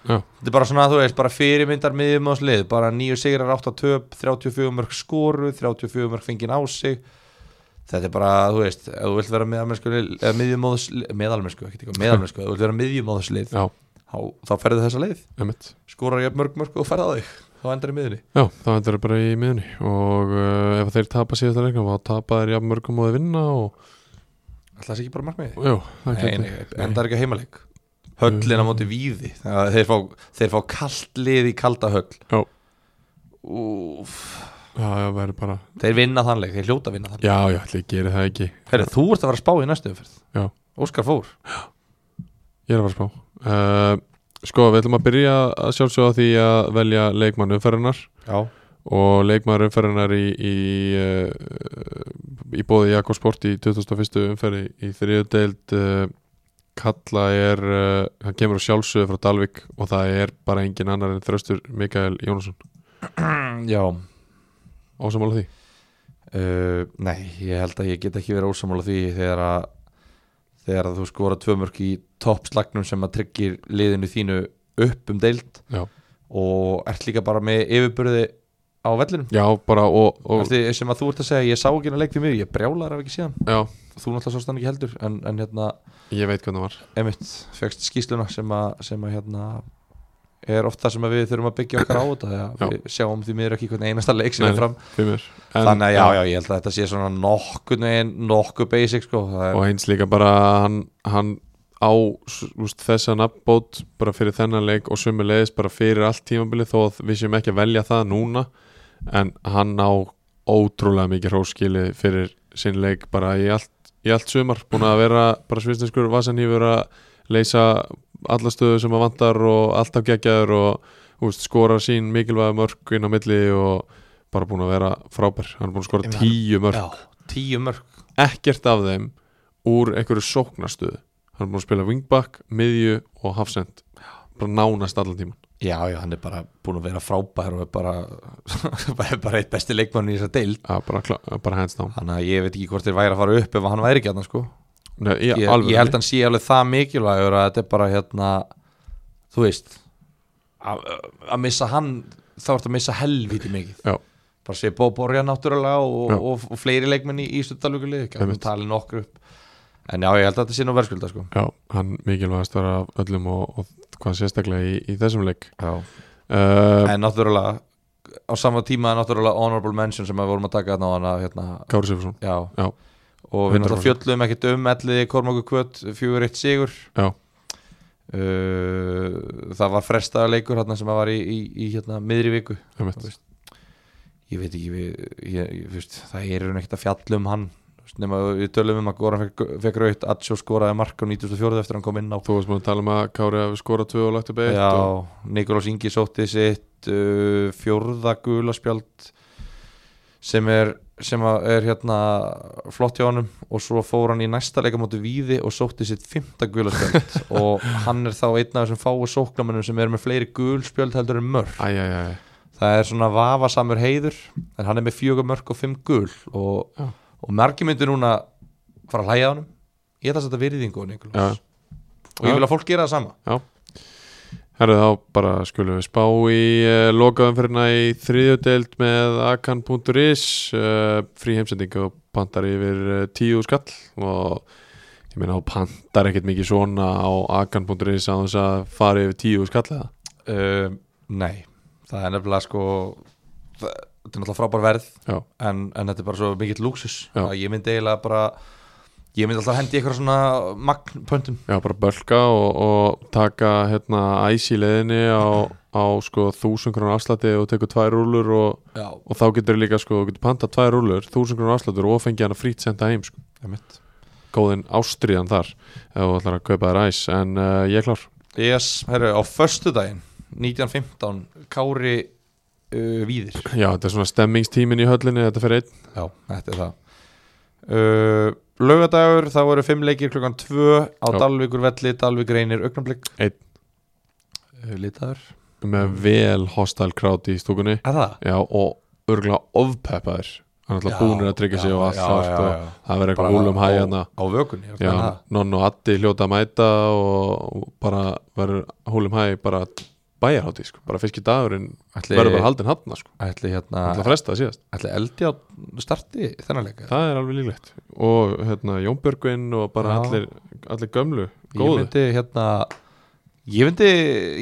Speaker 2: Já.
Speaker 4: þetta er bara svona, þú veist, bara fyrirmyndar miðjum ás lið, bara nýju sigrar, 8 töp, 34 mörg skoru, 34 mörg fengin á sig, þetta er bara, þú veist, ef þú vilt vera meðalmennsku eða miðjumóðs, meðalmennsku, ekki eitthvað, meðalmennsku ef þú vilt vera miðjumóðslið,
Speaker 2: Já.
Speaker 4: þá, þá ferðu þessa leið,
Speaker 2: emitt
Speaker 4: skorar ég mörg mörg og ferða þig, þá endar í miðjunni
Speaker 2: Já, það endur bara í miðunni og uh, ef þeir tapa síðasta leiknum þá tapa þeir jafn mörgum og þeir vinna og
Speaker 4: Ætli það sé ekki bara markmiðið?
Speaker 2: jú, það
Speaker 4: Nei,
Speaker 2: gæti
Speaker 4: nei, endar ekki á heimaleik höllin á
Speaker 2: Mm.
Speaker 4: móti víði þannig að þeir fá, þeir fá kalt lið í kalda höll
Speaker 2: Já.
Speaker 4: Úf,
Speaker 2: Já, það verður bara
Speaker 4: þeir vinna þannleik, þeir hljóta að vinna þannleik
Speaker 2: Já, já, ætli ég geri það ekki
Speaker 4: Herri, þú ert að fara að spá í næstu umferð
Speaker 2: Já.
Speaker 4: Óskar fór
Speaker 2: Ég er að fara að spá uh, Sko, við ætlum að byrja að sjálfsögða því að velja leikmann umferðunar
Speaker 4: Já.
Speaker 2: og leikmaður umferðunar í í, uh, í bóði Jakob Sport í 2001. umferði í þriðudeild uh, Kalla er uh, hann kemur á sjálfsögðu frá Dalvik og það er bara engin annar en þröstur Mikael Jónasson
Speaker 4: Já.
Speaker 2: Ásamála því
Speaker 4: Uh, nei, ég held að ég get ekki verið ósamála því þegar að þegar að þú skora tvö mörk í toppslagnum sem að tryggir liðinu þínu upp um deild
Speaker 2: Já.
Speaker 4: og ert líka bara með yfirburði á vellinum
Speaker 2: Já, bara og, og
Speaker 4: Eftir, sem að þú ert að segja, ég sá ekki hennar leik því miður ég brjálar af ekki síðan,
Speaker 2: já,
Speaker 4: þú náttúrulega sást hann ekki heldur en, en hérna,
Speaker 2: ég veit hvernig það var
Speaker 4: emitt, fegst skýsluna sem að, sem að hérna er oft það sem að við þurfum að byggja okkar á þetta
Speaker 2: Já.
Speaker 4: þegar við sjáum því miður ekki hvernig einasta leik sem
Speaker 2: Nei,
Speaker 4: er fram,
Speaker 2: fyrir mér En-
Speaker 4: þannig að já, já, ég held að þetta sé svona nokkuð negin, nokkuð basic sko, það
Speaker 2: Og
Speaker 4: er,
Speaker 2: eins líka bara að hann, hann á s- úst, þessa nafnbót bara fyrir þennan leik og sömulegis bara fyrir allt tímabilið þó að við séum ekki að velja það núna en hann á ótrúlega mikið hróskili fyrir sinn leik bara í allt, í allt sumar búin að vera bara svisneskur vasanhýfur að leysa alla stöðu sem að vantar og alltaf geggjaður og úst, skora sín mikilvæg mörg inn á milli og bara búin að vera frábær hann er búin að skora
Speaker 4: Ég meina,
Speaker 2: tíu mörg
Speaker 4: já, tíu mörg
Speaker 2: ekkert af þeim úr einhverju sóknarstöðu hann er búin að spila wingback, miðju og hafsend bara nánast allan tíman
Speaker 4: já, já, hann er bara búin að vera frábær og er bara, bara, bara eitt besti leikmann í þessa deild
Speaker 2: ja, bara, klá- bara hands down
Speaker 4: þannig að ég veit ekki hvort þeir væri að fara upp ef hann væri ekki hann sko
Speaker 2: Nei, í
Speaker 4: ég,
Speaker 2: alvörunni.
Speaker 4: ég held að hann sé alveg það mikilvægur að þetta er bara hérna þú veist að að missa hann þá ertu að missa helviti mikið
Speaker 2: Já.
Speaker 4: bara sé Bó Borja náttúrulega og,
Speaker 2: Já.
Speaker 4: og, og fleiri leikmenn í Íslandalugulið ekki að
Speaker 2: Einmitt.
Speaker 4: hann tali nokkur upp en já ég held að þetta sé nú verðskulda sko
Speaker 2: Já, hann mikilvægast var af öllum og, og hvað sérstaklega í, í þessum leik
Speaker 4: já.
Speaker 2: uh,
Speaker 4: en náttúrulega á sama tíma náttúrulega honorable mention sem við vorum að taka þarna á hana hérna,
Speaker 2: Kári Sifursson
Speaker 4: já.
Speaker 2: Já.
Speaker 4: og við náttúrulega
Speaker 2: 100%.
Speaker 4: fjöllum ekkert um elliði Kormáku Kvöt 4-1 sigur
Speaker 2: Já.
Speaker 4: uh, það var frestaða leikur hérna sem að var í, í, í hérna miðri viku
Speaker 2: einmitt.
Speaker 4: Þú veist, ég veit ekki við, ég, ég, þú veist, það er hún ekkert að fjalla um hann þú veist, nema við tölum um að Goran fekk, fekk raut Atsjó skoraði mark á 94 eftir að hann kom inn á
Speaker 2: Þú varst búin að tala um að Kári hafi skorað tvö og lagt upp eitt
Speaker 4: Já,
Speaker 2: og,
Speaker 4: Nikolás Ingi sótti sitt uh, fjórða gula spjald sem er, sem að er hérna flott hjá honum og svo fór hann í næsta leikamóti víði og sótti sitt fimmta gula spjald og hann er þá einn af þessum fáu sóknamennum sem er með fleiri gul spjöld heldur en mörg
Speaker 2: Æ, æ, æ,
Speaker 4: það er svona vafasamur heiður en hann er með fjögur mörg og fimm gul og,
Speaker 2: Já.
Speaker 4: og margir myndir núna fara að hlæja á honum ég ætla að setja virðingu á
Speaker 2: Já.
Speaker 4: Nikolás og ég vil að fólk gera það sama
Speaker 2: Herðu þá bara skulum við spá í uh, lokaumferðina í þriðjöldeild með akan.is uh, frí heimsending og pantar yfir uh, tíu skall og ég meina þá pantar ekkert mikið svona á akan.is á þess að fara yfir tíu skall eða
Speaker 4: Um, nei, það er nefnilega sko það, þetta er náttúrulega frábær verð
Speaker 2: Já.
Speaker 4: en, en þetta er bara svo mikill lúksus
Speaker 2: Já.
Speaker 4: að ég myndi eiginlega bara ég myndi alltaf hendi ykkur svona magnpöntum
Speaker 2: Já, bara bölka og, og taka hérna æs í leðinni á, á sko þúsund krónar afslati og tekur tvær rúlur og,
Speaker 4: Já,
Speaker 2: og þá getur líka sko, þú getur pantað tvær rúlur þúsund krónar afslatur og fengi hana frýtt senda heim sko.
Speaker 4: emitt
Speaker 2: góðin ástriðan þar ef þú ætlar að kaupa þér æs en uh, ég er klár
Speaker 4: Yes, herru, á föstudaginn 1915, Kári uh, Víðir
Speaker 2: Já, þetta er svona stemmingstímin í höllinni þetta fyrir einn
Speaker 4: Já, þetta er það uh, Laugadagur, þá eru fimm leikir klukkan tvö á
Speaker 2: Já.
Speaker 4: Dalvíkur velli, Dalvík reynir augnablik
Speaker 2: Einn.
Speaker 4: uh, Litaður
Speaker 2: með vel hostile crowd í stúkunni
Speaker 4: Er það?
Speaker 2: Já, og örgulega ofpeppaðir hann er alltaf
Speaker 4: Já,
Speaker 2: búnir að tryggja sig
Speaker 4: já,
Speaker 2: og allt sko.
Speaker 4: já,
Speaker 2: allt
Speaker 4: já,
Speaker 2: og
Speaker 4: já.
Speaker 2: það verður
Speaker 4: Bara
Speaker 2: eitthvað húlum
Speaker 4: á-
Speaker 2: hægjana
Speaker 4: á vökunni,
Speaker 2: Já, nonn og addi hljóta að mæta og og bara verður húlum hæg bara bæjarhátti sko. bara fiskir dagurinn
Speaker 4: ætli,
Speaker 2: verður bara haldin hafna sko.
Speaker 4: ætli
Speaker 2: alltaf
Speaker 4: hérna
Speaker 2: fresta síðast
Speaker 4: ætli eldi á starti þennan leika
Speaker 2: Það er alveg líklegt og hérna Jónbjörgvin og bara
Speaker 4: Já.
Speaker 2: allir, allir gömlu
Speaker 4: ég
Speaker 2: góðu
Speaker 4: myndi hérna ég myndi,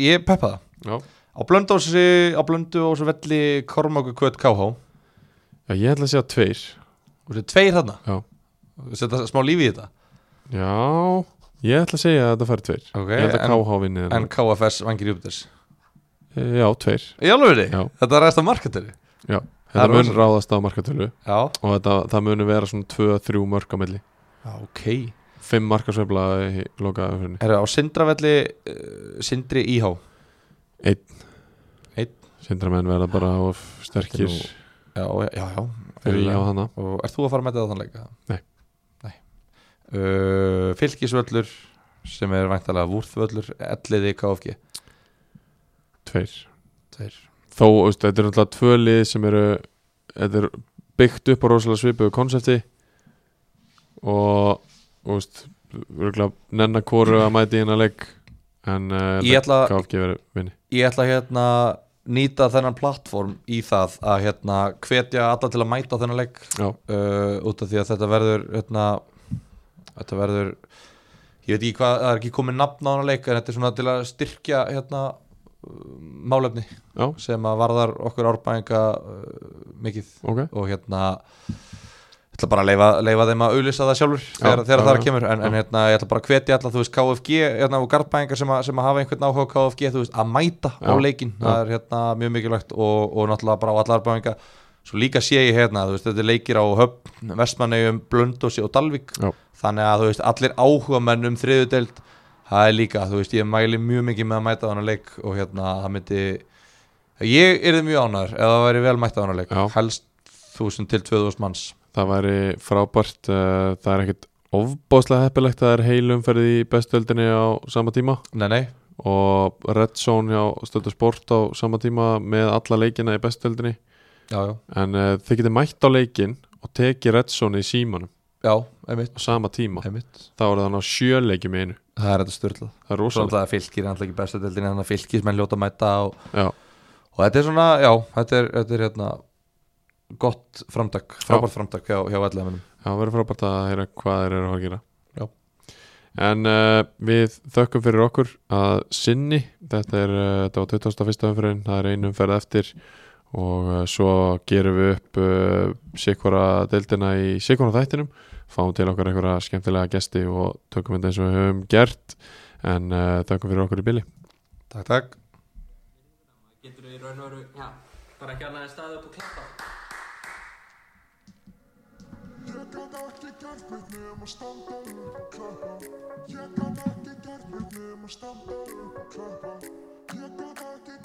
Speaker 4: ég peppa það
Speaker 2: Já.
Speaker 4: á blöndósi, á blöndu og svo velli Kormáku Kvöt KH og
Speaker 2: Já, ég ætla að segja tveir
Speaker 4: þetta er tveir þarna
Speaker 2: Já.
Speaker 4: setja smá lífi í þetta
Speaker 2: Já, ég ætla að segja að þetta færi tveir
Speaker 4: Ok,
Speaker 2: Ég ætla að
Speaker 4: en-
Speaker 2: KH vinni þennan. Eh,
Speaker 4: en KFS vangir Júpiters
Speaker 2: Já, tveir
Speaker 4: í alveg
Speaker 2: Já.
Speaker 4: þetta ræðist á markateri
Speaker 2: Já,
Speaker 4: Það er
Speaker 2: þetta mun
Speaker 4: rosa.
Speaker 2: ráðast á markatölu
Speaker 4: já,
Speaker 2: og þetta, það munu vera svona 2-3 mörg á milli
Speaker 4: já ok
Speaker 2: Fimm markasveifla í lokaða umfyrinni
Speaker 4: er það á Sindravelli uh, Sindri Íhá
Speaker 2: Sindramenn verða bara of sterkir
Speaker 4: Þetta já, já, já
Speaker 2: fyrir hjá hana
Speaker 4: og ert þú að fara með þetta þannig leika?
Speaker 2: Nei.
Speaker 4: Nei. Uh, Fylkisvöllur sem er væntalega vúrþvöllur elliði KFG
Speaker 2: Tveir
Speaker 4: Tveir.
Speaker 2: Þó, veist, þetta er náttúrulega tvö lið sem eru Þetta er byggt upp á rosalega svipuðu konsepti og, þú veist, örgulega nennan kóru að mæti hérna leik en uh,
Speaker 4: Ég ætla,
Speaker 2: KFG verið vinni
Speaker 4: ég ætla hérna nýta þennan plattform í það að hérna hvetja alla til að mæta á þennan leik
Speaker 2: Já.
Speaker 4: uh, út af því að þetta verður hérna, þetta verður ég veit ekki hvað, það er ekki komið nafn á hana leik en þetta er svona til að styrkja hérna uh, málefni
Speaker 2: Já.
Speaker 4: sem að varðar okkur árbæðinga uh, mikið
Speaker 2: Ok,
Speaker 4: og hérna ég ætla bara að leifa, leifa þeim að auðlýsa það sjálfur þegar, þegar
Speaker 2: já,
Speaker 4: það
Speaker 2: já.
Speaker 4: kemur en, en
Speaker 2: Já.
Speaker 4: hérna, ég ætla bara að hvetja alla, þú veist, KFG hérna, og garðbæðingar sem, að- sem að hafa einhvern áhuga á KFG, þú veist, að mæta á
Speaker 2: Já,
Speaker 4: leikin
Speaker 2: já.
Speaker 4: það er hérna mjög mikilvægt og, og náttúrulega bara á allar bæðinga svo líka sé ég hérna, þú veist, þetta er leikir á Höfn, Vestmannegjum, Blöndósi og Dalvík
Speaker 2: Já.
Speaker 4: þannig að þú veist, allir áhuga menn um þriðudeld, það er líka þú veist, ég mæli mjög mikið með að mæta á hana leik og hérna, það myndi ég er mjög ánæður ef það væri vel mætt á hana leik
Speaker 2: Já.
Speaker 4: helst 1000 til 2000 manns
Speaker 2: það væri frábært uh, það er ekkit ofbáslega heppilegt að það er heil umferð í bestöldinni á sama tíma
Speaker 4: nei, nei,
Speaker 2: og Red Zone hjá Stöldu Sport á sama tíma með alla leikina í bestöldinni
Speaker 4: já, já,
Speaker 2: en uh, þið getið mætt á leikin og tekið Red Zone í símanum
Speaker 4: já, einmitt,
Speaker 2: á sama tíma
Speaker 4: einmitt.
Speaker 2: þá er það ná sjö leikjum í einu
Speaker 4: það er þetta styrlað
Speaker 2: það er
Speaker 4: svo
Speaker 2: rosalega
Speaker 4: alltaf fylgir, er alltaf ekki bestu deildin en það fylgir sem enn ljóta að mæta og,
Speaker 2: Já,
Speaker 4: og þetta er svona, já, þetta er, þetta er hérna gott framtak, frábært framtak hjá, hjá allamennum
Speaker 2: það verður frábært að heyra hvað þeir eru að gera
Speaker 4: Já.
Speaker 2: En uh, við þökkum fyrir okkur að sinni Þetta er uh, þetta var 21. umferðin Það er einum ferð eftir og uh, svo gerum við upp uh, sikvara deildina í sikvara þættinum fáum til okkar einhverja skemmtilega gesti og tökum þetta eins og við höfum gert en uh, þakkum fyrir okkur í bili
Speaker 4: Takk, takk
Speaker 5: getur þú í raun og veru, já, bara ekki annað en staðið upp og klappa.
Speaker 1: Ég gat ekki gert neitt nema standa upp, klappa Ég gat ekki gert neitt nema standa upp, klappa Ég gat ekki